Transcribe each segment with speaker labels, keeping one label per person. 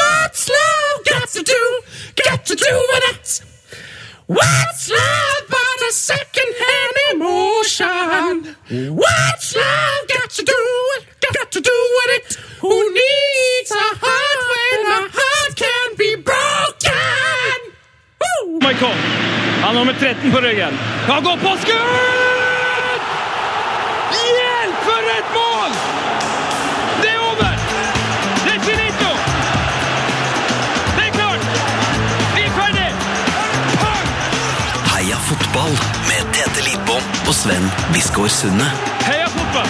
Speaker 1: love got to do? Got to do with it. What's love but a second-hand emotion? What's love got to do? Got to do with it. Who needs a heart when a heart can be broken? Woo!
Speaker 2: Michael. Han har nummer 13 på ryggen. Han går på skudd! Hjelp, for et mål! Det er over! Det er finito! Det er klart! Vi er ferdig!
Speaker 3: Heia fotball med Tete Lidbom og Sven Biskår Sunne.
Speaker 2: Heia fotball!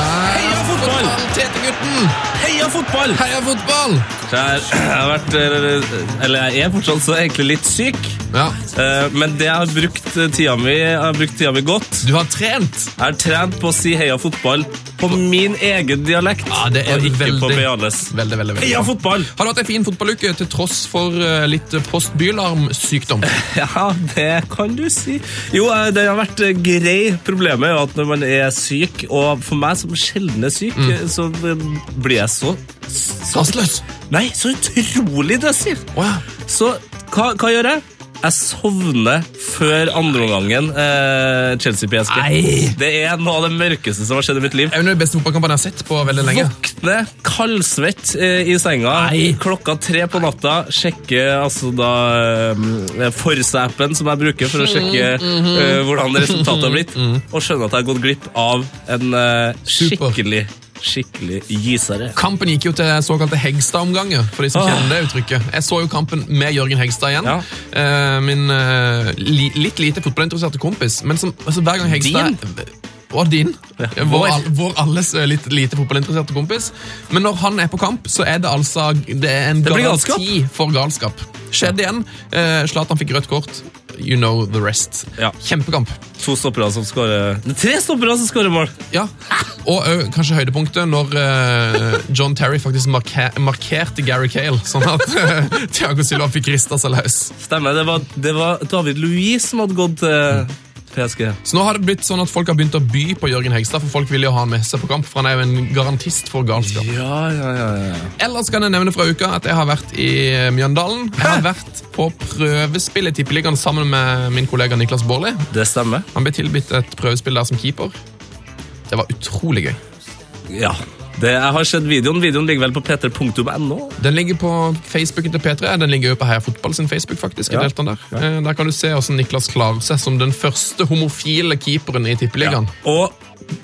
Speaker 4: Heia fotball! Tetegutten!
Speaker 5: Heia fotball!
Speaker 4: Heia fotball!
Speaker 5: Så jeg, jeg har vært eh, Eller jeg er fortsatt så egentlig litt syk.
Speaker 4: Ja,
Speaker 5: Eh, Men det jeg har brukt eh, tida mi, jeg har brukt tida mi godt.
Speaker 4: du har trent!
Speaker 5: Jeg har trent på å si heia fotball på min egen dialekt.
Speaker 4: Ja, det er
Speaker 5: og ikke
Speaker 4: veldig-
Speaker 5: på Beales.
Speaker 4: Veldig, veldig, veldig.
Speaker 5: Heia
Speaker 4: bra.
Speaker 5: fotball!
Speaker 4: Har du hatt en fin fotballuke til tross for eh, litt postbylarmsykdom?
Speaker 5: Ja, det kan du si. Jo, eh, den har vært eh, grei. Problemet er jo at når man er syk, og for meg som sjelden er syk, eh, så eh, blir jeg så så,
Speaker 4: Rastløs!
Speaker 5: Nei, så utrolig drøssig!
Speaker 4: Å ja.
Speaker 5: Så hva, hva gjør jeg? Jeg sovner før andreomgangen eh, Chelsea-PSG.
Speaker 4: Nei!
Speaker 5: Det er noe av det mørkeste som har skjedd i mitt liv.
Speaker 4: Det er jo den beste fotballkampen jeg har sett på veldig lenge.
Speaker 5: Våkne kaldsvett eh, i senga klokka tre på natta. Sjekke altså da eh, Forse-appen som jeg bruker for å
Speaker 4: Mm,
Speaker 5: sjekke eh, hvordan resultatet har blitt. Og skjønne at jeg har gått glipp av en eh,
Speaker 4: Super.
Speaker 5: skikkelig, skikkelig gysere.
Speaker 4: Kampen gikk jo til såkalte Hegstad-omganger, for de som
Speaker 5: Ah.
Speaker 4: kjenner det uttrykket. Jeg så jo kampen med Jørgen Hegstad igjen.
Speaker 5: Ja.
Speaker 4: Eh, Min eh, li, litt lite fotballinteresserte kompis, men som altså, hver gang Hegstad Og din. Vår,
Speaker 5: vår.
Speaker 4: all- vår alles eh, litt lite fotballinteresserte kompis. Men når han er på kamp, så er det altså Det er en
Speaker 5: blir
Speaker 4: garanti
Speaker 5: galskap.
Speaker 4: for galskap. Skjedde igjen. Eh, Zlatan fikk rødt kort. You know the rest.
Speaker 5: Ja.
Speaker 4: Kjempekamp.
Speaker 5: To stoppere som skårer Tre stoppere som skårer mål!
Speaker 4: Ja, og ø, kanskje høydepunktet når ø, John Terry faktisk marke markerte Gary Cale, sånn at ø, Thiago Silva fikk rista seg løs.
Speaker 5: Stemmer. Det var, det var David Louis som hadde gått til PSG.
Speaker 4: Så nå har det blitt sånn at folk har begynt å by på Jørgen Hegstad, for folk vil jo ha han med seg på kamp, for han er jo en garantist for galskap.
Speaker 5: Ja, ja, ja,
Speaker 4: Ellers kan jeg nevne fra uka at jeg har vært i eh, Mjøndalen. Jeg har vært på prøvespill i Tippeligaen sammen med min kollega Niklas Baarli.
Speaker 5: Det stemmer.
Speaker 4: Han ble tilbudt et prøvespill der som keeper. Det var utrolig gøy.
Speaker 5: Ja. Det, jeg har sett videoen. Videoen ligger vel på peter.no.
Speaker 4: Den ligger på Facebooken til P3. Den ligger jo på Heia Fotball sin Facebook, faktisk. Jeg
Speaker 5: Ja.
Speaker 4: delte den der. Eh, der kan du se hvordan Niklas klarer seg som den første homofile keeperen i Tippeligaen.
Speaker 5: Og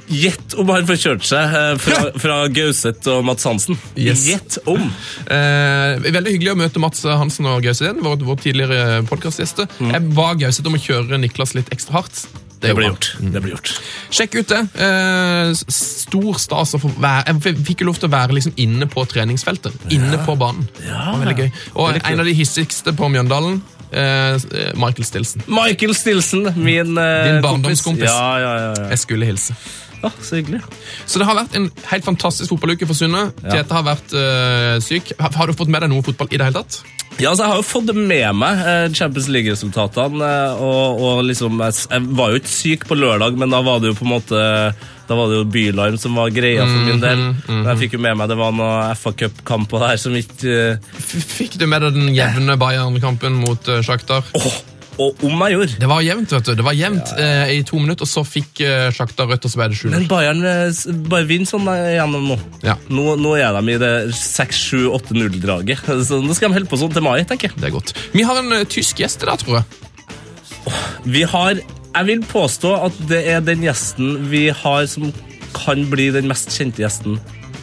Speaker 5: gjett om han får kjørt seg eh, fra, fra Gauseth og Mats Hansen.
Speaker 4: Yes.
Speaker 5: Gjett om!
Speaker 4: Eh, veldig hyggelig å møte Mats Hansen og Gauseth igjen, vår, vår tidligere podkastgjester.
Speaker 5: Mm.
Speaker 4: Jeg ba Gauseth om å kjøre Niklas litt ekstra hardt.
Speaker 5: Det
Speaker 4: gjorde
Speaker 5: blir
Speaker 4: han.
Speaker 5: gjort. Det blir gjort.
Speaker 4: Sjekk ut det. Eh, s- stor stas å få være Jeg f- fikk jo lov til å være liksom inne på treningsfeltet. Inne på banen. Det var veldig gøy. Og
Speaker 5: Veldig kult.
Speaker 4: en av de hissigste på Mjøndalen, eh, s- eh, Michael Stilson.
Speaker 5: Michael Stilson, min eh,
Speaker 4: Din barndomskompis.
Speaker 5: Ja, ja, ja, ja.
Speaker 4: Jeg skulle hilse.
Speaker 5: ja. Så hyggelig.
Speaker 4: Så det har vært en helt fantastisk fotballuke for Sunne.
Speaker 5: Ja.
Speaker 4: Tete har vært øh, syk. Har, har du fått med deg noe fotball i det hele tatt?
Speaker 5: Ja, altså, Jeg har jo fått det med meg, eh, Champions League-resultatene. eh, Og, og liksom, jeg, s- jeg var jo ikke syk på lørdag, men da var det jo på en måte da var det jo bylarm som var greia for min del.
Speaker 4: Mhm,
Speaker 5: Men jeg fikk jo med meg det var noen FA Cup-kamper der som ikke eh,
Speaker 4: F fikk du med deg den jevne Bayern-kampen mot uh, Shakhtar?
Speaker 5: Åh! Og om jeg gjorde!
Speaker 4: Det var jevnt, vet du. Det var jevnt eh, i to minutter, og så fikk uh, Shakhtar rødt, og så ble det sju.
Speaker 5: Men Bayern eh, s- bare vinner sånn eh, gjennom nå.
Speaker 4: Ja.
Speaker 5: Nå, nå er de i det 6-7-8-0-draget. Så nå skal de holde på sånn til mai, tenker jeg.
Speaker 4: Det er godt. Vi har en eh, tysk gjest i dag, tror jeg.
Speaker 5: Vi har, jeg vil påstå at det er den gjesten vi har som kan bli den mest kjente gjesten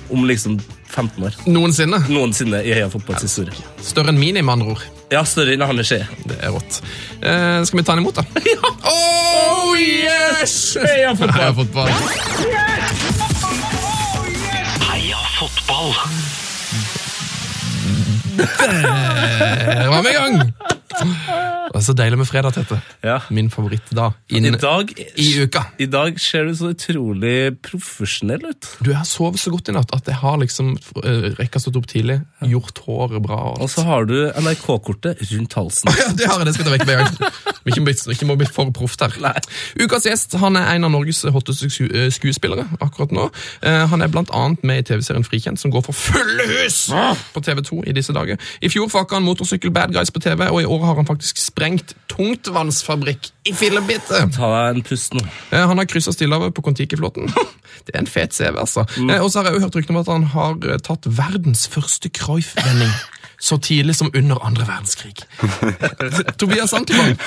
Speaker 5: om liksom 15 år.
Speaker 4: Noensinne.
Speaker 5: Noensinne i Heia fotballs historie.
Speaker 4: Større enn mini, med andre ord.
Speaker 5: Ja, større enn Hanne Skje.
Speaker 4: Det er rått. Eh, skal vi ta han imot, da? Ja. Oh, yes!
Speaker 5: Heia
Speaker 4: Heia
Speaker 5: fotball!
Speaker 4: fotball.
Speaker 3: Heia fotball!
Speaker 4: Der var vi i gang. Det er så deilig med fredag, Tete.
Speaker 5: Ja.
Speaker 4: Min favoritt da.
Speaker 5: I
Speaker 4: Inn
Speaker 5: dag,
Speaker 4: i uka.
Speaker 5: I dag ser du så utrolig profesjonell ut.
Speaker 4: Du, jeg har sovet så godt i natt at jeg har liksom eh, rekka stått opp tidlig, gjort håret bra og
Speaker 5: Og
Speaker 4: alt.
Speaker 5: så har du NRK-kortet rundt halsen.
Speaker 4: Ja, det har jeg, det skal jeg ta vekk med en gang. Vi Ikke, må bli- ikke må bli for proft her.
Speaker 5: Nei.
Speaker 4: Ukas gjest han er en av Norges hotteste sku- eh, skuespillere akkurat nå. Eh, Han er blant annet med i TV-serien Frikjent, som går for fulle hus på TV2 i disse dager. I fjor fakka han motorsykkel Bad Guys på TV, og i år har han faktisk sprengt tungtvannsfabrikk i fillebiter.
Speaker 5: Ta deg en pust nå.
Speaker 4: Eh, Han har kryssa Stillehavet på Kon-Tiki-flåten. Det er en fet CV, altså. Eh, Og så har jeg jo hørt rykter om at han har eh, tatt verdens første Cruyff-vending. Så tidlig som under andre verdenskrig. Tobias Santelmann,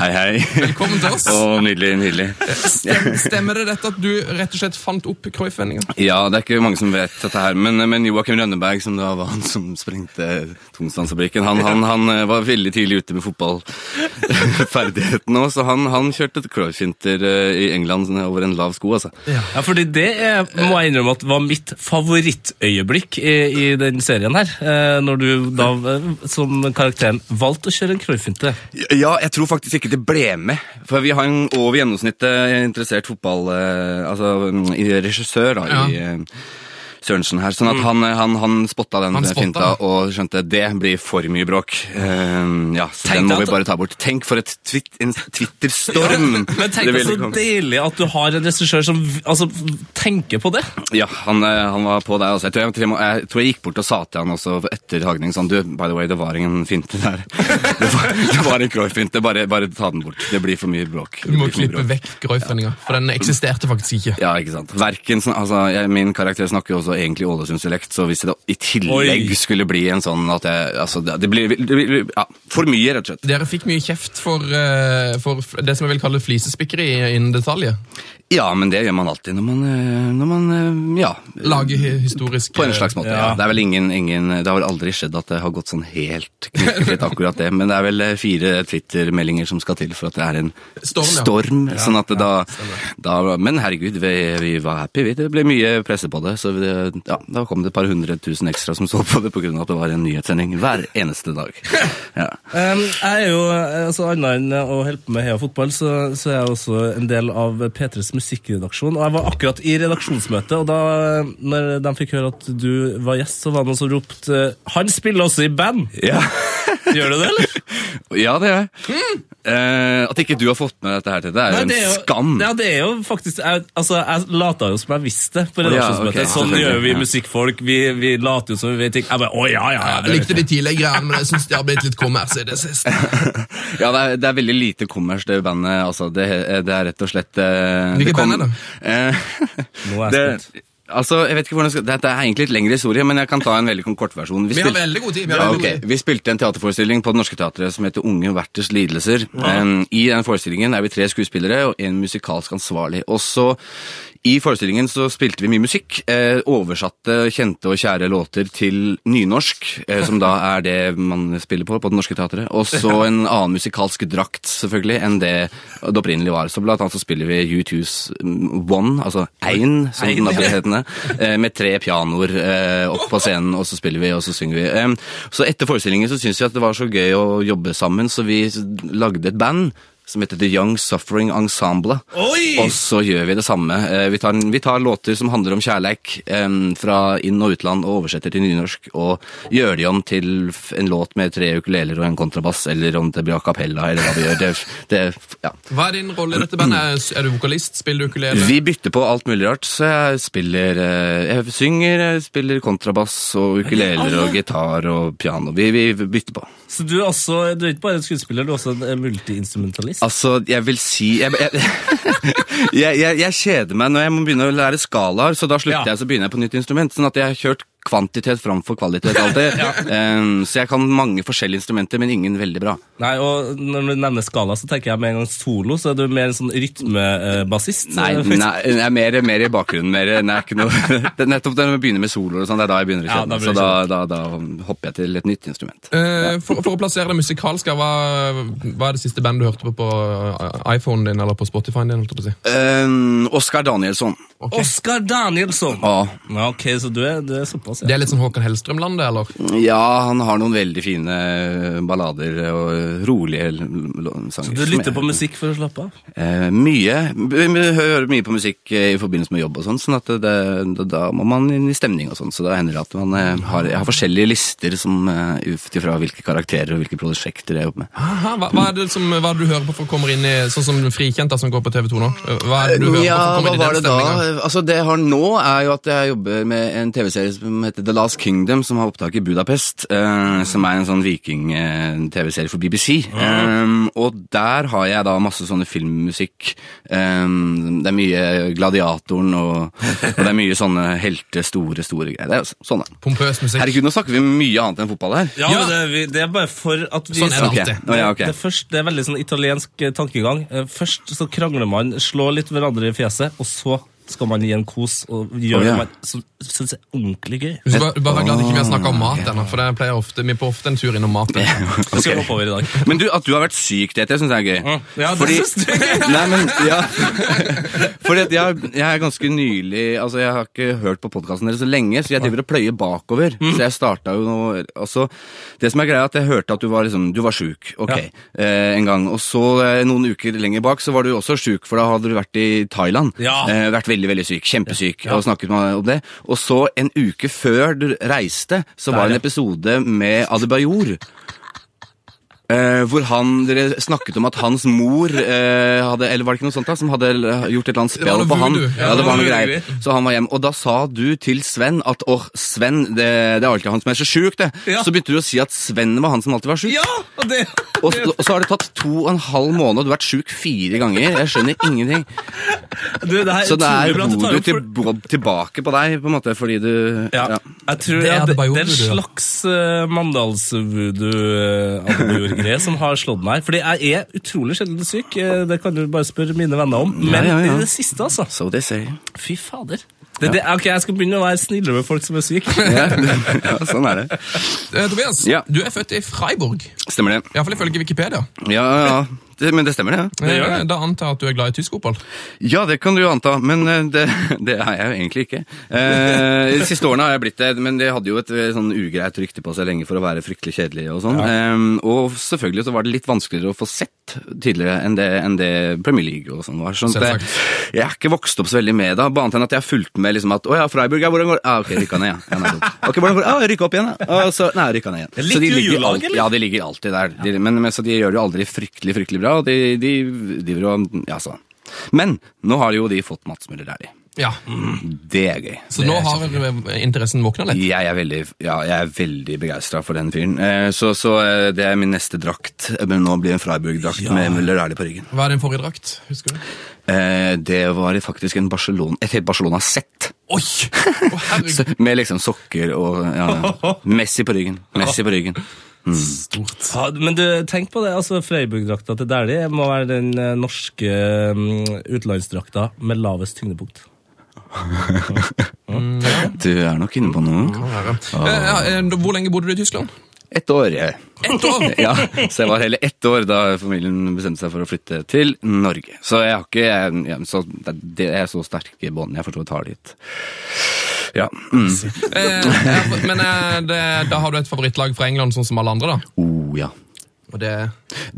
Speaker 6: Hei, hei.
Speaker 4: velkommen til oss.
Speaker 6: Å, nydelig, nydelig.
Speaker 4: Stem, stemmer det dette at du rett og slett fant opp Cruyff-vendinga?
Speaker 6: Ja, det er ikke mange som vet dette her, men, men Joakim Rønneberg, som da var han som sprengte Tungstandsfabrikken, han, han, han eh, var veldig tidlig ute med fotballferdigheten òg, så han, han kjørte et cruyff-hinter eh, i England sånn, over en lav sko, altså.
Speaker 5: Ja, fordi Det er, må jeg innrømme at var mitt favorittøyeblikk i, i den serien. her. Eh, når du da, eh, som karakteren, valgte å kjøre en Cruyff-finte.
Speaker 6: Ja, jeg tror faktisk ikke det ble med. For vi har en over gjennomsnittet interessert fotball... Eh, altså mm, i regissør, da, i
Speaker 4: Ja.
Speaker 6: eh, Sørensen
Speaker 5: Mm.
Speaker 6: her. Sånn at han, eh, han, han spotta den
Speaker 4: Han spotta.
Speaker 6: finta og skjønte det blir for mye bråk. Eh, ja, så
Speaker 5: Tenk
Speaker 6: den må
Speaker 5: at-
Speaker 6: vi bare ta bort. Tenk for et twit, en Twitter-storm!
Speaker 5: Men tenk
Speaker 6: det
Speaker 5: deg
Speaker 6: ville
Speaker 5: så
Speaker 6: komme.
Speaker 5: deilig at du har en regissør som v- altså, tenker på det.
Speaker 6: Ja, han, eh, han var på der også. Jeg tror jeg, jeg tror jeg gikk bort og sa til han også etter Hagning sånn Du, by the way, det var ingen finte der. Det var, det var en Cruyff-finte. Bare, bare ta den bort. Det blir for mye bråk.
Speaker 4: Du må
Speaker 6: Det blir for mye bråk.
Speaker 4: klippe vekk Cruyff-vendinga, for den eksisterte faktisk ikke.
Speaker 6: Ja, ikke sant. Verken, sånn- altså, jeg, min karakter snakker jo også egentlig Ålesundsdialekt, så hvis det i tillegg
Speaker 5: Oi.
Speaker 6: skulle bli en sånn at jeg Altså, det, det blir, det blir ja, for mye, rett og slett.
Speaker 4: Dere fikk mye kjeft for, eh, for f- det som jeg vil kalle flisespikkeri innen detaljer.
Speaker 6: Ja, men det gjør man alltid når man, eh, når man eh, ja.
Speaker 4: Lage hi- historisk
Speaker 6: På en slags måte, ja.
Speaker 5: Ja.
Speaker 6: Det er vel ingen, ingen Det har vel aldri skjedd at det har gått sånn helt knirkefritt, akkurat det, men det er vel eh, fire Twitter-meldinger som skal til for at det er en
Speaker 4: Storm, ja.
Speaker 6: sånn at det da, da Men herregud, vi, vi var happy, vi. Det ble mye presse på det, så det, ja, da kom det et par hundre tusen ekstra som så på det pga. at det var en nyhetssending hver eneste dag. Ja.
Speaker 5: Um, jeg er jo, eh, altså Annet enn å holde på med Heia fotball, så, så er jeg også en del av P3s musikkredaksjon. Og Jeg var akkurat i redaksjonsmøtet, og da eh, når de fikk høre at du var gjest, så var det noen som ropte eh, 'Han spiller også i band'!
Speaker 6: Ja.
Speaker 5: Gjør du det, eller?
Speaker 6: ja, det gjør jeg. Eh, at ikke du har fått med dette her, Tete, er
Speaker 5: Mm.
Speaker 6: jo
Speaker 5: Nei,
Speaker 6: en
Speaker 5: det er jo-
Speaker 6: skam.
Speaker 5: Ja, det er jo faktisk jeg, altså, jeg lata jo som jeg visste det på
Speaker 6: ja,
Speaker 5: redaksjonsmøtet.
Speaker 6: ok,
Speaker 5: sånn
Speaker 6: selvfølgelig,
Speaker 5: gjør vi
Speaker 6: ja.
Speaker 5: musikkfolk. Vi, vi later jo som vi vet ting. Jeg bare, å ja, ja, ja,
Speaker 4: eh, Jeg
Speaker 5: det vet
Speaker 4: likte de tidligere greiene, men jeg syns de har blitt litt kommers i det siste.
Speaker 6: Ja, det er, det er veldig lite kommers, det bandet. Altså, det, det er rett og slett eh,
Speaker 4: Hvilket
Speaker 6: det kom-
Speaker 4: band er det?
Speaker 6: Eh,
Speaker 5: Nå er jeg spent.
Speaker 6: det, altså, jeg vet ikke hvordan jeg skal, Dette er egentlig et lengre historie, men jeg kan ta en veldig kort versjon.
Speaker 4: Vi har
Speaker 6: spil-
Speaker 4: veldig god tid. Vi
Speaker 6: ja,
Speaker 4: har veldig
Speaker 6: ok.
Speaker 4: god tid.
Speaker 6: Vi spilte en teaterforestilling på Det Norske Teatret som heter Unge verters lidelser. Em, I den forestillingen er vi tre skuespillere og en musikalsk ansvarlig. Og så i forestillingen så spilte vi mye musikk. Eh, oversatte kjente og kjære låter til nynorsk, eh, som da er det man spiller på på Det Norske Teatret. Og så en annen musikalsk drakt, selvfølgelig, enn det det opprinnelig var. Så blant annet så spiller vi U2s mm, One, altså Ein, som den da ble hetende, eh, med tre pianoer eh, opp på scenen, og så spiller vi, og så synger vi. Em, Så etter forestillingen så syntes vi at det var så gøy å jobbe sammen, så vi s- lagde et band som heter The Young Suffering Ensemble.
Speaker 5: Oi!
Speaker 6: Og så gjør vi det samme. Eh, Vi tar, vi tar låter som handler om kjærleik em, fra inn- og utland, og oversetter til nynorsk, og gjør de om til f- en låt med tre ukuleler og en kontrabass, eller om det blir a cappella, eller hva vi gjør. Det, det, ja.
Speaker 4: Hva er din rolle i dette bandet? Er du vokalist? Spiller du ukulele?
Speaker 6: Vi bytter på alt mulig rart, så jeg spiller eh, Jeg synger, jeg spiller kontrabass og ukuleler og gitar og piano. Vi, vi bytter på.
Speaker 5: Så du er, også, du er ikke bare en skuespiller, du er også en eh, multiinstrumentalist.
Speaker 6: Altså, jeg vil si Jeg, jeg, jeg, jeg, jeg kjeder meg når jeg må begynne å lære skalaer, så da slutter
Speaker 5: Ja.
Speaker 6: jeg, så begynner jeg på nytt instrument. Sånn at jeg har kjørt kvantitet framfor kvalitet alltid. Em, så jeg kan mange forskjellige instrumenter, men ingen veldig bra.
Speaker 5: Nei, og Når du nevner skala, så tenker jeg med en gang solo, så er du mer en sånn rytmebassist. Eh,
Speaker 6: Nei, nei jeg er mer, mer i bakgrunnen. Mer, nei, ikke noe. Det er nettopp når jeg begynner med soloer og sånn, det er da jeg begynner å
Speaker 5: Ja,
Speaker 6: kjede
Speaker 5: da
Speaker 6: meg.
Speaker 5: blir
Speaker 6: så
Speaker 5: det
Speaker 6: da, da, da hopper jeg til et nytt instrument.
Speaker 4: Eh, for, for å plassere det musikalske, hva, hva er det siste bandet du hørte på på eh, iPhonen din eller på Spotify-en din? holdt jeg på å si?
Speaker 6: Um, Oskar Ehm, Danielsson.
Speaker 5: Oscar Danielsson.
Speaker 6: Ja.
Speaker 5: Ja, ok, så du er, du er såpass,
Speaker 4: Det
Speaker 5: ja.
Speaker 4: er litt sånn Håkan Hellstrøm-landet, eller?
Speaker 6: Ja, han har noen veldig fine ballader og rolige l- l- sanger.
Speaker 5: Du lytter på musikk for å slappe av?
Speaker 6: Eh, mye. Vi hører mye på musikk eh, i forbindelse med jobb og sånn, sånn at det, da- da må man inn i stemning og sånn, så da hender det at man eh, har, jeg har forskjellige lister som eh, ut ifra hvilke karakterer og hvilke prosjekter jeg jobber med.
Speaker 4: Aha, hva, hva, er det som, hva er det du hører på for å komme inn i Sånn som Frikjent, da, som går på TV 2 nå. Hva er det du hører
Speaker 6: Ja,
Speaker 4: på for å
Speaker 6: hva
Speaker 4: komme inn i
Speaker 6: var
Speaker 4: den
Speaker 6: det da?
Speaker 4: stemninga?
Speaker 6: Altså, det jeg har nå, er jo at jeg jobber med en TV-serie som heter The Last Kingdom, som har opptak i Budapest, eh, som er en sånn viking-TV-serie for BBC. Eh, og der har jeg da masse sånne filmmusikk. Eh, det er mye Gladiatoren, og, og det er mye sånne helter, store, store greier. Det er jo så- sånn, da.
Speaker 4: Pompøs musikk.
Speaker 6: Herregud, nå snakker vi mye annet enn fotball her.
Speaker 5: Ja,
Speaker 4: Ja.
Speaker 5: Det, er vi- det er bare for at vi
Speaker 4: Sånn er det
Speaker 6: Ok,
Speaker 4: alltid.
Speaker 6: Nå, ja, ok.
Speaker 5: Det, er først, det er veldig sånn italiensk eh, tankegang. Eh, Først så krangler man, slår litt hverandre i fjeset, og så skal man gi en kos og gjøre
Speaker 6: Å, ja.
Speaker 5: det man som- synes er ordentlig gøy.
Speaker 4: Du skal bare, bare være glad at ikke vi har snakka om mat ennå, for det pleier ofte, vi på ofte en tur innom mat.
Speaker 5: Det skal vi hoppe over i dag.
Speaker 6: Men du, at du har vært syk, det syns jeg er gøy.
Speaker 5: Mm. Ja, det
Speaker 6: Fordi-
Speaker 5: synes jeg er
Speaker 6: Nei, men, ja. Fordi at jeg, jeg er ganske nylig Altså, jeg har ikke hørt på podkasten deres så lenge, så jeg driver og pløyer bakover.
Speaker 5: Mm.
Speaker 6: Så jeg starta jo nå altså, Det som er greia, er at jeg hørte at du var liksom Du var sjuk, ok, eh, en gang. Og så, eh, noen uker lenger bak, så var du jo også sjuk, for da hadde du vært i Thailand.
Speaker 5: Ja.
Speaker 6: Eh, vært veldig, veldig syk. Kjempesyk. Og snakket med om det. Og så, en uke før du reiste, så var
Speaker 5: Der, ja.
Speaker 6: det en episode med Adebayor. Eh, hvor han, dere snakket om at hans mor eh, hadde, eller var det ikke noe sånt da, som hadde eh, gjort et eller
Speaker 4: var
Speaker 6: annet spill
Speaker 4: noe
Speaker 6: på han.
Speaker 4: voodoo.
Speaker 6: Ja, det var noe greier. Så han var hjemme, og da sa du til Sven at, åh, Sven, det, det er alltid han som er så syk, det.
Speaker 5: Ja.
Speaker 6: Så begynte du å si at Sven var han som alltid var syk.
Speaker 5: Ja, og det,
Speaker 6: Og, så- og så har det tatt to og en halv måned, og du har vært syk fire ganger. Jeg skjønner ingenting.
Speaker 5: du, det her
Speaker 6: Så
Speaker 5: utrolig
Speaker 6: det
Speaker 5: bra
Speaker 6: er
Speaker 5: at du tar
Speaker 6: hodet
Speaker 5: opp
Speaker 6: til,
Speaker 5: for-
Speaker 6: tilbake på deg, på en måte, fordi du...
Speaker 5: Ja.
Speaker 6: ja.
Speaker 5: Jeg tror det,
Speaker 4: Det er
Speaker 5: det, det er en
Speaker 4: Adebayor-voodoo, ja.
Speaker 5: slags uh, mandals-voodoo-greie som har slått meg. Fordi jeg er utrolig sjelden syk, eh, det kan du bare spørre mine venner om. Men
Speaker 6: ja, ja.
Speaker 5: i det siste, altså.
Speaker 6: So they say.
Speaker 5: Fy fader. Det, det, ok, Jeg skal begynne å være snillere med folk som er syke.
Speaker 6: Ja, ja, sånn er det.
Speaker 4: Eh, Tobias,
Speaker 6: Ja.
Speaker 4: du er født i Freiburg.
Speaker 6: Stemmer det.
Speaker 4: Iallfall ifølge Wikipedia.
Speaker 6: Ja, ja. Det, men det stemmer det, ja.
Speaker 5: gjør
Speaker 4: Eh,
Speaker 5: det.
Speaker 4: Da antar jeg at du er glad i tysk fotball.
Speaker 6: Ja, det kan du jo anta, men eh, det, det er jeg jo egentlig ikke. Eh, de siste årene har jeg blitt det, men det hadde jo et eh, sånn ugreit rykte på seg lenge for å være fryktelig kjedelig og sånn. Eh, og selvfølgelig så var det litt vanskeligere å få sett tidligere enn det, enn det Premier League og sånn var. Sånn at jeg, jeg er ikke vokst opp så veldig med det, bare annet enn at jeg har fulgt med liksom at å ja, Freiburg, ja, hvordan går det? Ah, ok, rykka ned, ja. ja nettopp. ok, hvordan går det? Ah, rykka opp igjen, ja. Ah, så, nei, rykka ned igjen.
Speaker 5: Litt
Speaker 6: Så de ligger
Speaker 5: ujulag,
Speaker 6: alt-
Speaker 5: eller?
Speaker 6: Ja, de ligger alltid der. De, men, men så de gjør det jo aldri fryktelig, fryktelig bra, og de, de driver og Ja, sånn. Men nå har jo de fått Mats Møller Dæhlie.
Speaker 4: Ja,
Speaker 6: Det er gøy.
Speaker 4: Så nå har eh, interessen våkna litt.
Speaker 6: Jeg er veldig, ja, jeg er veldig begeistra for den fyren. Eh, Så, så eh, det er min neste drakt. Eh, Men nå blir det en Freiburg-drakt med Møller Dæhlie på ryggen.
Speaker 4: Hva er din forrige drakt? Husker du?
Speaker 6: Eh, Det var faktisk en Barcelona, et helt Barcelona-sett.
Speaker 4: Oi! Å, herregud,
Speaker 6: Med liksom sokker og ja, ja. Messi på ryggen. Messi på ryggen.
Speaker 4: stort.
Speaker 5: Ja, men du, tenk på det. altså Freiburg-drakta til Dæhlie må være den eh, norske mm, utenlandsdrakta med lavest tyngdepunkt.
Speaker 6: Du er nok inne på noe.
Speaker 4: Eh, ja, eh, da- Hvor lenge bodde du i Tyskland?
Speaker 6: Ett år. eh.
Speaker 4: Ett år!
Speaker 6: Ja, så jeg var hele ett år da familien bestemte seg for å flytte til Norge. Så jeg har ikke jeg, jeg, så, det er så sterke bånd jeg forstår tar dit. Ja. Mm.
Speaker 4: Eh, ja, men eh, det, da har du et favorittlag fra England, sånn som alle andre, da.
Speaker 6: Oh, ja.
Speaker 4: Og det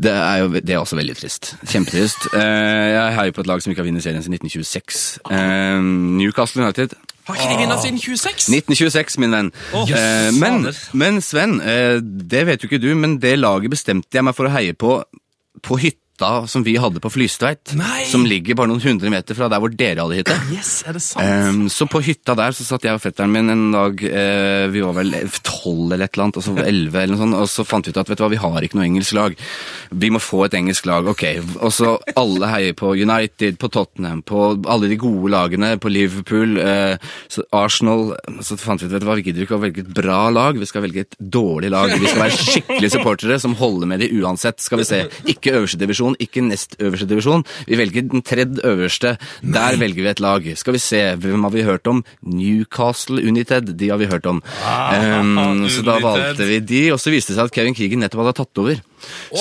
Speaker 6: Det er jo det er også veldig trist. Kjempetrist. Eh, jeg heier på et lag som ikke har vunnet serien siden 1926. Eh, Newcastle United.
Speaker 4: Har ikke de vunnet siden 26?
Speaker 6: 1926, min venn.
Speaker 5: Åh,
Speaker 6: Eh, men,
Speaker 5: fader.
Speaker 6: men Sven, eh, det vet jo ikke du, men det laget bestemte jeg meg for å heie på på hytta som vi hadde på Flystveit.
Speaker 4: Nei.
Speaker 6: Som ligger bare noen hundre meter fra der hvor dere hadde hytte.
Speaker 4: Yes, er det sant?
Speaker 6: Ehm, så på hytta der så satt jeg og fetteren min en dag eh, Vi var vel tolv eller et eller annet, og så elleve eller noe sånt, og så fant vi ut at vet du hva, vi har ikke noe engelsk lag. Vi må få et engelsk lag, ok. Og så alle heier på United, på Tottenham, på alle de gode lagene, på Liverpool, eh, så Arsenal Så fant vi ut vet du hva, vi gidder ikke å velge et bra lag, vi skal velge et dårlig lag. Vi skal være skikkelige supportere som holder med de uansett, skal vi se. Ikke øverste divisjon divisjon, ikke nest øverste divisjon. Vi velger den tredje øverste. Der velger vi et lag. Skal vi se, hvem har vi hørt om? Newcastle United, de har vi hørt om. Ehm, så da
Speaker 5: United.
Speaker 6: valgte vi de, og så viste det seg at Kevin Keegan nettopp hadde tatt over.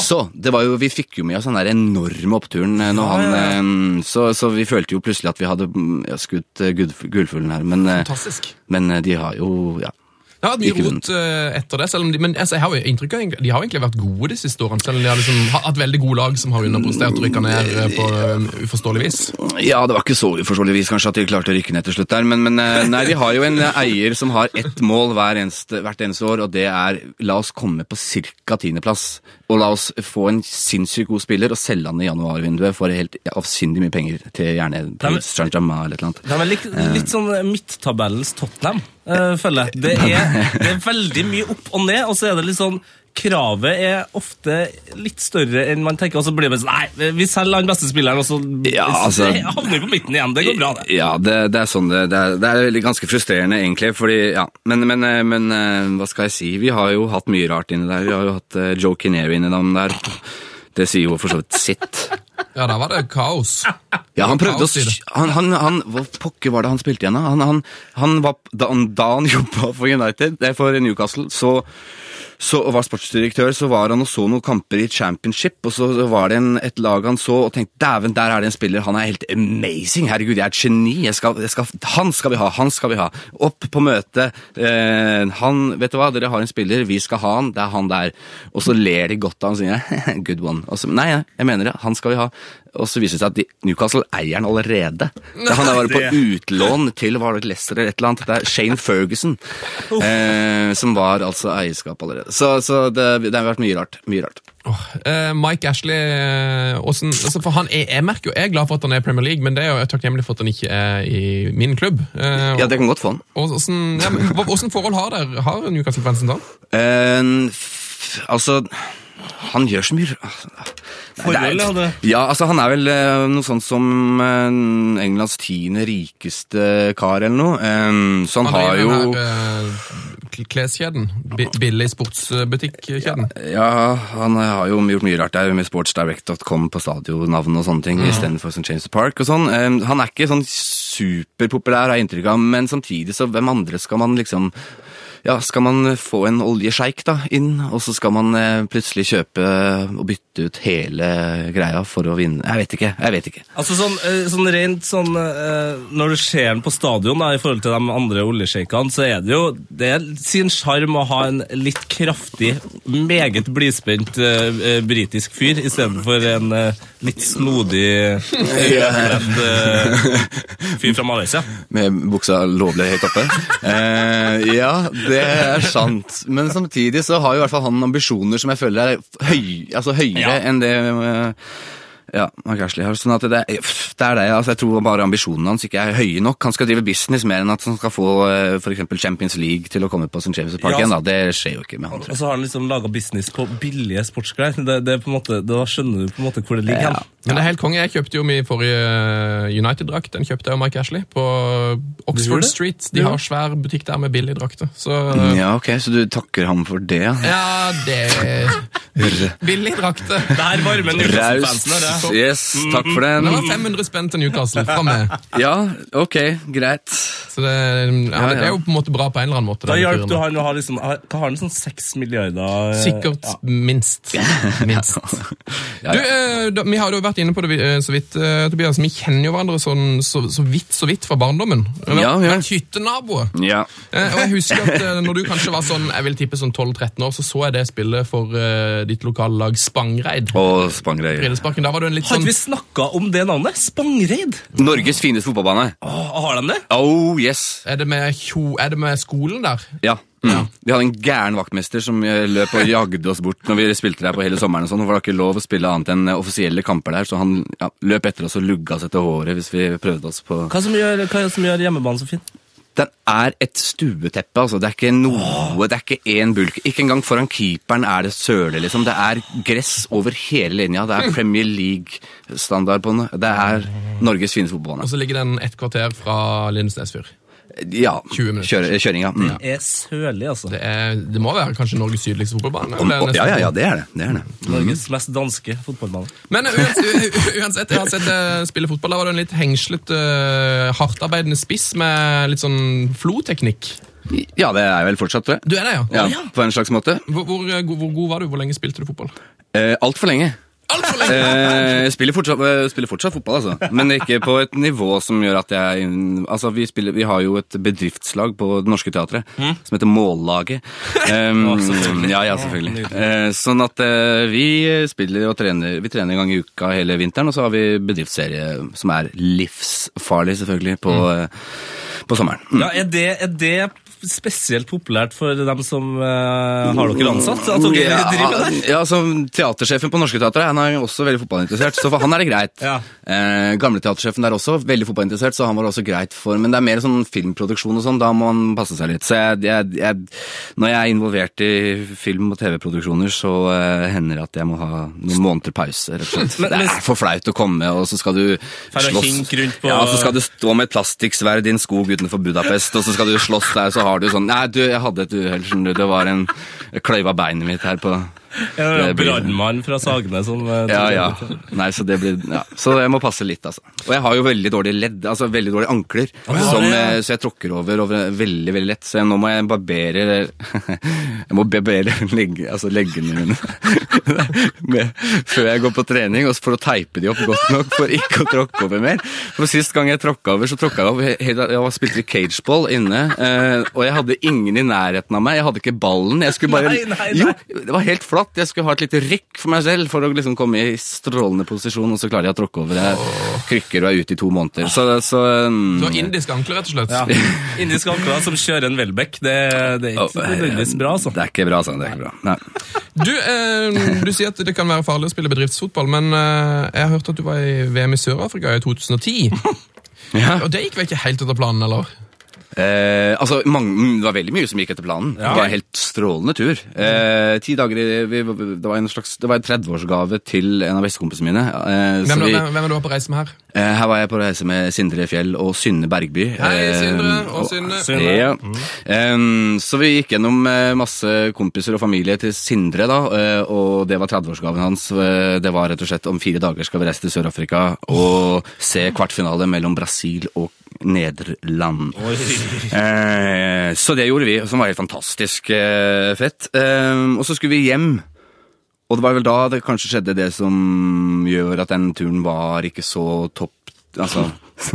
Speaker 6: Så det var jo, vi fikk jo med oss den der enorme oppturen eh, når han ehm, så, så vi følte jo plutselig at vi hadde mm, ja, skutt eh, gud- gullfuglen her, men, eh,
Speaker 4: Fantastisk.
Speaker 6: men eh, de har jo ja.
Speaker 4: Det har vært mye
Speaker 6: Ikke
Speaker 4: rot eh, etter det, selv om de, men altså, jeg har jo inntrykk av egentlig- de har egentlig vært gode de siste årene, selv om de har liksom ha- hatt veldig gode lag som har underprestert og rykka ned eh, på eh, uforståelig vis.
Speaker 6: Ja, det var ikke så uforståelig vis kanskje at de klarte å rykke ned til slutt der, men, men eh, nei, vi har jo en eh, eier som har ett mål hver eneste, hvert eneste år, og det er la oss komme på cirka tiendeplass, og la oss få en sinnssykt god spiller og selge han i januarvinduet for helt ja, avsindig mye penger til gjerne til Saint-Germain eller et eller annet.
Speaker 5: De er litt, litt sånn midttabellens Tottenham, eh, føler jeg. Det er, det er veldig mye opp og ned, og så er det litt sånn Kravet er ofte litt større enn man tenker, og så blir det sånn Nei, vi selger han beste spilleren, og så
Speaker 6: Ja, altså-
Speaker 5: så havner vi på midten igjen. Det går bra, det.
Speaker 6: Ja, det, det er sånn det, det er. Det er veldig ganske frustrerende, egentlig. Fordi, ja, men, men, eh, men eh, hva skal jeg si? Vi har jo hatt mye rart inni der. Vi har jo hatt eh, Joe Kinnear inni dem der. Det sier jo for så vidt sitt.
Speaker 4: Ja, der var det kaos.
Speaker 6: Ja, han prøvde å
Speaker 4: Kaos i det.
Speaker 6: s- han, han, han, Hva pokker var det han spilte igjen, da? Han, han, han var, da, han- da han jobba for United, nei, for Newcastle, så, så og var sportsdirektør, så var han og så noen kamper i championship, og så var det en, et lag han så og tenkte dæven, der er det en spiller, han er helt amazing, herregud, jeg er et geni, jeg skal, jeg skal, han skal vi ha, han skal vi ha. Opp på møtet, eh, han, vet du hva, dere har en spiller, vi skal ha han, det er han der. Og så ler de godt av han og sier good one. Og så, nei, nei, jeg mener det, han skal vi ha. Og så viser det seg at de, Newcastle eier han allerede. han er bare på utlån til hva var det, Leicester eller et eller annet. Det er Shane Ferguson eh, som var altså eierskap allerede. Så, så det, det har vært mye rart. Mye rart.
Speaker 4: Eh, Mike Ashley eh, åssen- altså for han er, Jeg merker jo, jeg er glad for at han er i Premier League, men det er jo takknemlig for at han ikke er i min klubb. Eh,
Speaker 6: Ja, det kan godt få han.
Speaker 4: og Åssen ja, men hva- åssen forhold har dere? Har Newcastle-fansen da?
Speaker 6: Eh, f- altså han gjør så mye r- altså, Nei, det er-
Speaker 5: Forhold, ja, det.
Speaker 6: Ja, altså Han er vel eh, noe sånt som eh, Englands tiende rikeste kar, eller noe. Eh, så
Speaker 4: Han
Speaker 6: han, har
Speaker 4: er i
Speaker 6: jo
Speaker 4: den her, eh, kl- kleskjeden. Bi- Billig sportsbutikk-kjeden.
Speaker 6: Ja, han har jo gjort mye rart der med sportsdirect.com på stadionnavn og sånne ting, istedenfor St. James Park og sånn. Eh, Han er ikke sånn superpopulær, har jeg inntrykk av, men samtidig så hvem andre skal man liksom ja, Skal man få en oljesjeik da inn, og så skal man eh, plutselig kjøpe og bytte ut hele greia for å vinne Jeg vet ikke. jeg vet ikke.
Speaker 5: Altså sånn, eh, sånn rent sånn eh, Når du ser den på stadion da, i forhold til de andre oljesjeikene, så er det jo det er sin sjarm å ha en litt kraftig, meget blidspent eh, eh, britisk fyr istedenfor en eh, litt snodig, rødkledd eh, fyr fra Malaysia.
Speaker 6: Med buksa lovlig høyt oppe. Eh, ja, det er sant. Men samtidig så har jo i hvert fall han ambisjoner som jeg føler er høy, altså høyere
Speaker 5: Ja.
Speaker 6: enn det eh, ja, Mark Ashley har. Sånn at det, er- det er det. Altså, jeg tror bare ambisjonene hans ikke er høye nok. Han skal drive business mer enn at han skal få eh, for eksempel Champions League til å komme på St. James Park
Speaker 5: Ja,
Speaker 6: igjen. da. Det skjer jo ikke med han. tror
Speaker 5: Og
Speaker 6: jeg.
Speaker 5: så har han liksom laga business på billige sportsklær. Det, det er på en måte, da skjønner du på en måte hvor det ligger hen.
Speaker 4: Men det er helt konge. Jeg kjøpte jo min forrige eh, United-drakt. Den kjøpte jeg og Mike Ashley på
Speaker 5: gjorde
Speaker 4: Oxford
Speaker 5: det?
Speaker 4: Street. De har svær butikk der med billige drakter. Så
Speaker 6: Mm, Ja, ok, Så du takker ham for det? ja.
Speaker 4: ja, det Billige drakter.
Speaker 5: Der varmer
Speaker 6: Raust.
Speaker 5: Newcastle-fansen her. det.
Speaker 6: Yes, takk for
Speaker 4: Det
Speaker 6: den.
Speaker 5: Mm-hmm.
Speaker 4: var 500 spenn til Newcastle fra meg.
Speaker 6: Ja, ok, greit.
Speaker 4: Så det, ja,
Speaker 6: Ja, ja.
Speaker 4: det er jo på en måte bra på en eller annen måte.
Speaker 5: Da
Speaker 4: denne
Speaker 5: hjalp
Speaker 4: turen
Speaker 5: du
Speaker 4: da.
Speaker 5: han å ha liksom, ha- hva har han sånn seks milliarder eh,
Speaker 4: Sikkert minst. Minst.
Speaker 6: Ja, ja.
Speaker 4: Du, eh, da, vi har jo vært inne på det vi- eh, så vidt, eh, Tobias. Vi kjenner jo hverandre sånn, så, så vidt så vidt fra barndommen. Vi
Speaker 6: Ja,
Speaker 4: har
Speaker 6: ja.
Speaker 4: vært hyttenaboer.
Speaker 6: Ja.
Speaker 4: Eh, Og jeg husker at eh, når du kanskje var sånn jeg vil tippe sånn 12-13 år, så så jeg det spillet for eh, ditt lokale lag Spangreid.
Speaker 6: Og Spangreid.
Speaker 4: Brillesparken, Da var du en litt
Speaker 5: Har
Speaker 4: sånn
Speaker 5: ikke vi snakka om det navnet? Spangreid?
Speaker 6: Norges fineste fotballbane.
Speaker 5: Åh, har de det?
Speaker 6: Oh yes.
Speaker 4: er det, med kjo, er det med skolen der?
Speaker 6: Ja. Mm. Vi hadde en gæren vaktmester som eh, løp og jagde oss bort når vi spilte der på hele sommeren. og sånn, for Det var ikke lov å spille annet enn eh, offisielle kamper der, så han ja, løp etter oss og lugga oss etter håret hvis vi prøvde oss på
Speaker 5: Hva som gjør, hva som gjør hjemmebanen så fin?
Speaker 6: Den er et stueteppe, altså. Det er ikke noe, det er ikke én bulk. Ikke engang foran keeperen er det søle, liksom. Det er gress over hele linja. Det er Premier League-standard på den. Det er Norges fineste fotballbane.
Speaker 4: Og så ligger den et kvarter fra Lindesnes fyr.
Speaker 6: Ja.
Speaker 4: 20 minutter.
Speaker 6: Kjøre- Kjøringa. Mm.
Speaker 5: Det er sølig, altså.
Speaker 4: Det, er, det må være kanskje Norges sydligste fotballbane.
Speaker 6: Om-
Speaker 4: eller
Speaker 6: å,
Speaker 4: nesten-
Speaker 6: Ja, ja, ja, det er det. det, er det.
Speaker 5: Norges mest danske fotballmann.
Speaker 4: Men uansett, u- uansett, jeg har sett deg spille fotball. Da var du en litt hengslet, eh, hardtarbeidende spiss med litt sånn floteknikk.
Speaker 6: Ja, det er jeg vel fortsatt, tror jeg.
Speaker 4: Du er det, ja?
Speaker 6: Ja, På en slags måte.
Speaker 4: Hvor, hvor, eh, god- hvor god var du? Hvor lenge spilte du fotball?
Speaker 6: Eh, Altfor lenge.
Speaker 4: Altfor lenge!
Speaker 6: Eh, jeg spiller fortsatt, eh, spiller fortsatt fotball, altså. Men ikke på et nivå som gjør at jeg Altså, vi, spiller, vi har jo et bedriftslag på Det Norske Teatret som heter Mållaget. Um, ja, ja, Mm. selvfølgelig. Eh, sånn at eh, vi spiller og trener Vi trener en gang i uka hele vinteren, og så har vi bedriftsserie som er livsfarlig, selvfølgelig, på, eh, på sommeren. Mm.
Speaker 5: Ja, er det, er det spesielt populært for dem som eh, har dere ansatt? At dere driver med det?
Speaker 6: Ja, altså, teatersjefen på Norske Teatret han er jo også veldig fotballinteressert, så for han er det greit.
Speaker 5: Ja.
Speaker 6: Eh, gamle teatersjefen der også, veldig fotballinteressert, så han var det også greit for. Men det er mer sånn filmproduksjon og sånn, da må man passe seg litt. Så jeg, jeg, jeg, når jeg er involvert i film- og TV-produksjoner, så eh, hender det at jeg må ha noen måneder pause, rett og slett.
Speaker 5: Men-
Speaker 6: det
Speaker 5: men-
Speaker 6: er for flaut å komme, og så skal du
Speaker 5: Fer å
Speaker 6: slåss.
Speaker 5: hinke rundt på-
Speaker 6: Ja, så skal du stå med et plastikksverd i en skog utenfor Budapest, og så skal du slåss der, så har du sånn Nei, du, jeg hadde et uhell, skjønner du. Det var en kløyva beinet mitt her på
Speaker 5: Er det
Speaker 6: Det blir-
Speaker 5: Brannmann fra Sagene som eh,
Speaker 6: ja, ja. Nei, så det blir ja. Så jeg må passe litt, altså. Og jeg har jo veldig dårlige ledd, altså veldig dårlige ankler, som, eh, så jeg tråkker over, over veldig, veldig lett. Så jeg, nå må jeg barbere Jeg må barbere legge, altså leggene mine med, før jeg går på trening, og for å teipe de opp godt nok for ikke å tråkke over mer. For sist gang jeg tråkka over, så tråkka jeg over hele- Jeg var- spilte cageball inne, eh, og jeg hadde ingen i nærheten av meg. Jeg hadde ikke ballen. Jeg skulle bare
Speaker 5: Nei, nei, nei.
Speaker 6: Jo, det var helt flatt. Jeg skulle ha et lite rykk for meg selv for å liksom komme i strålende posisjon, og så klarer jeg å tråkke over jeg krykker og er ute i to måneder. Så, så mm,
Speaker 4: Du har indiske ankler, rett og slett.
Speaker 5: Ja. Indiske ankler som kjører en Welbeck, det, det er ikke nødvendigvis bra, altså.
Speaker 6: Det er ikke bra, altså. Det er ikke bra. Nei.
Speaker 4: Du, eh, du sier at det kan være farlig å spille bedriftsfotball, men eh, jeg har hørt at du var i VM i Sør-Afrika i 2010.
Speaker 6: Ja.
Speaker 4: Og det gikk vel ikke helt etter planen, eller?
Speaker 6: Eh, altså, mange, mm, det var veldig mye som gikk etter planen. Det var en helt strålende tur. Eh, ti dager i, vi, Det var en slags Det var en 30-årsgave til en av bestekompisene mine. Eh, så
Speaker 4: Hvem,
Speaker 6: vi,
Speaker 4: hvem, hvem er du på reise med her?
Speaker 6: eh, her var jeg på reise med Sindre Fjell og Synne Bergby.
Speaker 4: Hei,
Speaker 6: Eh,
Speaker 4: Sindre og Synne.
Speaker 5: Synne.
Speaker 6: Ja. Ehm, så vi gikk gjennom eh, masse kompiser og familie til Sindre, da, eh, og det var 30-årsgaven hans. Eh, det var rett og slett om fire dager skal vi reise til Sør-Afrika og se kvartfinale mellom Brasil og Nederland. Eh, så det gjorde vi, som var helt fantastisk eh, fett. Ehm, og så skulle vi hjem. Og det var vel da det kanskje skjedde det som gjør at den turen var ikke så topp Altså,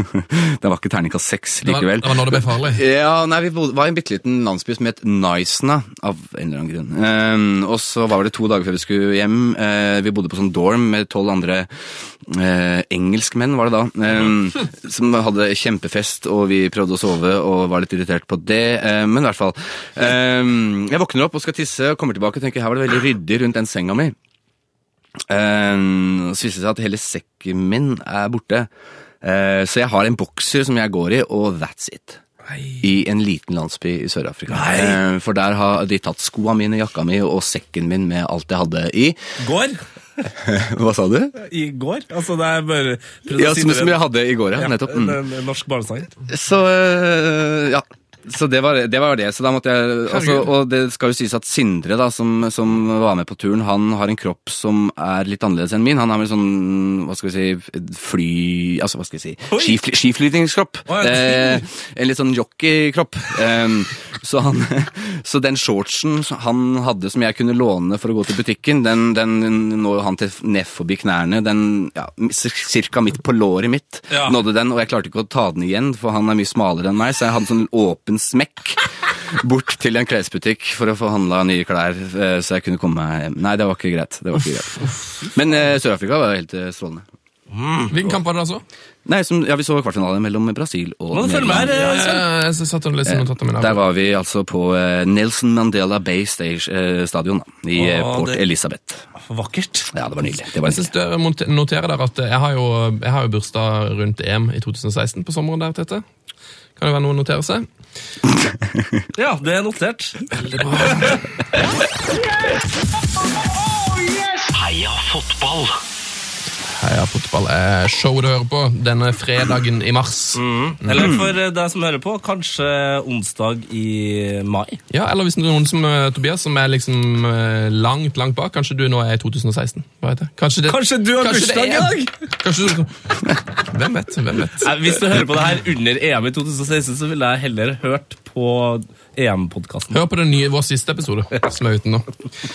Speaker 6: det var ikke terningkast seks
Speaker 4: Det var,
Speaker 6: likevel.
Speaker 4: det var når det ble farlig.
Speaker 6: Ja, nei, vi bodde, var i en bitte liten landsby som het Nicena, av en eller annen grunn. Ehm, og så var det to dager før vi skulle hjem. Eh, vi bodde på sånn dorm med tolv andre eh, engelskmenn, var det da, ehm, som hadde kjempefest, og vi prøvde å sove og var litt irritert på det, eh, men i hvert fall. Ehm, jeg våkner opp og skal tisse og kommer tilbake og tenker her var det veldig ryddig rundt den senga mi. Ehm, og så viste det seg at hele sekken min er borte. Eh, så jeg har en bokser som jeg går i, og that's it. I en liten landsby i Sør-Afrika. Eh, For der har de tatt skoa mine, jakka mi og sekken min med alt jeg hadde i.
Speaker 5: Går?
Speaker 6: Hva sa du?
Speaker 5: I går? Altså, det er bare prøvd
Speaker 6: Ja, som, som jeg hadde i går, ja. Nettopp. Mm.
Speaker 5: En, en norsk barnesang.
Speaker 6: Så øh, ja. Så det var, det var det. Så da måtte jeg altså,
Speaker 4: Herregud.
Speaker 6: Og det skal jo sies at Sindre, da, som, som var med på turen, han har en kropp som er litt annerledes enn min. Han har en sånn, hva skal vi si, fly... Altså, hva skal jeg si skifly, Skiflyvningskropp.
Speaker 5: Å, ja.
Speaker 6: eh, en litt sånn jockeykropp. Em, så, han, så den shortsen som han hadde som jeg kunne låne for å gå til butikken, den, den når han til ned forbi knærne. Den ja, cirka midt på låret mitt
Speaker 5: Ja.
Speaker 6: nådde nådde den, og jeg klarte ikke å ta den igjen, for han er mye smalere enn meg, så jeg hadde sånn åpen smekk bort til en klesbutikk for å få handla nye klær, eh, så jeg kunne komme meg hjem. Nei, det var ikke greit. Det var ikke greit. Men eh, Sør-Afrika var helt eh, strålende.
Speaker 4: Hvilken kamp var det altså? da, så?
Speaker 6: Nei, som, ja, vi så kvartfinale mellom Brasil og
Speaker 5: Må du følge med her, eh, Sven?
Speaker 4: Eh, Jeg satt og leste notatene mine.
Speaker 6: Der var vi altså på eh, Nelson Mandela Bay Stage, eh, Stadion da, i eh,
Speaker 5: Å,
Speaker 6: Port
Speaker 5: det-
Speaker 6: Elizabeth.
Speaker 5: Vakkert.
Speaker 6: Ja, det var nydelig. Det var
Speaker 4: Jeg synes
Speaker 6: nydelig.
Speaker 4: dere må notere der at jeg har, jo, jeg har jo bursdag rundt EM i 2016 på sommeren der, Tete. Kan det være noe å notere seg?
Speaker 5: Ja, det er notert.
Speaker 3: Heia fotball!
Speaker 4: Heia fotball er showet du hører på denne fredagen i mars.
Speaker 5: Eller for eh, deg som hører på, kanskje onsdag i mai.
Speaker 4: Ja, Eller hvis det er noen som eh, Tobias, som er liksom eh, langt langt bak. Kanskje du nå er i 2016. Hva vet jeg? Kanskje, det,
Speaker 5: Kanskje du har
Speaker 4: kanskje det
Speaker 5: bursdag i
Speaker 4: er-
Speaker 5: dag?
Speaker 4: Kanskje du, hvem vet? Hvem vet?
Speaker 5: Nei, Hvis du hører på det her under EM i 2016, så ville jeg heller hørt på EM-podkasten.
Speaker 4: Hør på den nye, vår siste episode, som er uten nå.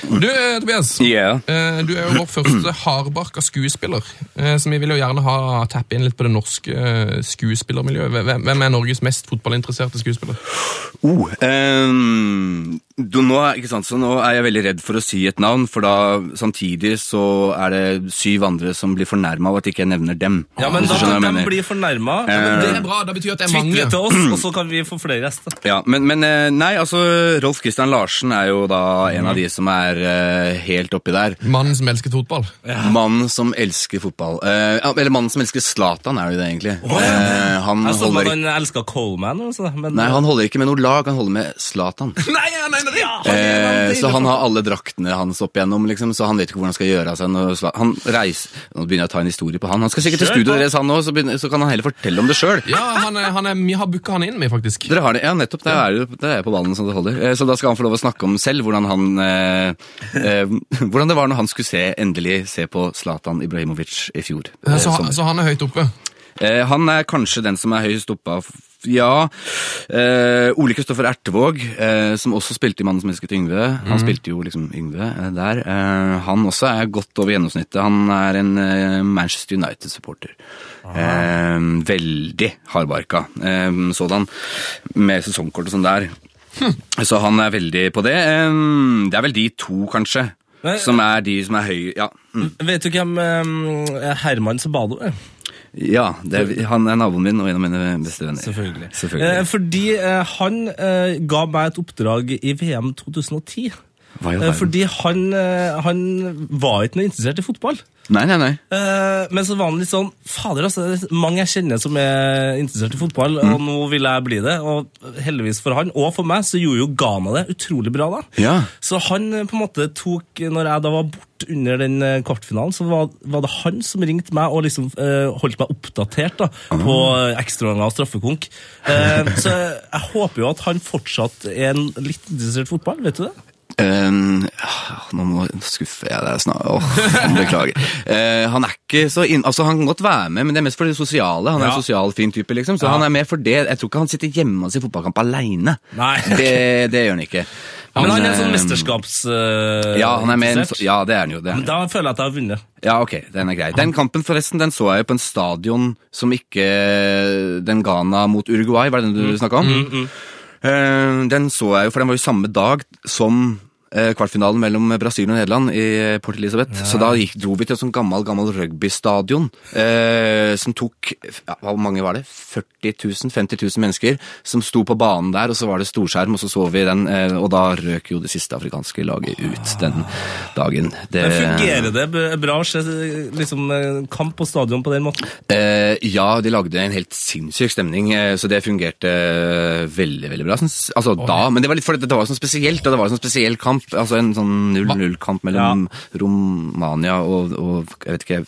Speaker 4: Du, eh, Tobias.
Speaker 6: Yeah.
Speaker 4: Eh, Du er jo vår første hardbarka skuespiller, eh, så vi vil jo gjerne ha tappe inn litt på det norske eh, skuespillermiljøet. Hvem- Hvem er Norges mest fotballinteresserte skuespiller?
Speaker 6: Oh, ehm, du, nå, er, ikke sant, så nå er jeg veldig redd for å si et navn, for da samtidig så er det syv andre som blir fornærma av at ikke jeg nevner dem.
Speaker 5: Ja, men
Speaker 6: Hvis
Speaker 5: da
Speaker 6: du
Speaker 5: kan
Speaker 6: skjønner hva
Speaker 5: de
Speaker 6: jeg mener.
Speaker 5: bli fornærma.
Speaker 4: Det er bra, det betyr at det er
Speaker 5: Tvitre
Speaker 4: mange.
Speaker 5: til oss, og så kan vi få flere gjester.
Speaker 6: Ja, men, men eh, nei, altså Rolf Christian Larsen er jo da en
Speaker 5: Mhm.
Speaker 6: av de som er eh, helt oppi der.
Speaker 4: Mannen som elsket fotball.
Speaker 6: Mannen som elsker fotball. Eh, ja, eller mannen som elsker Zlatan, er det jo det, egentlig. Eh, han,
Speaker 5: Jeg så at
Speaker 6: holder,
Speaker 5: han elska Coleman. Også, men
Speaker 6: nei, han holder ikke med noe lag, han holder med Zlatan.
Speaker 4: Nei, nei, nei,
Speaker 6: Eh, så han har alle draktene hans opp igjennom, liksom, så han vet ikke hvordan han skal gjøre av seg. Når Zla- han reiser, Nå begynner jeg å ta en historie på han. Han skal sikkert til
Speaker 5: Kjør
Speaker 6: studioet
Speaker 5: på.
Speaker 6: deres, han òg, så, begynner- så kan han heller fortelle om det sjøl.
Speaker 4: Ja, han er, han er, vi har booka han inn med, faktisk.
Speaker 6: Dere har det, ja, nettopp. Der er, du- der er jeg på ballen som det holder. Eh, Så da skal han få lov å snakke om selv hvordan han eh, eh, Hvordan det var når han skulle se, endelig se på Zlatan Ibrahimovic i fjor. eh,
Speaker 4: Så, han-
Speaker 6: sommer.
Speaker 4: så han er høyt oppe.
Speaker 6: Eh, han er kanskje den som er høyest oppe av Ja. Eh, Ole Kristoffer Ertevåg, eh, som også spilte i 'Mannen som elsket Yngve'.
Speaker 5: Mhm.
Speaker 6: Han spilte jo liksom Yngve eh, der. Eh, han også er godt over gjennomsnittet. Han er en eh, Manchester United-supporter. Eh, veldig hardbarka eh, sådan, med sesongkort og sånn der.
Speaker 5: Hm.
Speaker 6: Så han er veldig på det. Eh, det er vel de to, kanskje,
Speaker 5: Men-
Speaker 6: som er de som er høye Ja, mm.
Speaker 5: Vet du hvem eh, Herman Sabado er?
Speaker 6: ja det er, han er naboen min og en av mine beste venner.
Speaker 5: Selvfølgelig.
Speaker 6: Selvfølgelig.
Speaker 5: Eh, fordi eh, han eh, ga meg et oppdrag i VM 2010.
Speaker 6: Hva i
Speaker 5: Eh,
Speaker 6: all verden?
Speaker 5: fordi han, eh, han var ikke noe interessert i fotball.
Speaker 6: Nei, nei, nei.
Speaker 5: Eh, men så var han litt sånn Fader, altså, det er mange jeg kjenner som er interessert i fotball, og nå vil jeg bli det. Og heldigvis for han, og for meg, så gjorde jo Ghana det utrolig bra da.
Speaker 6: Ja.
Speaker 5: Så han eh, på en måte tok eh, Når jeg da var bort under den eh, kvartfinalen, så var, var det han som ringte meg og liksom eh, holdt meg oppdatert da, på eh, ekstraomganger og straffekonk. Eh, så jeg håper jo at han fortsatt er en litt interessert i fotball, vet du det?
Speaker 6: Ehm, ah, nå må, nå skuffer jeg deg snart. Åh, han beklager. Eh, han er ikke så inn, altså han kan godt være med, men det er mest for det sosiale. Han er en sosial, fin type, liksom, så han er med for det. Jeg tror ikke han sitter hjemme og ser fotballkamp aleine.
Speaker 5: Nei.
Speaker 6: Det, det gjør han ikke.
Speaker 5: Men han er en sånn
Speaker 6: ehm,
Speaker 5: mesterskaps... eh,
Speaker 6: ja, han er med, i en sånn-
Speaker 5: interessert.
Speaker 6: så- ja, det er han jo. Det er han
Speaker 5: Men
Speaker 6: jo.
Speaker 5: da føler jeg at jeg har vunnet.
Speaker 6: Ja, ok, den er grei. Den kampen forresten, den så jeg jo på en stadion som ikke eh, den Ghana mot Uruguay, var det den
Speaker 5: Mm.
Speaker 6: du snakket om? Eh, Den så jeg jo, for den var jo samme dag som eh, kvartfinalen mellom Brasil og Nederland i Port Elizabeth. Så da gikk, dro vi til en sånn gammel, gammel rugbystadion eh, som tok, ja, hvor mange var det? 40 000, 50 000 mennesker som sto på banen der, og så var det storskjerm, og så så vi den, eh, og da røk jo det siste afrikanske laget ut den dagen. Det,
Speaker 5: Men fungerer det b- bra å se liksom, eh, kamp på stadion på den måten?
Speaker 6: Eh, ja, de lagde en helt sinnssyk stemning, eh, så det fungerte eh, veldig veldig bra. Synes, altså, da, men det var litt fordi det var sånn spesielt, og det var en sånn spesiell kamp. altså En sånn 0-0-kamp mellom Romania og, og jeg vet ikke,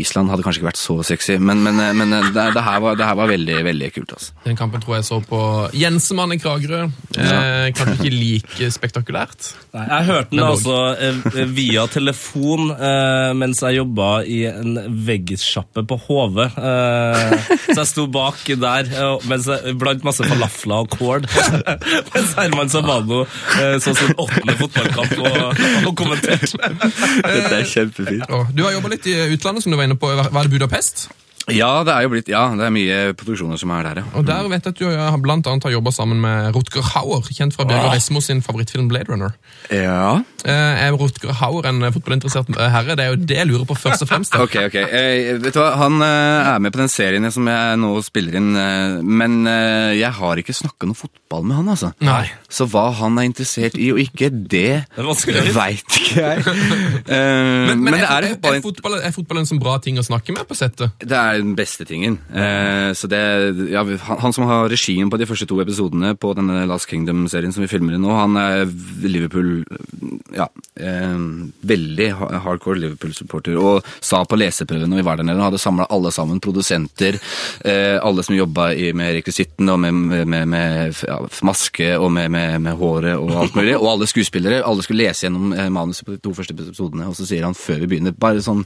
Speaker 6: Island hadde kanskje ikke vært så sexy, men, men, eh, men eh, det, det, her var, det her var veldig veldig kult. altså.
Speaker 4: Den kampen tror jeg så på Jensemann i Kragerø. Eh, kanskje ikke like spektakulært.
Speaker 5: Jeg hørte den
Speaker 4: Men dog.
Speaker 5: altså eh, via telefon eh, mens jeg jobba i en veggsjappe på Hove. Eh, så jeg sto bak der eh, mens jeg, blant masse falafler og kål. mens Herman Sabano eh, så sin åttende fotballkamp og, og kommenterte.
Speaker 6: Dette er kjempefint.
Speaker 4: Å, Du har jobba litt i utlandet, som du var inne på. Var det Budapest?
Speaker 6: Ja, det er jo blitt, ja, det er mye produksjoner som er der, ja.
Speaker 4: Og der vet jeg at du har- blant annet har jobba sammen med Rutger Hauer, kjent fra
Speaker 6: Ah.
Speaker 4: Birger Westmo sin favorittfilm Blade Runner.
Speaker 6: ja.
Speaker 4: Eh, Er Rutger Hauer en eh, fotballinteressert eh, herre? Det er jo det jeg lurer på først og fremst.
Speaker 6: Ok, ok. Eh, vet du hva, Han eh, er med på den serien som jeg nå spiller inn, eh, men eh, jeg har ikke snakka noe fotball med han, altså.
Speaker 4: Nei.
Speaker 6: Så hva han er interessert i og ikke, det
Speaker 5: er vanskelig.
Speaker 6: veit ikke jeg. Eh,
Speaker 4: Men, men, er, fot-
Speaker 6: det er
Speaker 4: er,
Speaker 6: fotball...
Speaker 4: fotball, er fotball en sånn bra ting å snakke med på settet?
Speaker 6: Det er er den beste tingen. Eh, så det, ja, vi- han, han som har regien på de første to episodene på denne Last Kingdom-serien som vi filmer i nå, han er Liverpool Ja, eh, veldig ha- hardcore Liverpool-supporter. Og sa på leseprøven når vi var der nede, han hadde samla alle sammen, produsenter, eh, alle som jobba i- med rekvisitten og med, med, med, med ja, maske og med, med, med håret og alt mulig, og alle skuespillere. Alle skulle lese gjennom eh, manuset på de to første episodene, og så sier han før vi begynner, bare sånn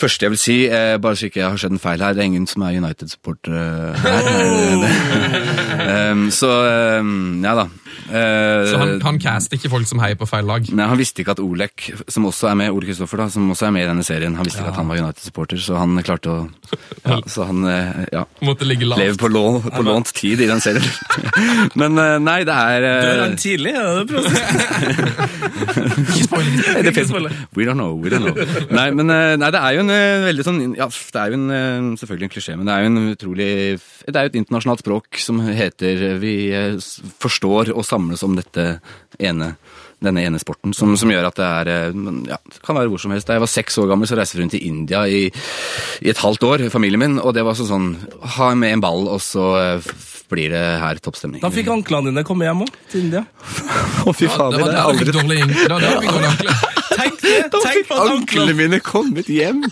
Speaker 6: første jeg vil si, eh, bare så ikke jeg har skjedd en feil her, det er ingen som er United-supporter eh, her.
Speaker 4: Oh.
Speaker 6: Eh, em, så eh, ja da. Eh,
Speaker 4: Så han, han caster ikke folk som heier på feil lag.
Speaker 6: Nei, Han visste ikke at Olek, som også er med Ole Kristoffer da, som også er med i denne serien, han visste ikke at han var United-supporter, så han klarte å ja, Så han eh, ja,
Speaker 4: Måtte ligge
Speaker 6: lever
Speaker 4: lavt.
Speaker 6: på, lån, på lånt tid i den serien. Men eh, nei, det er
Speaker 5: Dør
Speaker 6: eh,
Speaker 5: han tidlig? Er det det du prøver å si?
Speaker 6: Nei, det
Speaker 5: Ikke
Speaker 6: finnes-
Speaker 5: spoiler.
Speaker 6: We don't know, we don't know. Nei, men eh, nei, det er jo en eh, veldig sånn Ja, f- det er jo en, eh, selvfølgelig en klisjé, men det er jo en utrolig Det er jo et internasjonalt språk som heter eh, Vi eh, s- forstår og samles om dette ene denne ene sporten, som, som gjør at det er eh, men, ja, det kan være hvor som helst. Da jeg var seks år gammel, så reiste vi rundt i India i, i et halvt år, familien min, og det var sånn sånn Ha med en ball, og så eh, f- blir det her toppstemning.
Speaker 5: Da fikk anklene dine komme hjem òg, til India.
Speaker 6: Å, fy
Speaker 4: Ja, det var
Speaker 6: det
Speaker 4: der han
Speaker 6: har jeg
Speaker 4: fikk
Speaker 6: aldri
Speaker 4: dårlig inn. Det var der han fikk dårlig ankle.
Speaker 5: Tenk det! Tenk på at anklene
Speaker 6: Anklene mine kommet hjem!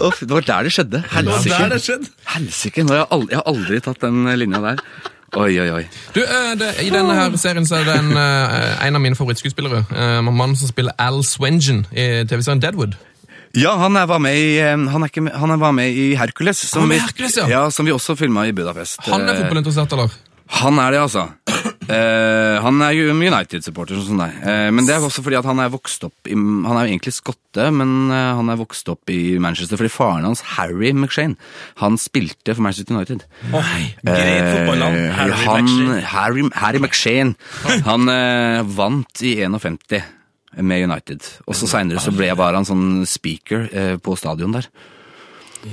Speaker 6: Å, fy, det var der det skjedde.
Speaker 5: Det var der
Speaker 6: Helsike.
Speaker 5: det skjedde.
Speaker 6: Helsike. nå har Jeg, aldri, jeg har aldri tatt den eh, linja der. Oi, oi, oi.
Speaker 4: Du, eh, det, I denne her serien så er det en, eh, en av mine favorittskuespillere. eh, Mannen som spiller Al Swengen i TV-serien Deadwood.
Speaker 6: Ja, han er, var, med i, eh, han er, ikke med, han er var med i Hercules.
Speaker 4: Han var med i
Speaker 6: vi-
Speaker 4: Hercules, ja.
Speaker 6: Som vi også filma i Budapest.
Speaker 4: Han er
Speaker 6: Eh,
Speaker 4: fotballinteressert, eller?
Speaker 6: Han er det, altså. Eh, han er jo United-supporter, sånn som deg. Eh, men det er også fordi at han er vokst opp i, Han er jo egentlig skotte, men eh, han er vokst opp i Manchester fordi faren hans, Harry McShane, han spilte for Manchester United.
Speaker 5: Greit fotballnavn.
Speaker 6: Eh,
Speaker 5: Harry
Speaker 6: han,
Speaker 5: Maxey.
Speaker 6: Harry, Harry McShane. Han eh, vant i 51 med United. Og så seinere så ble jeg bare han sånn speaker eh, på stadion der.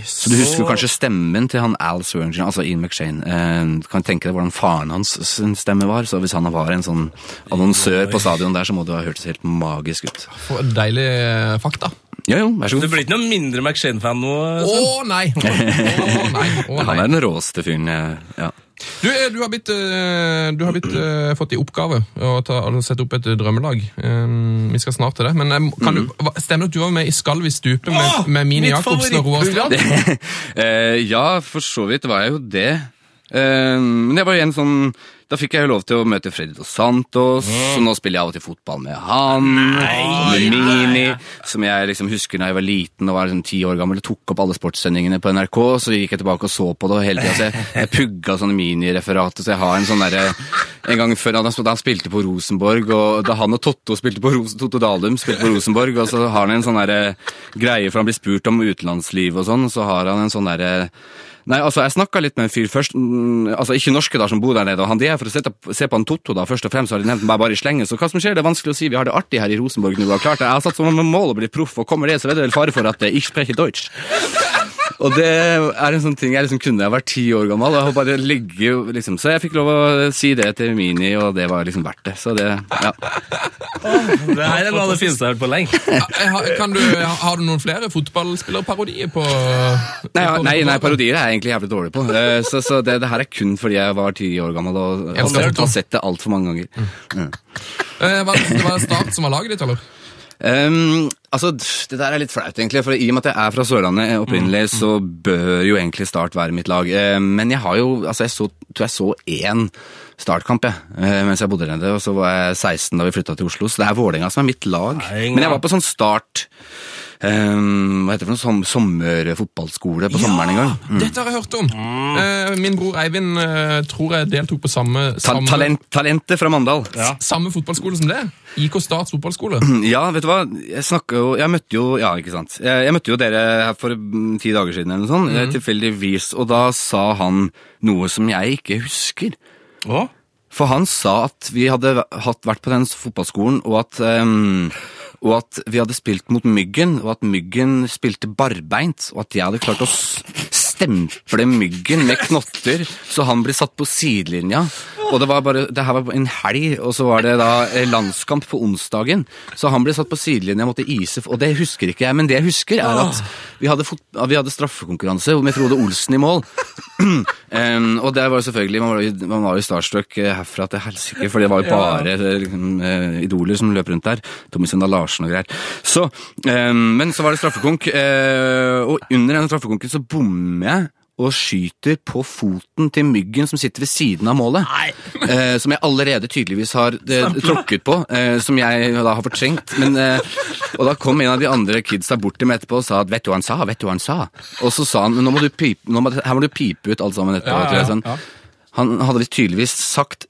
Speaker 6: Så du husker jo kanskje stemmen til han Al Swearingen, altså Ian McShane. Eh, kan tenke deg hvordan faren hans sin stemme var. Så hvis han var en sånn annonsør på stadion der, så må det ha hørtes helt magisk ut.
Speaker 4: For et deilig eh, fakta.
Speaker 6: Jo, jo, vær så
Speaker 5: Du
Speaker 6: god.
Speaker 5: blir ikke noe mindre McShane-fan nå?
Speaker 4: Å
Speaker 5: Sven?
Speaker 4: nei! Å nei, å
Speaker 6: Han
Speaker 4: nei.
Speaker 6: er den råeste fyren jeg ja.
Speaker 4: Du, eh, du har blitt, eh, du har blitt eh, fått i oppgave å ta, å sette opp et eh, drømmelag. Eh, vi skal snart til det. Men eh, kan du, hva- stemmer det at du var med i Skal vi stupe med,
Speaker 5: Åh,
Speaker 4: med Mini
Speaker 5: mitt
Speaker 4: Jacobsen og Roar Strand?
Speaker 6: Eh, ja, for så vidt var jeg jo det. Eh, men det var igjen sånn Da fikk jeg jo lov til å møte Freddy Dos Santos, og nå spiller jeg av og til fotball med han. og med Mini, som jeg liksom husker da jeg var liten og var liksom ti år gammel og tok opp alle sportssendingene på NRK. Så gikk jeg tilbake og så på det og hele tida. Så jeg, jeg pugga sånne minireferater. Så jeg har en sånn derre En gang før da han, da han spilte på Rosenborg, og da han og Totto spilte på Ros Totto Dalum spilte på Rosenborg, og så har han en sånn derre greie, for han blir spurt om utenlandsliv og sånn, så har han en sånn derre Nei, altså, jeg snakka litt med en fyr først, mm, altså ikke norske da, som bor der nede, og han det er for å sette, se på han Totto, da, først og fremst, så har de nevnt meg bare i slengen, så hva som skjer, det er vanskelig å si, vi har det artig her i Rosenborg nå, og klart det, jeg har satt som mål å bli proff, og kommer det, så er det vel fare for at eh, ich spreche Deutsch. Og det er en sånn ting jeg liksom kunne jeg vært ti år gammel, og jeg bare ligger liksom, så jeg fikk lov å si det til Mini, og det var liksom verdt det, så det, ja.
Speaker 5: Det her er noe av det fineste jeg har hørt på lenge.
Speaker 4: Ja, eh, ha- Kan du, ha- har du noen flere fotballspillerparodier på
Speaker 6: Nei, ja,
Speaker 4: på-
Speaker 6: nei, nei, parodier er jeg egentlig jævlig dårlig på. Eh, Så, så det, det her er kun fordi jeg var ti år gammel og har
Speaker 4: Elsker
Speaker 6: sett-
Speaker 4: fotball.
Speaker 6: har sett det Mm. altfor mange ganger.
Speaker 4: Eh, var, det- det var Start som var laget ditt, eller?
Speaker 6: Ehm, altså, Det der er litt flaut, egentlig. For i og med at jeg er fra Sørlandet opprinnelig, så bør jo egentlig Start være mitt lag. Eh, men jeg har jo altså, jeg så, tror jeg så én Startkamp jeg, eh, mens jeg bodde der nede. Og så var jeg 16 da vi flytta til Oslo, så det er Vålerenga som er mitt lag.
Speaker 5: Nei,
Speaker 6: Men jeg var på sånn Start ehm, Hva heter det for noe? Som, sommerfotballskole på sommeren en gang.
Speaker 4: Dette har jeg hørt om. Eh, min bror Eivind eh, tror jeg deltok på samme,
Speaker 6: Mm. Ta
Speaker 4: samme,
Speaker 6: talent, talentet fra Mandal. Ja.
Speaker 4: samme fotballskole som det. IK Starts fotballskole.
Speaker 6: vet du hva? Jeg snakket jo Jeg møtte jo Ja, ikke sant. Jeg, jeg møtte jo dere her for mm, ti dager siden eller noe sånt, eh, tilfeldigvis, og da sa han noe som jeg ikke husker.
Speaker 5: Å?
Speaker 6: For han sa at vi hadde væ- hatt, vært på den s- fotballskolen, og at, ehm, og at vi hadde spilt mot Myggen, og at Myggen spilte barbeint, og at jeg hadde klart å s- stemple myggen med knotter, så han ble satt på sidelinja. Og det var bare, det her var en helg, og så var det da eh, landskamp på onsdagen. Så han ble satt på sidelinja, måtte ise, og det husker ikke jeg. Men det jeg husker, er at vi hadde, fot, vi hadde straffekonkurranse med Frode Olsen i mål. Em, og der var jo selvfølgelig, man var jo, man var jo starstruck eh, herfra til helsike, for det var jo bare eh, liksom, eh, idoler som løp rundt der. Tommy Søndag Larsen og greier. Så, em, men så var det straffekonk, eh, og under den straffekonken så bommer jeg og skyter på foten til myggen som sitter ved siden av målet. Eh, som jeg allerede tydeligvis har eh, tråkket på, eh, som jeg da har fortrengt. Men, eh, og da kom en av de andre kidsa bort til meg etterpå og sa at 'vet du hva han sa', vet du hva han sa? Og så sa han 'nå må du pipe, nå må, her må du pipe ut alt sammen etterpå'. tror jeg, sånn. Han hadde visst tydeligvis sagt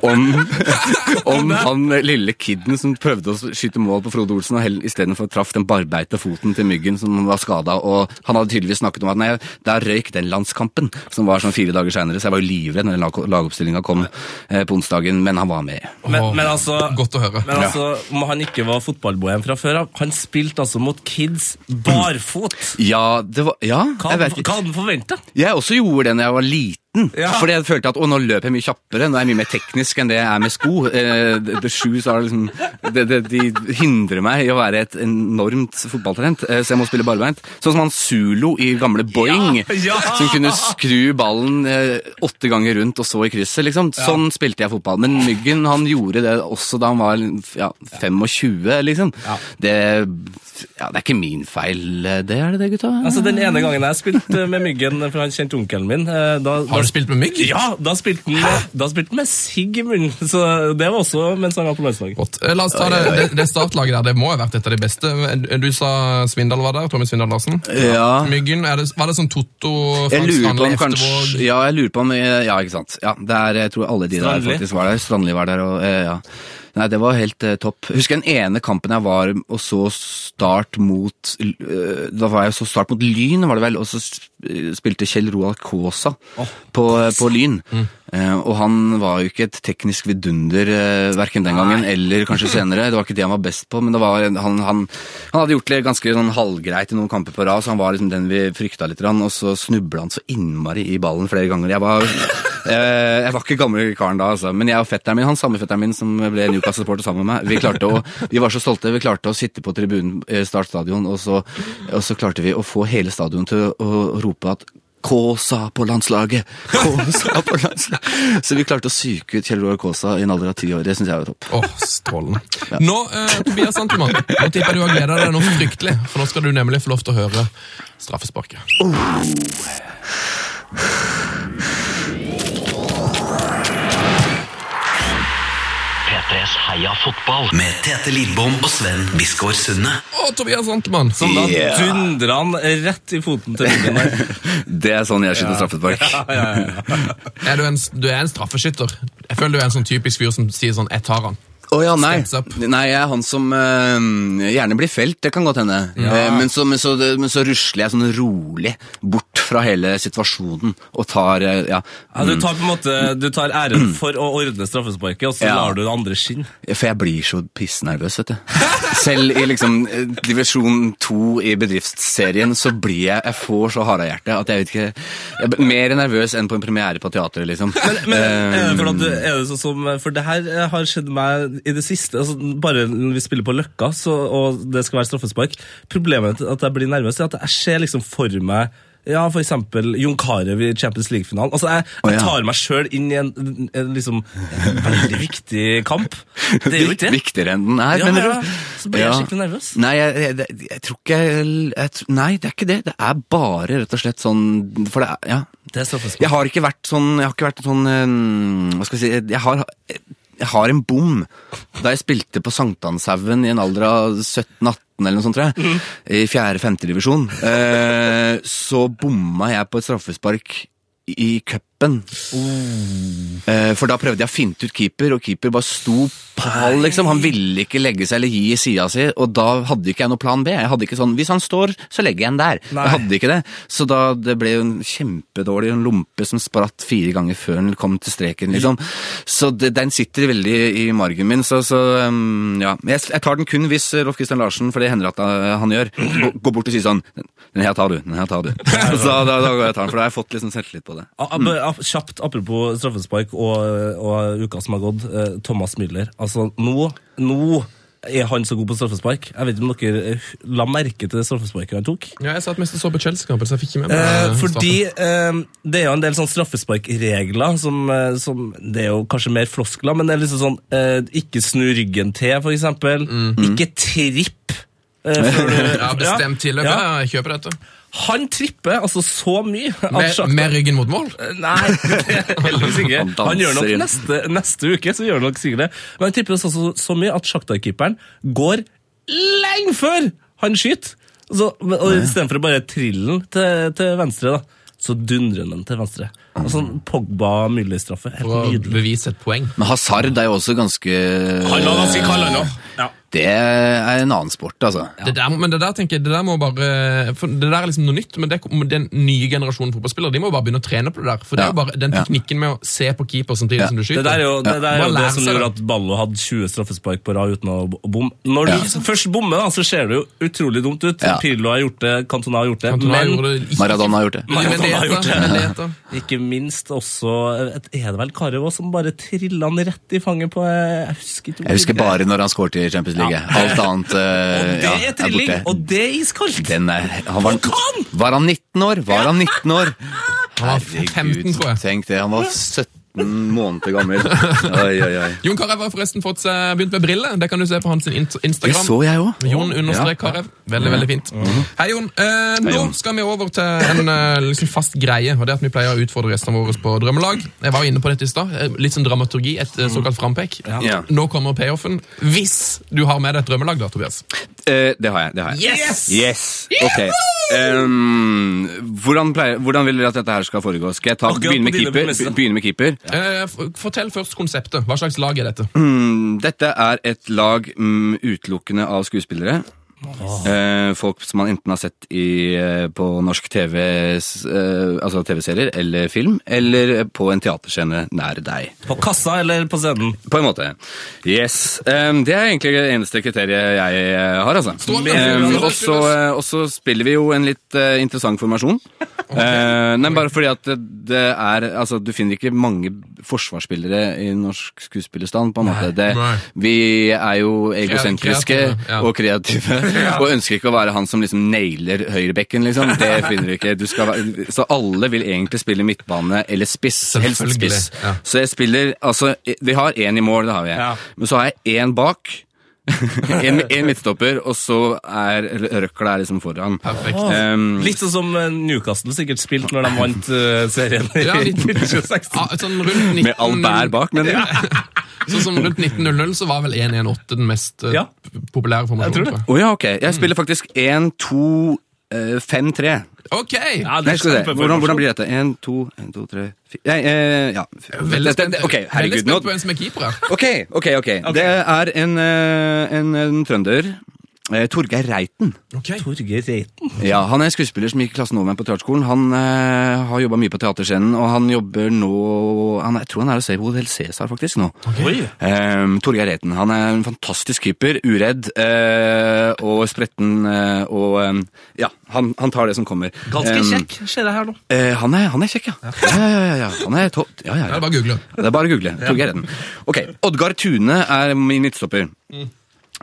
Speaker 6: om, om han lille kidden som prøvde å skyte mål på Frode Olsen, og hell- istedenfor traff den barbeita foten til myggen som var skada. Og han hadde tydeligvis snakket om at nei, der røyk den landskampen, som var sånn fire dager seinere. Så jeg var jo livredd når lag lagoppstillinga kom eh, på onsdagen, men han var med.
Speaker 5: Men, men altså
Speaker 4: Godt å høre.
Speaker 5: Men altså, om han ikke var fotballbohem fra før av, han spilte altså mot kids barfot.
Speaker 6: Ja, det var Ja,
Speaker 5: Hva
Speaker 6: jeg vet
Speaker 5: hva
Speaker 6: ikke.
Speaker 5: hadde han forventa?
Speaker 6: Jeg også gjorde det når jeg var liten.
Speaker 5: Ja.
Speaker 6: Fordi jeg følte at å, nå løper jeg mye kjappere, nå er jeg mye mer teknisk enn det jeg er med sko. Eh, the the shoes er liksom, de, de, de hindrer meg i å være et enormt fotballtalent, eh, så jeg må spille barbeint. Sånn som han Zulu i gamle Boing,
Speaker 5: ja.
Speaker 6: som kunne skru ballen eh, åtte ganger rundt og så i krysset. liksom. Sånn spilte jeg fotball. Men Myggen han gjorde det også da han var ja, 25, liksom. Det, ja, det er ikke min feil, eh, det er det det, gutta?
Speaker 5: Altså, Den ene gangen jeg spilte med Myggen, for han kjente onkelen min eh, da, da,
Speaker 4: Har du spilt med mygg?
Speaker 5: Ja, da spilte han med, da spilte han med sigg i munnen. Så det var også mens han var på landslaget.
Speaker 4: Godt. Eh, La oss ta det, det, det startlaget der. Det må ha vært et av de beste. Du sa Svindal var der. Tommy Svindal Larsen.
Speaker 6: Ja.
Speaker 4: Myggen, er det, var det sånn Totto,
Speaker 6: Jeg
Speaker 4: Frank
Speaker 6: lurer på
Speaker 4: Stanley,
Speaker 6: om
Speaker 4: Eftevåg
Speaker 6: kanskje Ja, jeg lurer på om Ja, ikke sant. Ja, det er, jeg tror alle de
Speaker 5: Strandli.
Speaker 6: der faktisk var der. Strandli var der, og eh, ja. Nei, det var helt eh, topp. Husker den ene kampen jeg var og så Start mot eh, Da var jeg så Start mot Lyn, var det vel, og så sp- spilte Kjell Roar Kaasa på, på Lyn.
Speaker 4: mm.
Speaker 6: Eh, og han var jo ikke et teknisk vidunder eh, verken den gangen eller kanskje senere. Det var ikke det han var best på, men det var, en- han, han, han hadde gjort det ganske sånn halvgreit i noen kamper på rad, så han var liksom den vi frykta litt, grann, og så snubla han så innmari i ballen flere ganger. Jeg var, eh, jeg var ikke gamle karen da, altså, men jeg og fetteren min, han samme fetteren min som ble Newcastle-supporter sammen med meg, vi klarte å, vi var så stolte, vi klarte å sitte på tribunen eh, Start stadion, og så, og så klarte vi å få hele stadion til å rope at Kåsa på landslaget! Kåsa på landslaget! Så vi klarte å psyke ut Kjell Roar Kåsa i en alder av ti år. Det syns jeg var topp.
Speaker 4: Åh, strålende. Nå, eh, Tobias Santelmann, nå tipper jeg du har gleda deg noe fryktelig, for nå skal du nemlig få lov til å høre straffesparket.
Speaker 3: P3s Heia fotball med Tete Lidbom og Sven Biskår Sunne.
Speaker 4: Å, Tobias Santelmann!
Speaker 5: Sånn da dundra han rett i foten til Myggen. der.
Speaker 6: Det er sånn jeg skyter straffespark.
Speaker 4: Er du, en, du er en straffeskytter. Jeg føler du er en sånn typisk fyr som sier sånn 'jeg tar han'.
Speaker 6: Å ja, nei.
Speaker 4: Steps up.
Speaker 6: Nei, jeg er han som eh, gjerne blir felt. Det kan godt hende. Eh, men, så, men, så, men så rusler jeg sånn rolig bort fra hele situasjonen og tar eh, Ja.
Speaker 5: Ja, du tar på en måte, du tar æren for å ordne straffesparket, og så
Speaker 6: Ja.
Speaker 5: lar du det andre skinne.
Speaker 6: For jeg blir så pissnervøs, vet du. Selv i liksom eh, divisjon to i bedriftsserien så blir jeg Jeg får så harde av hjertet at jeg vet ikke Jeg blir mer nervøs enn på en premiere på teatret, liksom.
Speaker 5: Men er det,
Speaker 6: Eh,
Speaker 5: for at du, er det sånn som For det her eh, har skjedd meg i det siste. Altså, bare når vi spiller på Løkka, så, og det skal være straffespark Problemet er at jeg blir nervøs, er at jeg ser liksom for meg ja, for eksempel Jon Carew i Champions League-finalen. Altså, jeg,
Speaker 6: Å,
Speaker 5: jeg
Speaker 6: ja.
Speaker 5: tar meg sjøl inn i en, en, en liksom en veldig viktig kamp. Det er jo ikke det.
Speaker 6: Viktigere enn den er,
Speaker 5: Ja,
Speaker 6: mener du?
Speaker 5: ja. Så blir jeg skikkelig nervøs.
Speaker 6: Nei, jeg, jeg, det- jeg tror ikke jeg, jeg tr- Nei, det er ikke det. Det er bare rett og slett sånn For det er Ja.
Speaker 5: Det er straffespark.
Speaker 6: Jeg har ikke vært sånn Jeg har ikke vært sånn eh, Hva skal jeg si Jeg har jeg har en bom da jeg spilte på Sankthanshaugen i en alder av 17-18 eller noe sånt, tror jeg. I 4.-5. divisjon. Eh, så bomma jeg på et straffespark i cup keepen. Eh, For da prøvde jeg å finte ut keeper, og keeper bare sto pal, liksom. Han ville ikke legge seg eller gi i sida si, og da hadde ikke jeg noe plan B. Jeg hadde ikke sånn Hvis han står, så legger jeg den der. Jeg hadde ikke det. Så da det ble jo en kjempedårlig en lompe som spratt fire ganger før den kom til streken, liksom. Så det, den sitter veldig i margen min, så, så um, ja. Men Jeg, jeg tar den kun hvis eh, Rolf Christian Larsen, for det hender at eh, han gjør, går- går bort og sier sånn Den her tar du, den her tar du. Så da, da går jeg og tar den, for da har jeg fått liksom selvtillit på det.
Speaker 5: A- ab- ap- Kjapt apropos straffespark og, og uka som har gått. eh, Thomas Müller. Altså, nå, nå er han så god på straffespark. Jeg vet ikke om dere eh, la merke til det straffesparket han tok?
Speaker 4: Ja, jeg satt mest og så på Chelsea-kampen, så jeg fikk ikke med meg
Speaker 5: Eh,
Speaker 4: eh,
Speaker 5: fordi
Speaker 4: straffen.
Speaker 5: eh, det er jo en del sånn straffesparkregler som, eh, som Det er jo kanskje mer floskler, men det er liksom sånn eh, Ikke snu ryggen til, for eksempel. Ikke tripp. eh, før du-
Speaker 4: Mhm. Ja, bestemt til
Speaker 5: Ja.
Speaker 4: ja. Jeg kjøper dette.
Speaker 5: Han tripper altså så mye. at
Speaker 4: Med,
Speaker 5: Shakhtar-
Speaker 4: med ryggen mot
Speaker 5: Eh,
Speaker 4: mål?
Speaker 5: Nei, heldigvis ikke.
Speaker 6: Han danser
Speaker 5: Han gjør nok
Speaker 6: inn.
Speaker 5: neste, neste uke, så gjør han nok sikkert det. Men han tipper oss også så mye at Shakhtar-keeperen går lenge før han skyter. Så, og istedenfor å bare trille den til, til venstre, da, så dundrer han den til venstre. Og sånn Pogba-Müller-straffe.
Speaker 4: For å
Speaker 5: Helt nydelig.
Speaker 4: bevise et poeng.
Speaker 6: Men Hazard er jo også ganske
Speaker 5: Ja.
Speaker 6: Det er en annen sport, altså.
Speaker 4: Det der, må- men det der tenker jeg, det der må bare for Det der er liksom noe nytt, men det, kommer- den nye generasjonen fotballspillere De må bare begynne å trene på det der. For det er jo
Speaker 6: Ja.
Speaker 4: bare den
Speaker 6: Ja.
Speaker 4: teknikken med å se på keeper samtidig som du
Speaker 5: Det
Speaker 4: skyter.
Speaker 5: der er jo det, der er
Speaker 4: Bare
Speaker 5: jo det
Speaker 4: lære
Speaker 5: som
Speaker 4: seg det.
Speaker 5: gjorde at Ballo hadde 20 straffespark på rad uten å bo- bomme. Når du først bommer, da, så ser det jo utrolig dumt ut.
Speaker 6: Ja.
Speaker 5: Pirlo har gjort det, Cantona har gjort det.
Speaker 4: Cantona
Speaker 5: men
Speaker 4: gjorde det ikke-
Speaker 6: Maradona har gjort det.
Speaker 4: Men det
Speaker 5: Maradona har
Speaker 4: heter-
Speaker 5: gjort det.
Speaker 4: men det heter-
Speaker 5: Ikke minst også et, Er det vel Karev også som bare trilla han rett i fanget på eh, Jeg husker ikke hvor
Speaker 6: Jeg husker
Speaker 5: det er.
Speaker 6: bare når han skåret i Champions League. Alt annet eh,
Speaker 5: Det
Speaker 6: ja,
Speaker 5: er trilling,
Speaker 6: borte.
Speaker 5: og det er iskaldt!
Speaker 6: Den er, han var,
Speaker 5: kan!
Speaker 6: var han 19 år? Var han 19 år?
Speaker 4: Han var 15, tror jeg.
Speaker 6: tenk det. Han var 17 måneder gammel. Oi, oi, oi.
Speaker 4: Jon Carew har forresten fått seg, begynt med briller. Det kan du se på hans int-
Speaker 6: Det
Speaker 4: Instagram.
Speaker 6: så jeg òg.
Speaker 4: Jon understrek Karev. Veldig, veldig fint. Hei, Jon. Eh, nå
Speaker 6: Mhm. Jon.
Speaker 4: skal vi over til en eh, liksom fast greie. og det er at Vi pleier å utfordre gjestene våre på drømmelag. Jeg var jo inne på dette i stad. Eh, Litt sånn dramaturgi. Et eh, såkalt frampek.
Speaker 6: Ja.
Speaker 4: Nå kommer payoffen. Hvis du har med deg et drømmelag, da, Tobias.
Speaker 6: Eh, det har jeg. det har jeg. Yes! Ok. Ehm, hvordan, pleier, hvordan vil dere at dette her skal foregå? Skal jeg ta,
Speaker 5: Akkurat
Speaker 6: begynne med
Speaker 5: på dine
Speaker 6: keeper?
Speaker 5: premisser.
Speaker 6: Begynne med keeper?
Speaker 4: Eh, f- fortell først konseptet. Hva slags lag er dette?
Speaker 6: Mm, Dette er et lag mm, utelukkende av skuespillere. Eh, folk som man enten har sett i, eh, på norsk TV, eh, altså TV-serier eller film, eller på en teaterscene nær deg.
Speaker 5: På kassa eller på scenen?
Speaker 6: På en måte. Yes. Em, det er egentlig det eneste kriteriet jeg eh, har, altså.
Speaker 4: Strålende.
Speaker 6: Em,
Speaker 4: Strålende.
Speaker 6: og så, eh, og så spiller vi jo en litt eh, interessant formasjon. Eh, nei, bare fordi at det, det er Altså, du finner ikke mange forsvarsspillere i norsk skuespillerstand, på en måte. Det,
Speaker 4: Nei.
Speaker 6: vi er jo egosentriske
Speaker 4: Kreative, ja.
Speaker 6: og kreative, og ønsker ikke å være han som liksom nailer høyrebekken, liksom. Det finner du ikke. Du skal være, så alle vil egentlig spille midtbane eller spiss. Helst
Speaker 4: Selvfølgelig,
Speaker 6: spiss.
Speaker 4: ja.
Speaker 6: Så jeg spiller Altså, vi har én i mål, det har vi.
Speaker 5: Ja.
Speaker 6: Men så har jeg én bak. en, en midtstopper, og så er røkla er liksom foran.
Speaker 4: Perfekt.
Speaker 6: Ehm,
Speaker 5: Litt sånn som eh, Newcastle sikkert spilte når de vant eh, serien i
Speaker 4: Ja, litt-
Speaker 5: 1926.
Speaker 4: Ja, sånn rundt 19...
Speaker 6: med all bær bak, mener jeg.
Speaker 4: Sånn som rundt 1900 så var vel 118 den mest eh,
Speaker 5: Ja.
Speaker 4: p- populære
Speaker 5: Jeg tror det.
Speaker 4: formasjonen.
Speaker 6: Å ja, ok. Jeg spiller faktisk 1, 2, 5, 3.
Speaker 4: tror jeg. Ok!
Speaker 5: Ja, det
Speaker 6: Nei,
Speaker 5: er
Speaker 6: skal vi se.
Speaker 5: kjempeformasjon.
Speaker 6: Hvordan, hvordan blir dette? Én, to, én, to, tre, fire Nei, eh, ja.
Speaker 4: Veldig spent,
Speaker 6: Ok,
Speaker 4: veldig
Speaker 6: herregud.
Speaker 4: spent på
Speaker 6: Nå.
Speaker 4: hvem som er keeper her.
Speaker 6: Ok, ok, ok. Det er en, eh, en, en trønder. Eh, Torgeir Reiten.
Speaker 5: Torgeir Reiten.
Speaker 6: Ja, Han er en skuespiller som gikk i klassen over meg på teaterskolen. Han eh, har jobba mye på teaterscenen, og han jobber nå han, er- Jeg tror han er hos Hotel Cæsar faktisk nå.
Speaker 5: Oi.
Speaker 6: Um, Torgeir Reiten. Han er en fantastisk keeper. Uredd eh, og spretten eh, og em, Ja, han, han tar det som kommer.
Speaker 5: Ganske
Speaker 6: Em,
Speaker 5: kjekk, ser jeg her nå.
Speaker 6: eh, han, er, han er kjekk, ja. Ja, ja, ja. ja. Han er topp. Ja,
Speaker 4: Ja,
Speaker 6: ja,
Speaker 4: det
Speaker 6: ja.
Speaker 4: er bare å google.
Speaker 6: Det er bare å google. Torgeir Reiten. Ok, Oddgar Tune er min midtstopper.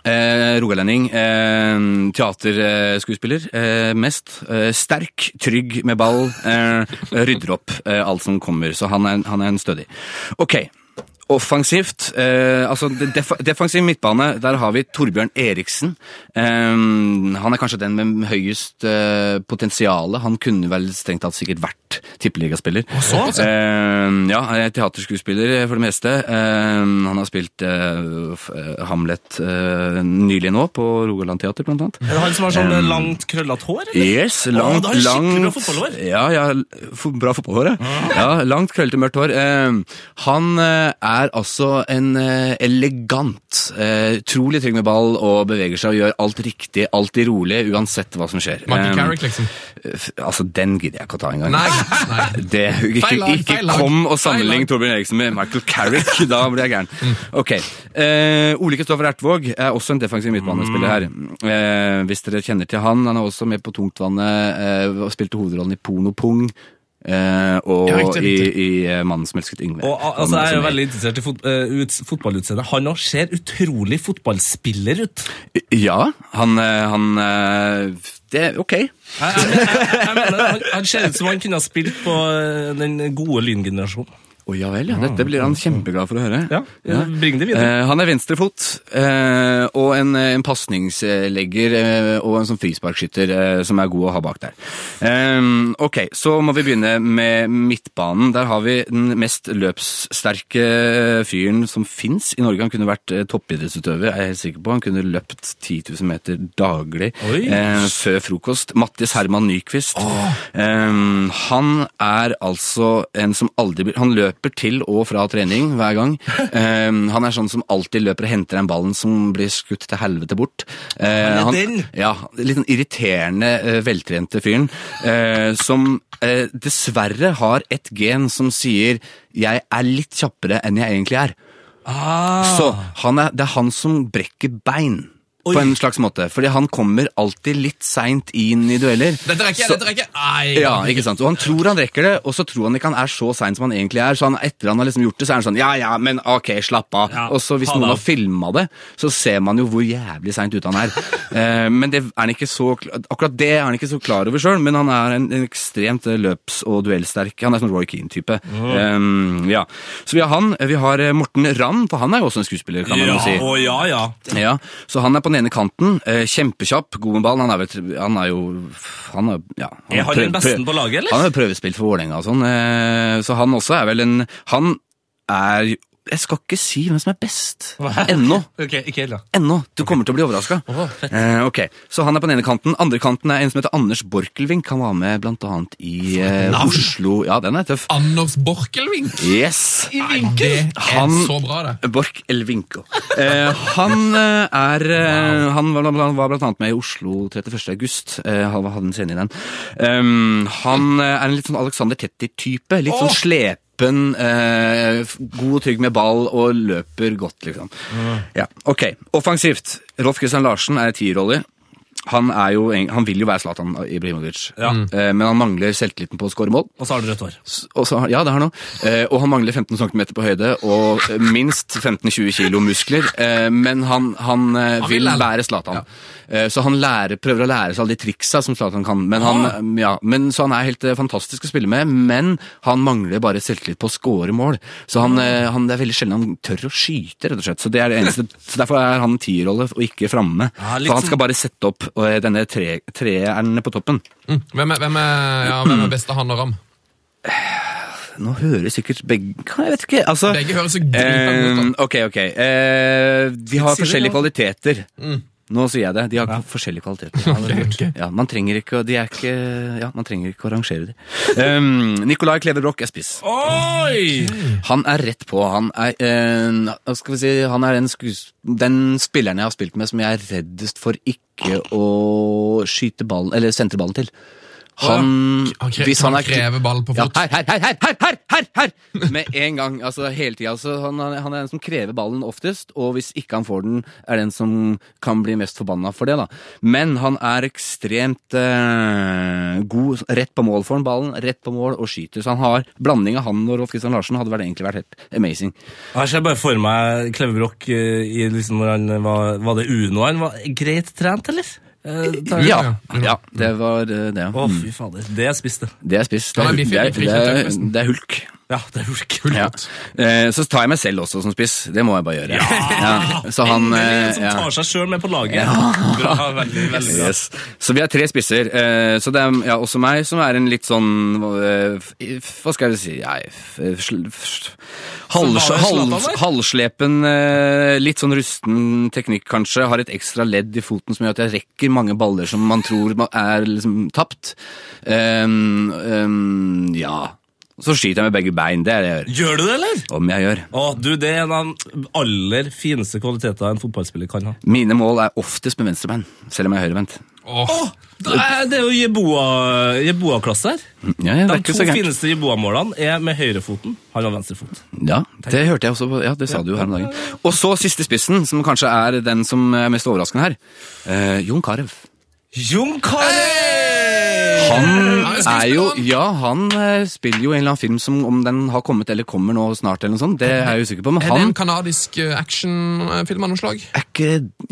Speaker 6: Eh, Rogalending. Eh, Teaterskuespiller. Eh, mest. Eh, sterk, trygg med ball. Eh, rydder opp eh, alt som kommer. Så han er, han er en stødig. Ok. Offensivt eh, altså det def Defensiv midtbane, der har vi Torbjørn Eriksen. Eh, han er kanskje den med høyest eh, potensiale. Han kunne vel strengt tatt sikkert vært tippeligaspiller.
Speaker 4: såpass, ja.
Speaker 6: Eh, ja, han er teaterskuespiller for det meste. Eh, han har spilt eh, f- eh, Hamlet eh, nylig nå, på Rogaland Teater, blant annet.
Speaker 5: Er det han som har
Speaker 6: Um,
Speaker 5: sånn langt, krøllete hår? eller?
Speaker 6: Yes, langt,
Speaker 5: da har du skikkelig bra Ah.
Speaker 6: langt
Speaker 5: fotballhår.
Speaker 6: Ja, ja, fo- bra fotballhår, ja. ja langt, krøllete, mørkt hår. Eh, han eh, er altså en eh, elegant, eh, utrolig trygg med ball og beveger seg og gjør alt riktig, alltid rolig, uansett hva som skjer.
Speaker 4: Michael
Speaker 6: Eh,
Speaker 4: Carrick, liksom.
Speaker 6: f- altså, den gidder jeg ikke å ta engang.
Speaker 4: Nei. nei.
Speaker 6: Det, ikke,
Speaker 4: Feil lag,
Speaker 6: ikke
Speaker 4: feil lag.
Speaker 6: kom og
Speaker 4: Feil
Speaker 6: sammenlign
Speaker 4: lag. Mm.
Speaker 6: Torbjørn Eriksen med Michael Carrick, da blir jeg gæren. Ok, eh, Ole Kristoffer Ertvåg er også en defensiv midtbanespiller her. Eh, hvis dere kjenner til han, han er også med på Tungtvannet eh, og spilte hovedrollen i Pono Pung. Eh, og
Speaker 4: Ja, riktig,
Speaker 6: i,
Speaker 4: riktig.
Speaker 6: i eh, Mannen som elsket Yngve.
Speaker 5: Og, al- altså,
Speaker 6: Han
Speaker 5: jeg er jo
Speaker 6: som-
Speaker 5: veldig interessert i fot eh, ut fotballutseendet. Han også ser utrolig fotballspiller ut.
Speaker 6: Ja, han, eh, han eh, Det er ok.
Speaker 5: Jeg, jeg, mener- jeg, jeg mener, han, han ser ut som han kunne ha spilt på eh, den gode lyngenerasjonen.
Speaker 6: Å ja vel, ja. Dette blir han kjempeglad for å høre.
Speaker 5: altså. Ja, bring det videre.
Speaker 6: Eh, han er venstrefot, eh, og en, eh, en pasningslegger eh, og en sånn frisparkskytter eh, som er god å ha bak der. Eh, ok, så må vi begynne med midtbanen. Der har vi den mest løpssterke fyren som fins i Norge. Han kunne vært eh, toppidrettsutøver, er jeg helt sikker på. Han kunne løpt 10 000 meter daglig
Speaker 5: Oi.
Speaker 6: eh, før frokost. Mattis Herman Nyquist. Ehm, han er altså en som aldri blir Han løper til og fra trening hver gang. Ehm, han er sånn som alltid løper og henter den ballen som blir skutt til helvete bort. Eh,
Speaker 5: er den?
Speaker 6: ja, litt sånn irriterende, eh, veltrente fyren, eh, som eh, dessverre har et gen som sier 'jeg er litt kjappere enn jeg egentlig er'.
Speaker 4: Ah.
Speaker 6: Så han er, det er han som brekker bein. På en slags måte, fordi han kommer alltid litt seint inn i dueller.
Speaker 4: Dette rekker jeg,
Speaker 6: Så-
Speaker 4: dette rekker jeg! Nei.
Speaker 6: ja, ikke sant? Og han tror han rekker det, og så tror han ikke han er så sein som han egentlig er. Så han, etter han har liksom gjort det, så er han sånn Ja, ja, men ok, slapp av.
Speaker 5: Ja,
Speaker 6: og så hvis
Speaker 5: ha det
Speaker 6: noen
Speaker 5: av.
Speaker 6: har filma det, så ser man jo hvor jævlig seint ute han er. Eh, men det er han ikke så kl- akkurat det er han ikke så klar over sjøl, men han er en, en ekstremt eh, løps- og duellsterk Han er sånn Roy Keane-type.
Speaker 5: Mhm.
Speaker 6: Eh, ja. Så vi har han. Vi har eh, Morten Ramm, for han er jo også en skuespiller, kan man jo si.
Speaker 5: å ja, ja.
Speaker 6: Ja, så han er på den ene kanten, eh, kjempekjapp, god med ball, han er, vel, han er jo, han er, ja.
Speaker 5: Er han
Speaker 6: prøv-
Speaker 5: den besten
Speaker 6: prøv-
Speaker 5: på laget, eller?
Speaker 6: Han har jo prøvespilt for Vålerenga og sånn, eh, så han også er vel en, han er, jo- jeg skal ikke si hvem som er best, ennå,
Speaker 5: Ok, ikke helt da.
Speaker 6: ennå, du kommer til å bli overrasket. eh, ok, så han er på den ene kanten, andre kanten er en som heter Anders Borkelvink, han var med blant annet i eh, Oslo, ja den er
Speaker 4: Ah.
Speaker 6: tøff.
Speaker 4: Anders Borkelvink.
Speaker 6: Yes!
Speaker 4: I vinkel. Det er
Speaker 6: Han-
Speaker 4: så bra, det.
Speaker 6: Borch Elvinko. Eh, han eh, er eh, Han var, blant- var blant annet med i Oslo 31. august. Eh, han var- hadde en scene i den. Um, han eh, er en litt sånn Alexander Tetti-type. Litt sånn slepen, eh, f- god og trygg med ball og løper godt, liksom. Ja, ok. Offensivt. Rolf Christian Larsen er tirolle. Han, er jo, eng- han vil jo være Zlatan Ibrahimovic,
Speaker 5: Ja.
Speaker 6: eh, men han mangler selvtilliten på å skåre mål.
Speaker 5: Og så har du rødt hår.
Speaker 6: Og så, ja, det har han også. Eh, og han mangler 15 cm på høyde og eh, minst 15-20 kilo muskler. Eh, men han, han, eh,
Speaker 4: vil
Speaker 6: vil
Speaker 4: lære.
Speaker 6: være Zlatan. Eh, så han lærer, prøver å lære seg alle de triksa som Zlatan kan. Men han, eh, ja, men, så han er helt eh, fantastisk å spille med, men han mangler bare selvtillit på å score mål. Så han, eh, han, det er veldig sjelden han tør å skyte, rett og slett. Så, det er det eneste, så derfor er han en tierrolle og ikke framme.
Speaker 5: Ja, litt
Speaker 6: for han
Speaker 5: som-
Speaker 6: skal bare sette opp eh, denne tre, treeren på toppen.
Speaker 4: Mm. Hvem er, hvem er, ja, hvem er beste han og Ram?
Speaker 6: Nå hører sikkert begge Jeg vet ikke. altså...
Speaker 4: Begge høres så drita
Speaker 6: Eh,
Speaker 4: ut.
Speaker 6: ok, ok. Eh, de har
Speaker 5: Sier du
Speaker 6: forskjellige
Speaker 5: noe?
Speaker 6: kvaliteter. Nå sier jeg det. De har forskjellige kvaliteter. Ja, man trenger ikke å De er ikke Ja, man trenger ikke å rangere dem. Um, Nicolai Klevebrok er spiss.
Speaker 5: Oi!
Speaker 6: Han er rett på. Han er, eh, hva skal vi si, han er den, skues- den spilleren jeg har spilt med som jeg er reddest for ikke å skyte ballen Eller sentre ballen til. Mm. Han,
Speaker 4: Han kre- han krever ball på fot.
Speaker 6: Ja, her, her, her, her, her, her, her, her! Med en gang. altså hele tiden, altså, han, er- han er den som krever ballen oftest, og hvis ikke han får den, er den som kan bli mest forbanna for det. da. Men han er ekstremt eh, god rett på mål for den ballen, rett på mål og skyter. Så han har blanding av han og Rolf Christian Larsen hadde vært, egentlig vært helt amazing.
Speaker 5: Her ser jeg bare for meg Klevebrokk eh, i liksom når han var Var det Uno han var greit trent, eller? Eh, tar-
Speaker 6: Ja, ja det var eh, det.
Speaker 5: Å,
Speaker 6: Mm.
Speaker 5: fy fader. Det jeg spiste.
Speaker 6: Det er spiss. Det
Speaker 4: Ja,
Speaker 6: er,
Speaker 4: men vi
Speaker 6: det
Speaker 4: fikk
Speaker 6: er,
Speaker 4: ikke
Speaker 6: det
Speaker 4: frikjent
Speaker 6: er,
Speaker 4: den, forresten.
Speaker 6: det er hulk.
Speaker 5: Ja, det er hulk.
Speaker 6: Ja. Eh, Så tar jeg meg selv også som spiss. Det må jeg bare gjøre. Ja, Så han
Speaker 5: Endelig
Speaker 6: eh,
Speaker 5: en som
Speaker 6: ja.
Speaker 5: tar seg sjøl med på laget. Bra, veldig, veldig bra.
Speaker 6: Yes. Så vi har tre spisser. eh, Så det er ja, også meg som er en litt sånn eh, f- Hva skal jeg si Nei, f- sl- f- halvs-
Speaker 4: Som vanlig
Speaker 6: halvs-
Speaker 4: Zlatan,
Speaker 6: Halvslepen, eh, litt sånn rusten teknikk kanskje. Har et ekstra ledd i foten som gjør at jeg rekker mange baller som man tror man er liksom tapt. Ehm, ehm, ja. Så skyter jeg med begge bein. Det er det jeg gjør.
Speaker 5: Gjør du det, eller?
Speaker 6: Om jeg gjør.
Speaker 5: Å, du, Det er en av de aller fineste kvaliteter en fotballspiller kan ha.
Speaker 6: Mine mål er oftest med venstrebein, selv om jeg er høyrevendt.
Speaker 4: Åh,
Speaker 5: Det er, det er jo Jeboa- Jeboa-klasse her.
Speaker 6: Ja, ja, det er
Speaker 5: De
Speaker 6: ikke
Speaker 5: to
Speaker 6: så gærent.
Speaker 5: fineste Jeboa-målene er E med høyrefoten. Han har venstrefot.
Speaker 6: Ja, det hørte jeg også. på- Ja, det sa du jo her om dagen. Og så siste spissen, som kanskje er den som er mest overraskende her. Eh, Jon Carew.
Speaker 5: Jon Carew!
Speaker 6: Han
Speaker 4: er
Speaker 6: er jo
Speaker 4: skuespilleren.
Speaker 6: Ja, han eh, spiller jo en eller annen film som om den har kommet eller kommer nå snart, eller noe sånt. Det er jeg usikker på, men
Speaker 4: er det
Speaker 6: han
Speaker 4: en kanadisk eh, actionfilm av noe slag?
Speaker 6: er ikke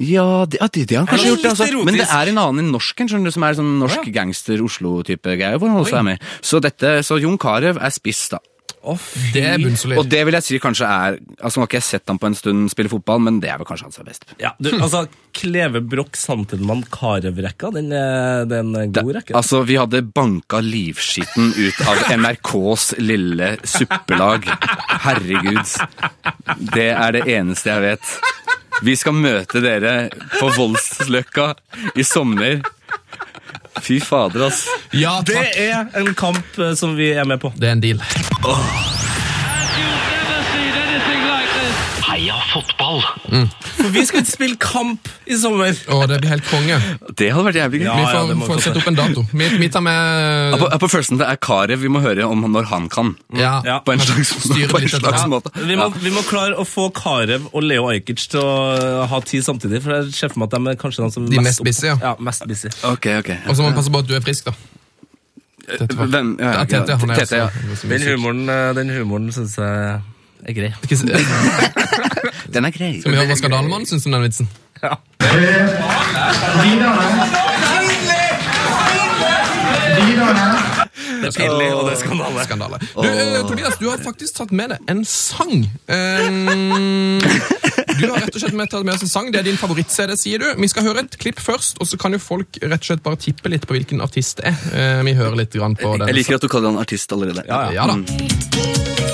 Speaker 6: Ja, det, ja, det, det har han kanskje
Speaker 5: Er
Speaker 6: gjort,
Speaker 5: det litt
Speaker 6: det, altså. Men det
Speaker 5: erotisk?
Speaker 6: er en annen enn norsken, skjønner du, som er sånn norsk
Speaker 5: Å, ja.
Speaker 6: gangster-Oslo-type greier, hvor han også er med. Så dette Så Jon Carew er spiss, da.
Speaker 5: Å, fy.
Speaker 4: Det er
Speaker 6: Og
Speaker 4: bunnsolid.
Speaker 6: det vil jeg si kanskje er Altså, nå har ikke jeg sett ham på en stund spille fotball, men det er vel kanskje han som er best.
Speaker 5: Ja, du, altså, Kleve Broch, Santelmann, Carew-rekka, den, er- det er en god rekke.
Speaker 6: Altså, vi hadde banka livskiten ut av NRKs lille suppelag. Herregud. Det er det eneste jeg vet. Vi skal møte dere på Voldsløkka i sommer. Fy fader, ass.
Speaker 4: Ja,
Speaker 5: Det
Speaker 4: takk.
Speaker 5: er en kamp eh, som vi er med på.
Speaker 4: Det er en deal.
Speaker 2: And you've never seen anything like this.
Speaker 3: Heia fotball!
Speaker 5: For vi skal ikke spille kamp i sommer.
Speaker 4: Og det blir helt konge.
Speaker 6: Det hadde vært jævlig gøy.
Speaker 5: Ja,
Speaker 4: Vi
Speaker 5: ja,
Speaker 4: får,
Speaker 5: det må vi
Speaker 4: får
Speaker 5: få
Speaker 4: sette
Speaker 5: til.
Speaker 4: opp en dato. Vi, vi tar med
Speaker 6: Ja, På, ja, på følelsen det er Karev vi må høre om når han kan.
Speaker 4: Ja.
Speaker 5: Ja.
Speaker 6: På en slags,
Speaker 4: Styre
Speaker 6: på en
Speaker 4: litt etter-
Speaker 6: slags
Speaker 4: Ja.
Speaker 6: måte.
Speaker 5: Vi må, vi må klare å få Karev og Leo Ajkic til å eh, ha tid samtidig. For jeg ser for meg at de er kanskje de som
Speaker 4: De mest busy, ja.
Speaker 5: ja. mest busy.
Speaker 6: Ok, ok.
Speaker 4: Og så må vi passe på at du er frisk, da. Tete var-
Speaker 6: Eh, Hvem? Ja,
Speaker 4: Ja,
Speaker 6: ja,
Speaker 4: Tete, han er altså-
Speaker 6: Tete, ja.
Speaker 4: også-
Speaker 5: Den humoren, eh, den humoren syns jeg er grei.
Speaker 4: Ikke s- Skal
Speaker 6: Den er grei.
Speaker 4: vi høre hva Skandalemannen syns om den vitsen?
Speaker 5: Det er pinlig, og det er skandale.
Speaker 4: Skandale. Du, eh, Tobias, du har faktisk tatt med deg en sang. Eh, du har rett og slett med tatt med oss en sang. Det er din favoritt-CD, sier du. Vi skal høre et klipp først, og så kan jo folk rett og slett bare tippe litt på hvilken artist det er. Eh, Vi hører litt grann på den.
Speaker 6: Jeg liker at du kaller han artist allerede. Mm.
Speaker 4: Ja, ja da.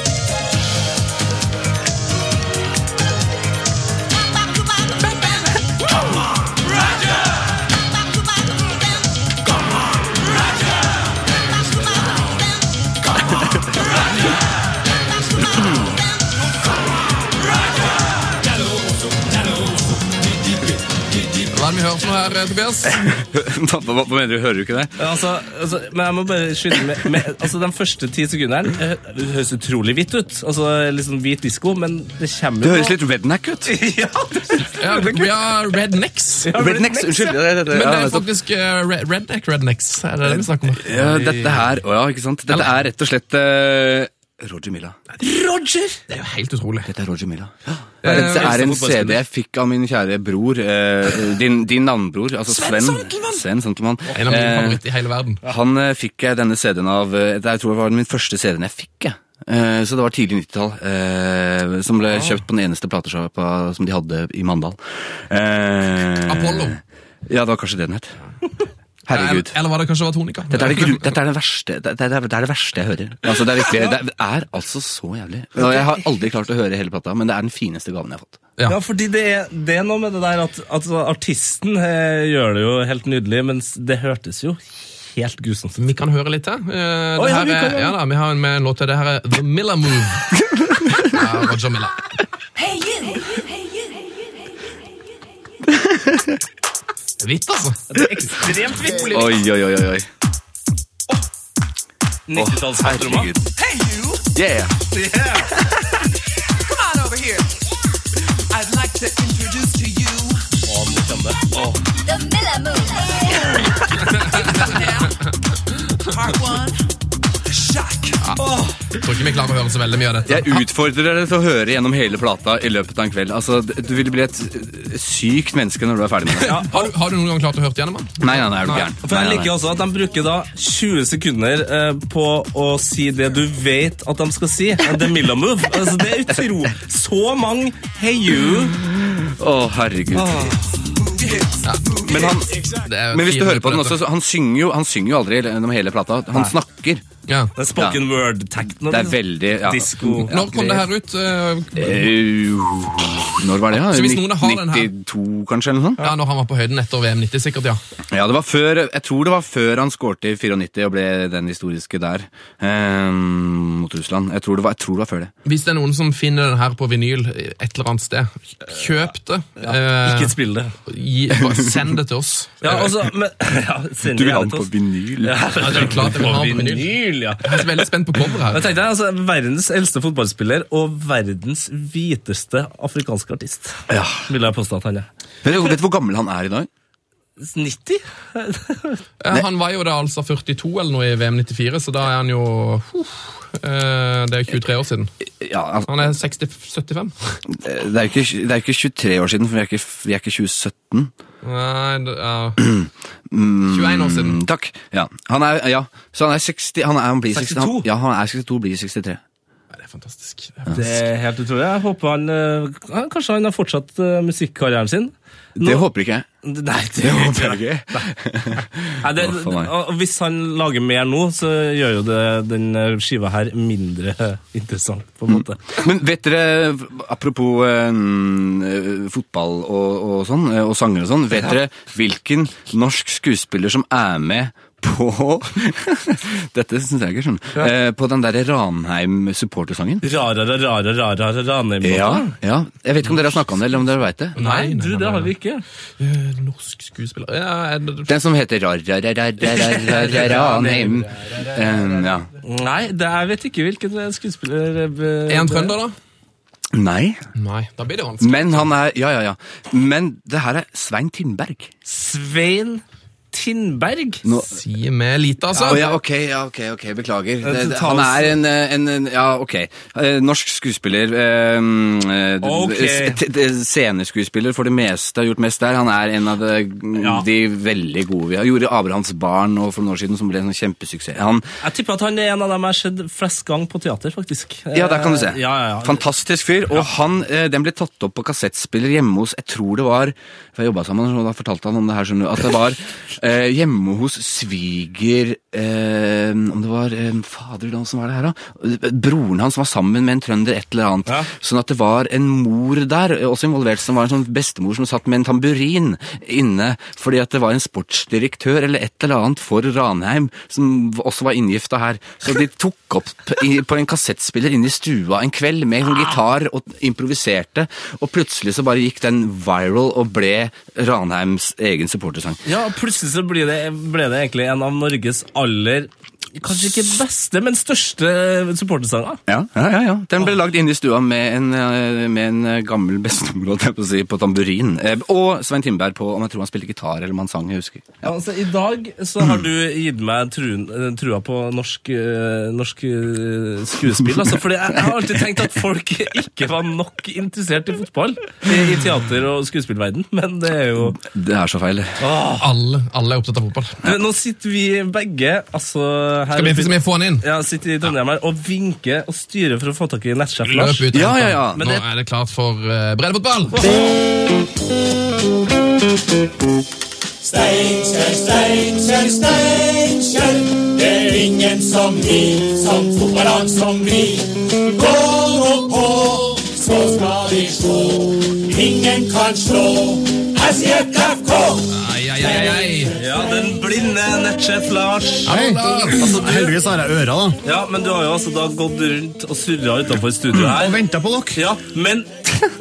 Speaker 4: Hva er det vi hører for noe her, eh, Tobias?
Speaker 6: Hva, hva, hva mener du, hører du ikke det?
Speaker 5: Altså, altså, men jeg må bare skynde med, med altså, De første ti sekundene eh, det høres utrolig hvitt ut. Altså, Litt sånn hvit disko, men det kommer
Speaker 6: Det høres litt redneck ut.
Speaker 5: ja, det
Speaker 4: Ja, vi har Rednecks.
Speaker 5: Ja,
Speaker 6: Rednecks, unnskyld. Ja, det, det,
Speaker 4: Men det
Speaker 6: ja,
Speaker 4: er
Speaker 6: nettopp.
Speaker 4: faktisk eh, re- redneck rednecks. Er det det vi snakker om?
Speaker 6: ja, dette her, å ja, ikke sant? Dette er rett og slett eh, Roger Milla.
Speaker 5: Roger!
Speaker 4: Det er jo helt utrolig.
Speaker 6: Dette er Roger Milla. Det
Speaker 4: Eh,
Speaker 6: er, en- det er en
Speaker 5: fotballspiller.
Speaker 6: CD jeg fikk av min kjære bror, eh, din, din navnbror, altså Sven. Sven Santelmann.
Speaker 4: En av mine
Speaker 6: Eh,
Speaker 4: favoritter i hele verden.
Speaker 6: han eh, fikk jeg denne CD-en av eh, det- Jeg tror det var den min første CD-en jeg fikk. jeg. Eh, Så det var tidlig 90-tall, eh, som ble kjøpt på den eneste platesjappa som de hadde i Mandal. Eh,
Speaker 4: Apollo.
Speaker 6: Ja, det var kanskje det den het. Herregud.
Speaker 4: Eller, eller var det kanskje var Tonika?
Speaker 6: Dette er det, gru, dette er det verste det, det, det er det verste jeg hører. Altså, det, er virkelig, det er altså så jævlig. Og Jeg har aldri klart å høre hele plata, men det er den fineste gaven jeg har fått.
Speaker 4: Ja.
Speaker 5: Ja, fordi det er, det er noe med det der at, at artisten eh, gjør det jo helt nydelig, mens det hørtes jo helt grusomt ut.
Speaker 4: Vi kan høre litt til. Eh,
Speaker 5: Å,
Speaker 4: det
Speaker 5: ja,
Speaker 4: her
Speaker 5: vi kan
Speaker 4: er,
Speaker 5: gjøre
Speaker 4: ja, da, vi har en med en låt til. Det her er The Milla Move. Ja, Roger Milla.
Speaker 7: Hey you, hey you, hey you, hey you, hey you, hey you, hey you.
Speaker 4: Hvitt, altså.
Speaker 5: Det er Ekstremt vittig.
Speaker 6: Oi, oi, oi, oi. Å,
Speaker 5: 90-tallspatroner.
Speaker 6: herregud. Yeah.
Speaker 7: The Miller Move.
Speaker 8: Part one. Shock.
Speaker 4: tror ikke vi klarer å høre så veldig mye av dette.
Speaker 6: Jeg utfordrer dere til å høre gjennom hele plata i løpet av en kveld. Altså, d- Du vil bli et eh, sykt menneske når du er ferdig med det.
Speaker 4: Har du, har du noen gang klart å høre gjennom den?
Speaker 6: Nei, nei, nei, er du
Speaker 4: Nei.
Speaker 6: gæren.
Speaker 5: For
Speaker 6: Nei,
Speaker 5: jeg
Speaker 6: nei,
Speaker 5: liker
Speaker 6: nei.
Speaker 5: også at de bruker da 20 sekunder eh, på å si det du vet at de skal si. eh, The Milla Move. Altså, det er utro. Så mange hey you.
Speaker 6: Å, herregud. Men, han,
Speaker 4: Det er
Speaker 6: men hvis du
Speaker 4: fire
Speaker 6: hører på den
Speaker 4: minutter,
Speaker 6: også, så han synger jo, han synger jo aldri gjennom hele plata. Han snakker.
Speaker 4: dette. Ja.
Speaker 5: Det er spoken word-tekno.
Speaker 6: Det er veldig ja.
Speaker 5: Disko.
Speaker 6: Ja,
Speaker 4: Når kom det her ut? Eh,
Speaker 6: Eh, Når var det? da?
Speaker 4: Så hvis noen har den her-
Speaker 6: 92, kanskje? eller noe sånt?
Speaker 4: Ja, Når han var på høyden etter VM 90, sikkert, ja.
Speaker 6: Ja, det var før, Jeg tror det var før han skårte i 94 og ble den historiske der eh, mot Russland. Jeg tror, det var, jeg tror det var før det.
Speaker 4: Hvis det er noen som finner den her på vinyl et eller annet sted, kjøp det. Eh,
Speaker 5: Ikke spill det.
Speaker 4: gi, bare send det til oss.
Speaker 5: Ja, altså, men, ja, send det gjerne til oss.
Speaker 6: vinyl? Ja.
Speaker 4: Ja, det er klart jeg vil ha den på vinyl.
Speaker 5: Vinyl, ja.
Speaker 4: Jeg er så veldig spent på coveret her.
Speaker 5: Men tenk deg, altså, Verdens eldste fotballspiller og verdens hviteste afrikanske artist.
Speaker 6: Ja.
Speaker 5: Vil jeg påstå at han er.
Speaker 6: Vet, du, vet du hvor gammel han er i dag?
Speaker 5: 90?
Speaker 4: Eh, Han var jo da altså 42 eller noe i VM 94, så da er han jo uff, eh, Det er jo 23 år siden.
Speaker 6: Ja, altså,
Speaker 4: Han er 60-75.
Speaker 6: Eh, Det er jo ikke, det er jo ikke 23 år siden, for vi er ikke, vi er ikke 2017.
Speaker 4: Nei, det er 21 år siden.
Speaker 6: Mm, takk. Ja. Han er, ja. Så han er 60 Han, er, han blir 60, han,
Speaker 5: 62?
Speaker 6: ja, han er 62, blir 63.
Speaker 4: Nei, Det er fantastisk.
Speaker 5: Det er helt utrolig. Jeg håper han eh, ja, Kanskje han har fortsatt eh, musikkarrieren sin?
Speaker 6: Det håper ikke jeg.
Speaker 5: Nei, det,
Speaker 6: Det håper jeg ikke.
Speaker 5: Nei, det,
Speaker 6: Å, for meg.
Speaker 5: og Hvis han lager mer nå, så gjør jo det den eh, skiva her mindre eh, interessant, på en måte.
Speaker 6: Men vet dere, apropos eh, mm, fotball og, og sånn, eh, og sanger og sånn, vet dere hvilken norsk skuespiller som er med på Dette syns jeg ikke, skjønner du. Eh, på den derre Ranheim supportersangen?
Speaker 5: Rarere, rarere, rarere, ranheim
Speaker 6: Ja, ja. Jeg vet ikke om dere har snakka om det, eller om dere veit det.
Speaker 5: Nei, du, det har vi ikke.
Speaker 4: Eh, Norsk skuespiller ja, er det-
Speaker 6: Den som heter Ranheim. Eh, Ja.
Speaker 5: Nei, det, jeg vet ikke hvilken eh, skuespiller eh,
Speaker 4: Er han trønder, da?
Speaker 6: Nei,
Speaker 4: Nei, da blir det vanskelig.
Speaker 6: men han er Ja, ja, ja. Men det her er Svein Tindberg.
Speaker 5: Svein Tindberg.
Speaker 6: Nå,
Speaker 4: Si meg lite, altså.
Speaker 6: Å ja, ok, ja, ok, ok, beklager. Det, det,
Speaker 5: ta
Speaker 6: han
Speaker 5: oss-
Speaker 6: er en, eh, en, en Ja, ok. Eh, Norsk skuespiller. eh, eh,
Speaker 5: Ok.
Speaker 6: s- t- t- Sceneskuespiller for det meste, har gjort mest der. Han er en av de,
Speaker 5: Ja.
Speaker 6: de veldig gode vi har. Gjorde 'Abrahams barn' nå for noen år siden, som ble en sånn kjempesuksess. Han,
Speaker 5: Jeg tipper at han er en av dem jeg har sett flest gang på teater, faktisk.
Speaker 6: ja, der kan du se.
Speaker 5: Eh, Ja, ja, ja.
Speaker 6: Fantastisk fyr. Og han, eh, den ble tatt opp på kassettspiller hjemme hos Jeg tror det var for Jeg jobba sammen, og da fortalte han om det her, skjønner du. At det var eh, hjemme hos sviger eh, Om det var eh, Fader, hvordan var det her, da? Broren hans var sammen med en trønder, et eller annet.
Speaker 5: Ja.
Speaker 6: Sånn at det var en mor der, eh, også involvert, som var en sånn bestemor som satt med en tamburin inne fordi at det var en sportsdirektør eller et eller annet for Ranheim som v- også var inngifta her. Så de tok opp p- i, på en kassettspiller inne i stua en kveld med en gitar og improviserte, og plutselig så bare gikk den viral og ble Ranheims egen supportersang.
Speaker 5: Eh, ja, plutselig så ble det, ble det egentlig en av Norges aller Kanskje ikke beste, men største supportersanger.
Speaker 6: Ja, ja, ja, ja. Den ble lagd inne i stua med en, eh, med en eh, gammel bestemor holdt jeg på, å si, på tamburin. Eh, Og Svein Tindberg på om jeg tror han spilte gitar eller om han sang, jeg husker.
Speaker 5: Ja, altså, I dag så har du gitt meg truen, eh, trua på norsk, eh, norsk eh, skuespill. Altså, fordi jeg, jeg har alltid tenkt at folk ikke var nok interessert i fotball. I, i teater- og skuespillverden, men det er jo
Speaker 6: Det er så feil.
Speaker 5: Åh.
Speaker 4: Alle, alle er opptatt av fotball.
Speaker 5: Du, Nå sitter vi begge altså, her
Speaker 4: Skal vi,
Speaker 5: oppe i-
Speaker 4: skal vi få han inn?
Speaker 5: Ja, sitter i Trondheim her og vinker og styrer for å få tak i nettsjef Lars.
Speaker 4: Løp ut.
Speaker 6: Ja, ja, ja.
Speaker 4: Nå er det klart for uh, breddefotball.
Speaker 8: Steinkjer, Steinkjer, Steinkjer. Det er ingen som vi, som fotballag som vi. Gå nå på, så skal vi slå. Ingen kan slå SJFK.
Speaker 4: Ai, ai, ai, ai.
Speaker 5: Ja, den blinde nettsjef Lars.
Speaker 9: Hei.
Speaker 5: Altså, du,
Speaker 9: Heldigvis har jeg øra, da.
Speaker 5: ja, men du har jo altså da gått rundt og surra utenfor studio
Speaker 9: Og
Speaker 5: her.
Speaker 9: venta på dere.
Speaker 5: Ja, men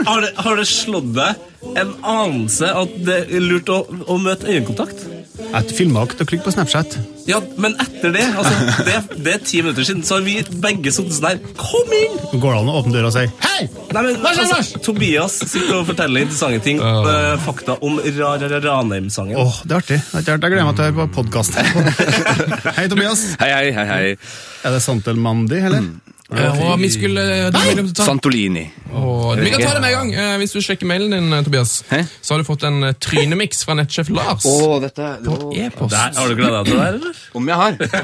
Speaker 5: har det, har det slått deg en anelse at det er lurt å, å møte øyekontakt?
Speaker 9: Jeg filma dere til å klikke på Snapchat.
Speaker 5: Ja, men etter det, altså, det, det er ti minutter siden, så har vi begge sittet sånn her. Kom inn!
Speaker 9: Går det an å åpne døra og si Hei!
Speaker 5: Nei, men
Speaker 9: Hva
Speaker 5: altså,
Speaker 9: skjer, Lars?
Speaker 5: Tobias sitter og forteller interessante ting. eh, fakta om Ra-Ra-Ranheim-sangen.
Speaker 9: Åh, det er artig. Det er ikke artig. Jeg gleder meg til å høre på podkasten. Hei, Tobias.
Speaker 6: Hei, hei, hei, hei.
Speaker 9: Er det Santelmandi, eller?
Speaker 4: Eh, Og vi skulle du ville ta-
Speaker 6: Santolini.
Speaker 4: og, Vi kan ta det med en gang. eh, Hvis du sjekker mailen din, eh, Tobias,
Speaker 6: Hæ?
Speaker 4: så har du fått en eh, trynemiks fra nettsjef Lars.
Speaker 6: dette
Speaker 4: På e-post.
Speaker 5: Der, har du gleda deg til det her, eller?
Speaker 6: Om jeg har.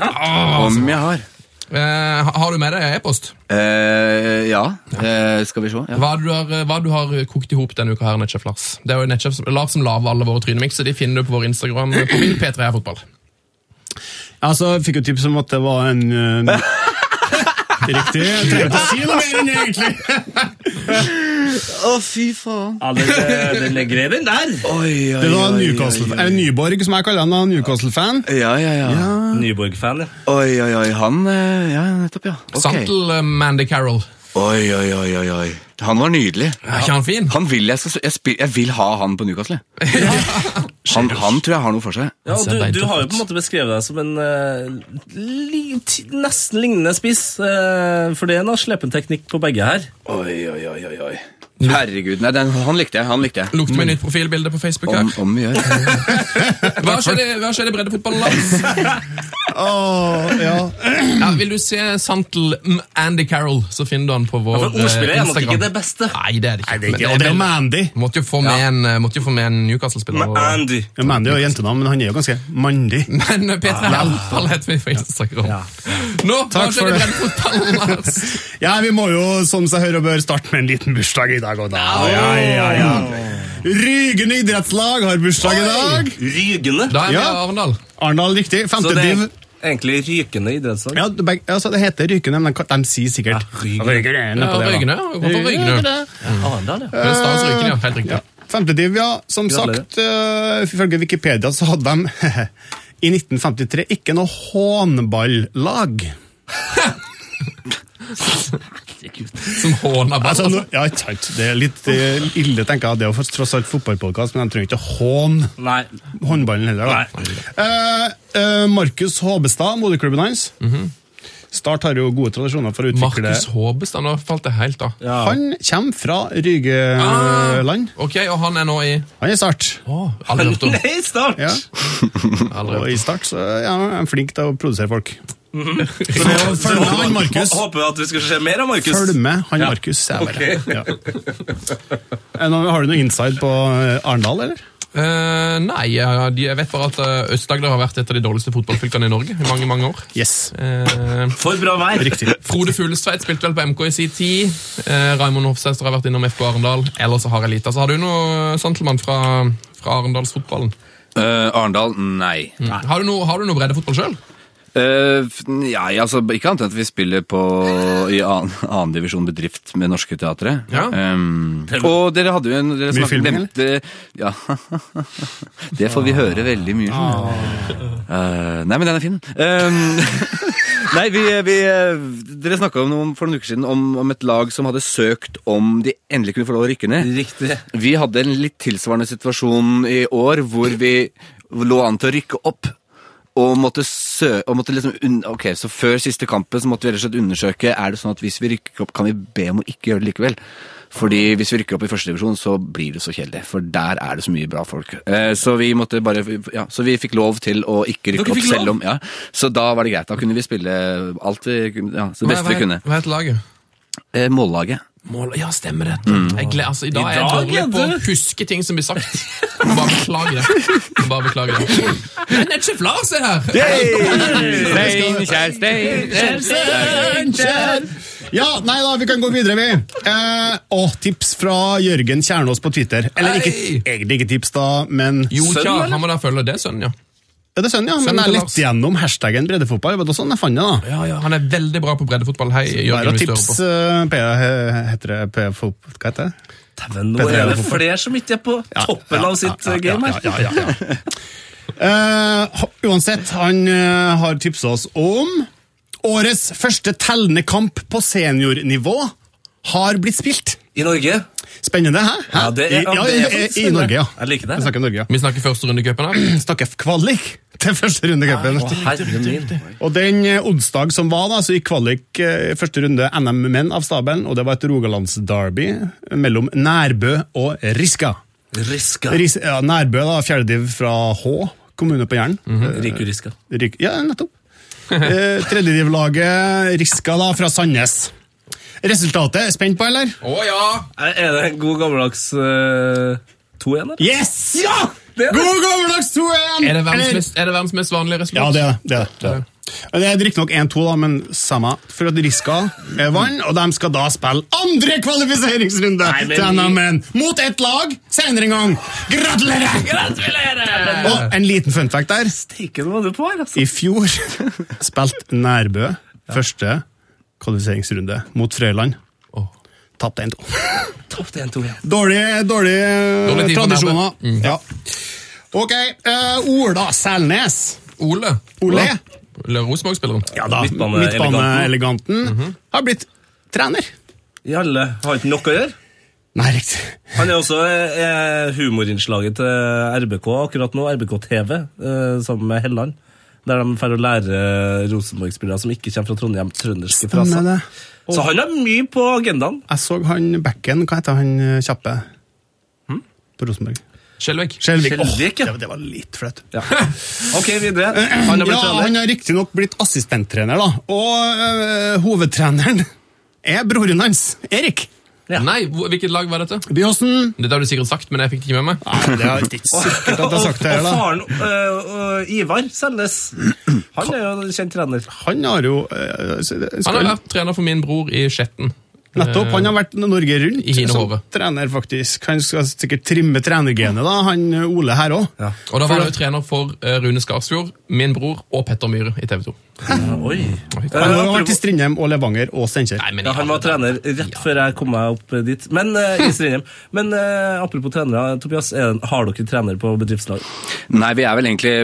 Speaker 6: Om jeg har.
Speaker 4: Eh, ha- har du med deg e-post?
Speaker 6: Eh, ja, eh, skal vi se. Ja.
Speaker 4: Hva du har, eh, hva du har kokt i hop denne uka her, nettsjef Lars? Det er jo nettsjef som- Lars som lager alle våre trynemikser. De finner du på vår Instagram. eh, På min P3 er fotball.
Speaker 9: Altså, jeg fikk jo tips om at det var en eh, Riktig. Jeg trenger ikke å si noe mer enn det, egentlig.
Speaker 6: Å, fy faen.
Speaker 5: Ja, den, den er grei, den der.
Speaker 6: Oi, oi,
Speaker 9: Det
Speaker 6: oi,
Speaker 9: var
Speaker 6: oi,
Speaker 9: Newcastle,
Speaker 6: oi.
Speaker 9: eller Nyborg, som jeg kaller han, da, Newcastle-fan.
Speaker 6: Ja, ja, ja,
Speaker 5: Nyborg-fan, ja.
Speaker 6: Oi, oi, oi. Han eh, Ja, nettopp, ja. Ok.
Speaker 4: Santel eh, Mandy Carroll.
Speaker 6: Oi, oi, oi, oi, oi. Han var nydelig.
Speaker 4: Er ikke han fin?
Speaker 6: Han vil jeg, skal, jeg, spil, jeg vil ha han på Newcastle. Han, han tror jeg har noe for seg.
Speaker 5: Ja, og
Speaker 4: ser beint
Speaker 5: du, du
Speaker 4: opp
Speaker 5: har jo
Speaker 4: ut.
Speaker 5: på en måte beskrevet deg som en eh, li, ti- nesten lignende spiss, eh, for det er en slepenteknikk på begge her.
Speaker 6: Oi, oi, oi, oi, oi. Herregud, nei, den, han likte jeg. han likte jeg.
Speaker 4: Lukter meg nytt profilbilde på Facebook her.
Speaker 6: Om, om vi gjør.
Speaker 4: Hva skjer i- hva skjer i breddefotballen, Lars?
Speaker 9: Åh, ja.
Speaker 4: Ja, vil du se Santel M. Andy Carroll, så finner du han på vår
Speaker 5: For
Speaker 4: eh,
Speaker 5: ordspillet er nok
Speaker 4: Instagram.
Speaker 5: ikke det beste.
Speaker 4: Nei, det er det ikke. Men
Speaker 9: Ja, det er jo Mandy.
Speaker 4: Måtte jo få med en, eh, måtte jo få med en Newcastle-spiller. og-
Speaker 5: Andy.
Speaker 9: Ja, Mandy er jo jentenavn, men han er jo ganske mandig.
Speaker 4: Men eh, Petra Hjelpdal heter vi på Instagram. Nå, hva
Speaker 9: Takk
Speaker 4: skjer
Speaker 9: for
Speaker 4: i
Speaker 9: det.
Speaker 4: breddefotballen, Lars?
Speaker 9: Ja, vi må jo, som seg hører og bør, starte med en liten bursdag i dag og da. Ja, ja, ja. Rygen idrettslag har bursdag i dag.
Speaker 5: Rygende.
Speaker 4: Da er vi i
Speaker 9: Ja.
Speaker 4: Arendal.
Speaker 9: Arendal, riktig.
Speaker 5: Så
Speaker 9: Femte
Speaker 5: det er
Speaker 9: div.
Speaker 5: egentlig rykende idrettslag.
Speaker 9: Ja, det, beg- altså, det heter Rykene, men de, kan- de sier sikkert
Speaker 5: Ja, Rygene.
Speaker 9: Rygene.
Speaker 4: Ja,
Speaker 9: nedpå der, da.
Speaker 4: Rygene, ja. Hvorfor Rygene?
Speaker 9: Rygene.
Speaker 5: Arendal, ja.
Speaker 4: Det staves Rykene, ja. Helt riktig.
Speaker 9: Mm. Ja. Femte div, ja. Som
Speaker 5: Gratulerer.
Speaker 9: sagt, eh, ifølge Wikipedia så hadde de i 1953 ikke noe hånballag.
Speaker 4: Som håner ball.
Speaker 9: Altså, nå, ja, ikke sant. Det er litt eh, ille, tenker jeg. Det er jo for- tross alt fotballpodkast, men de trenger ikke hån
Speaker 5: Nei.
Speaker 9: håndballen heller. da. Eh, eh, Markus Håbestad, moderklubben hans. Start har jo gode tradisjoner for å
Speaker 4: Mhm.
Speaker 9: utvikle
Speaker 4: Markus Håbestad, nå falt det helt av.
Speaker 9: Han kommer fra Rygeland.
Speaker 4: Ok, og han er nå i
Speaker 9: Han er Start.
Speaker 4: Å, aldri hørt om.
Speaker 5: Nei, start!
Speaker 9: Ja.
Speaker 4: Aldri
Speaker 9: Og
Speaker 4: hørt
Speaker 9: i
Speaker 4: om.
Speaker 9: Start så er han han er flink til å produsere folk.
Speaker 4: Mhm.
Speaker 9: Så det er å følge med han Markus.
Speaker 5: Hå- Håper at vi skal se mer av Markus.
Speaker 9: Følg med han Markus. sier jeg bare. Ja. Eh, nå- Har du noe inside på eh, Arendal, eller?
Speaker 4: Eh, nei, ja, de- jeg vet bare at eh, Øst-Agder har vært et av de dårligste fotballfylkene i Norge i mange, mange år.
Speaker 9: Yes.
Speaker 4: Eh,
Speaker 5: For bra vær.
Speaker 9: Riktig.
Speaker 4: Frode Fuglestveit spilte vel på MK i sin tid. Eh, Raimond Hofsæter har vært innom FK Arendal. Ellers så har jeg lite. Så har du noe, Santelmann, fra, fra Arendalsfotballen?
Speaker 6: Eh, Arendal, nei.
Speaker 4: Har du noe, har du noe breddefotball sjøl?
Speaker 6: Eh, f- nei, altså, ikke annet enn at vi spiller på, i annen, annen divisjon bedrift med Norske Teatret.
Speaker 4: Ja.
Speaker 6: Ehm, og dere hadde jo en dere snakket-
Speaker 9: filming, eller?
Speaker 6: nevnte- Ja. Det får vi høre veldig mye. om. Eh, nei, men den er fin. Ehm, nei, vi, vi eh, Dere snakka om noe for noen uker siden om, om et lag som hadde søkt om de endelig kunne få lov å rykke ned.
Speaker 5: Riktig.
Speaker 6: Vi hadde en litt tilsvarende situasjon i år, hvor vi lå an til å rykke opp. Og måtte sø... Og måtte liksom unn... Ok, så før siste kampen så måtte vi rett og slett undersøke Er det sånn at hvis vi rykker opp, kan vi be om å ikke gjøre det likevel. Fordi hvis vi rykker opp i første divisjon, så blir det så kjedelig. For der er det så mye bra folk. Eh, så vi måtte bare Ja, så vi fikk lov til å ikke rykke
Speaker 5: Dere
Speaker 6: opp,
Speaker 5: fikk
Speaker 6: selv
Speaker 5: lov?
Speaker 6: om Ja, så da var det greit. Da kunne vi spille alt vi kunne Ja, så det beste vi kunne.
Speaker 4: Hva heter laget?
Speaker 6: Eh, mållaget.
Speaker 4: Mål, ja, stemmer det. Jeg gleder, altså, I dag er jeg
Speaker 5: dag,
Speaker 4: dårlig
Speaker 5: ja,
Speaker 4: på å
Speaker 5: det.
Speaker 4: huske ting som blir sagt. Bare beklager det. Bare beklager det. Men det er ikke Lars er her!
Speaker 9: Ja, nei da, vi kan gå videre, vi. Eh, og tips fra Jørgen Kjernås på Twitter. Eller
Speaker 4: Hei!
Speaker 9: ikke, egentlig ikke tips, da, men
Speaker 4: Jo,
Speaker 5: Sønn,
Speaker 4: tja,
Speaker 5: eller?
Speaker 4: han må da følge det, sønnen, ja.
Speaker 9: Ja, det er sønnen, ja.
Speaker 4: Sønnen
Speaker 9: Men jeg
Speaker 4: til Lars.
Speaker 9: lette gjennom hashtaggen breddefotball. Det var sånn jeg fant det, da.
Speaker 4: ja, ja. Han er veldig bra på breddefotball. Hei,
Speaker 9: Bare
Speaker 4: Jørgen, hvis du hører
Speaker 9: tips,
Speaker 4: på.
Speaker 9: eh, P, he- heter det P-fotball? Hva heter det?
Speaker 5: Dæven, nå er det flere som ikke er på
Speaker 9: Ja,
Speaker 5: toppen
Speaker 9: ja,
Speaker 5: av sitt
Speaker 9: ja,
Speaker 5: eh,
Speaker 9: ja,
Speaker 5: game
Speaker 9: ja,
Speaker 5: her.
Speaker 9: ja, ja, ja. Eh, ha- uansett, han eh, har tipsa oss om årets første tellende kamp på seniornivå har blitt spilt.
Speaker 5: I Norge.
Speaker 9: Spennende, hæ? Hæ?
Speaker 5: Ja, det er-
Speaker 9: I, ja,
Speaker 5: det er
Speaker 9: i,
Speaker 5: faktisk
Speaker 9: i, I Norge, ja.
Speaker 5: Jeg liker det.
Speaker 9: Vi snakker Norge, ja.
Speaker 4: Vi snakker første runde i cupen. da.
Speaker 9: Vi snakker kvalik til første runde i cupen.
Speaker 5: Å, herre min.
Speaker 9: Og den eh, onsdag som var, da, så gikk kvalik eh, første runde NM-menn av stabelen, og det var et Rogalandsderby mellom Nærbø og Riska.
Speaker 5: Riska.
Speaker 9: Ris ja, Nærbø, da, fjerdediv fra Hå kommune på Jæren.
Speaker 5: Riku Riska.
Speaker 9: Ryk- Ja, nettopp. Eh, Tredjedivlaget Riska da fra Sandnes. Resultatet er spent på, eller?
Speaker 4: Å ja!
Speaker 5: Er det en god gammeldags eh, 2-1, eller?
Speaker 9: Yes!
Speaker 5: Ja! Det er det.
Speaker 9: God gammeldags 2-1!
Speaker 4: Er det verdens
Speaker 9: Eller-
Speaker 4: mest, er det verdens mest vanlige resultat?
Speaker 9: Ja, det er det. det, er det. Og Det er riktignok 1-2, da, men samme. For at Riska er vann, og de skal da spille andre kvalifiseringsrunde
Speaker 5: Nei, men
Speaker 9: til
Speaker 5: vi-
Speaker 9: NM-en mot ett lag senere en gang. Gratulerer!
Speaker 5: Gratulerer!
Speaker 9: Og en liten fun fact der.
Speaker 5: Steiken var du på her, altså.
Speaker 9: I fjor spilte Nærbø første kvalifiseringsrunde mot Frøyland. Tapte 1-2.
Speaker 5: Tapte 1-2 igjen.
Speaker 9: Dårlige dårlig,
Speaker 4: Dårlig tid for
Speaker 9: tradisjoner.
Speaker 4: Nærbø. Mm.
Speaker 9: Ja. Ok, eh, Ola Selnes.
Speaker 4: Ole.
Speaker 9: Ole.
Speaker 4: Eller Rosenborg-spilleren.
Speaker 9: Ja da,
Speaker 5: Midtbane-
Speaker 9: Midtbaneeleganten har blitt trener.
Speaker 5: Jalle har ikke nok å gjøre.
Speaker 9: Nei, riktig.
Speaker 5: Han er også eh, humorinnslaget til RBK akkurat nå, RBK TV, eh, sammen med Helland. Der de får å lære eh, Rosenborg-spillere som ikke kommer fra Trondheim, trønderske fraser.
Speaker 9: det.
Speaker 5: Så han har mye på agendaen.
Speaker 9: Jeg så han bekken, hva heter han eh, kjappe? På Rosenborg.
Speaker 4: Skjelvik.
Speaker 9: Skjelvik. Åh,
Speaker 5: Skjelvik, Hm? ja.
Speaker 9: det, var- det var litt flaut.
Speaker 5: Ja. Ok, videre. Han har blitt
Speaker 9: Ja, han
Speaker 5: trener.
Speaker 9: har riktignok blitt assistenttrener, da. Og eh, hovedtreneren er broren hans, Erik
Speaker 5: Ja.
Speaker 4: Nei, hvor- hvilket lag var dette?
Speaker 9: Byåsen.
Speaker 4: Dette har du sikkert sagt, men jeg fikk det ikke med meg.
Speaker 9: Nei, det er ikke sikkert at jeg har sagt det her,
Speaker 5: og
Speaker 9: da.
Speaker 5: faren, øh, øh, Ivar Selnes, han er jo en kjent trener.
Speaker 9: Han har jo eh, så det-
Speaker 4: Han
Speaker 9: skal-
Speaker 4: har vært trener for min bror i Skjetten.
Speaker 9: Nettopp. Han har vært Norge rundt
Speaker 4: i Hine
Speaker 9: som
Speaker 4: Hove.
Speaker 9: trener, faktisk. Han skal sikkert trimme trenergenet, da, han eh, Ole her òg.
Speaker 4: Og da var han jo trener for eh, Rune Skarsfjord, min bror og Petter Myhre i TV 2.
Speaker 5: Oi.
Speaker 9: Han har
Speaker 5: Eh, apropos-
Speaker 9: vært i Strindheim og Levanger og Steinkjer.
Speaker 4: Nei, men
Speaker 5: Ja, han var trener rett før jeg kom meg opp dit. Men eh, i Strindheim. Men eh, apropos trenere, Tobias, er, har dere trener på bedriftslag?
Speaker 6: Nei, vi er vel egentlig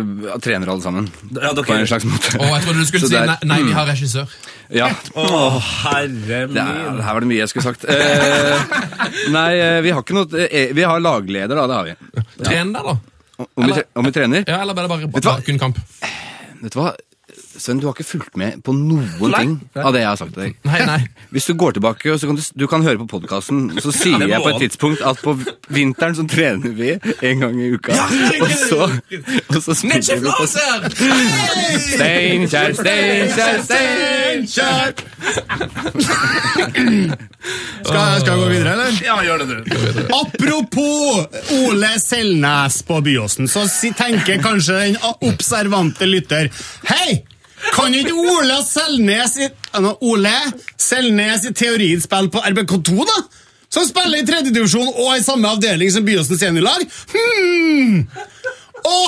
Speaker 6: trenere alle sammen.
Speaker 5: Ja, dere-
Speaker 6: På en slags måte.
Speaker 4: Å, jeg trodde du skulle
Speaker 6: Så
Speaker 4: si
Speaker 6: det er- Mm.
Speaker 4: nei, nei, vi har regissør.
Speaker 6: Ja.
Speaker 5: Å, herre min.
Speaker 6: Det er, her var det mye jeg skulle sagt. Eh, nei, eh, vi har ikke noe eh, Vi har lagleder, da. Det har vi.
Speaker 4: Tren der, da.
Speaker 6: Om vi, tre- om vi trener?
Speaker 4: Ja, Eller var det bare
Speaker 6: du hva?
Speaker 4: bakgrunnskamp?
Speaker 6: Vet du hva? Sven, du har ikke fulgt med på noen ting av det jeg har sagt til deg.
Speaker 4: Nei, nei.
Speaker 6: Hvis du går tilbake, så kan du, du kan høre på podkasten, så sier
Speaker 5: det må
Speaker 6: jeg på et
Speaker 5: han.
Speaker 6: tidspunkt at på vinteren så trener vi en gang i uka. og så, og så spiller vi på Steinkjer, Steinkjer, Steinkjer!
Speaker 9: Skal, skal jeg gå videre, eller? Ja, gjør det du. Apropos Ole Selnes på Byåsen, så si- tenker kanskje den a- observante lytter Hei! Kan ikke Ole Selnes i, nå, Ole Selnes i teorien spille på RBK2, da? Som spiller i tredjedivisjon og i samme avdeling som Byåsen seniorlag? Hmm. Å!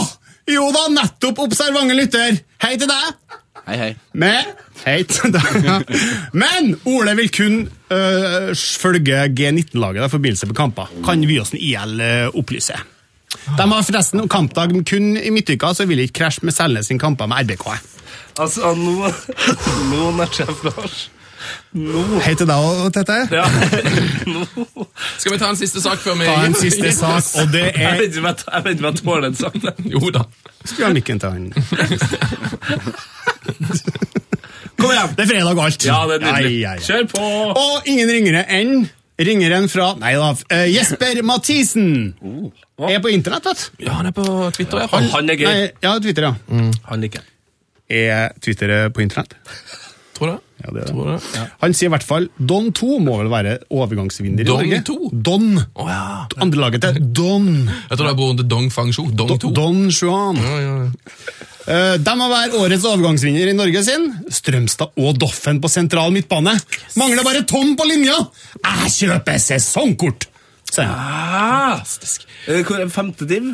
Speaker 9: jo da, nettopp observante lytter. Hei til deg.
Speaker 6: Hei, hei.
Speaker 9: Men, hei til deg, ja. Men Ole vil kun øh, følge G19-laget i forbindelse med kamper. Kan Byåsen IL øh, opplyse. De har forresten kampdag kun i midtuka, så vil jeg ikke krasje med Selnes sin kamper med RBK.
Speaker 5: Altså, nå, nå nettsjef Lars. Nå.
Speaker 9: Hei til deg og Tete.
Speaker 5: Ja, nå.
Speaker 4: Skal vi ta en siste sak før vi
Speaker 9: Ta en siste sak, og det
Speaker 5: Jeg
Speaker 9: er
Speaker 5: vet ikke om jeg- jeg vet ikke om jeg tåler en sak.
Speaker 4: Jo da.
Speaker 9: Skru av mikken til han.
Speaker 5: Kom igjen!
Speaker 9: Det er fredag og alt.
Speaker 5: Ja, det er nydelig.
Speaker 9: Ai, ai, ai.
Speaker 5: Kjør på!
Speaker 9: Og ingen ringere enn ringeren fra Nei da, eh, Jesper Mathisen. Er på internett, vet du.
Speaker 4: Ja, han er på Twitter. i hvert fall.
Speaker 5: Han er Oh. gøy.
Speaker 9: Nei, Ja, Twitter, ja.
Speaker 5: Han liker jeg.
Speaker 9: Er Twitter på internett?
Speaker 4: Tror du det?
Speaker 9: Ja, det er det.
Speaker 4: Tror du det?
Speaker 9: Han sier i hvert fall Don 2 må vel være overgangsvinner
Speaker 4: Don
Speaker 9: i Norge.
Speaker 4: 2?
Speaker 9: Don.
Speaker 4: Å ja.
Speaker 9: Andre laget til Don.
Speaker 4: Jeg tror det er broren til Dong Fang Shu. Dong 2.
Speaker 9: Don Juan.
Speaker 4: Ja, ja, ja.
Speaker 9: Eh, de må være årets overgangsvinner i Norge sin. Strømstad og Doffen på sentral midtbane. Mangler bare Tom på linja! Jeg kjøper sesongkort! sier han.
Speaker 5: Fantastisk. Eh, Hvor er femte div?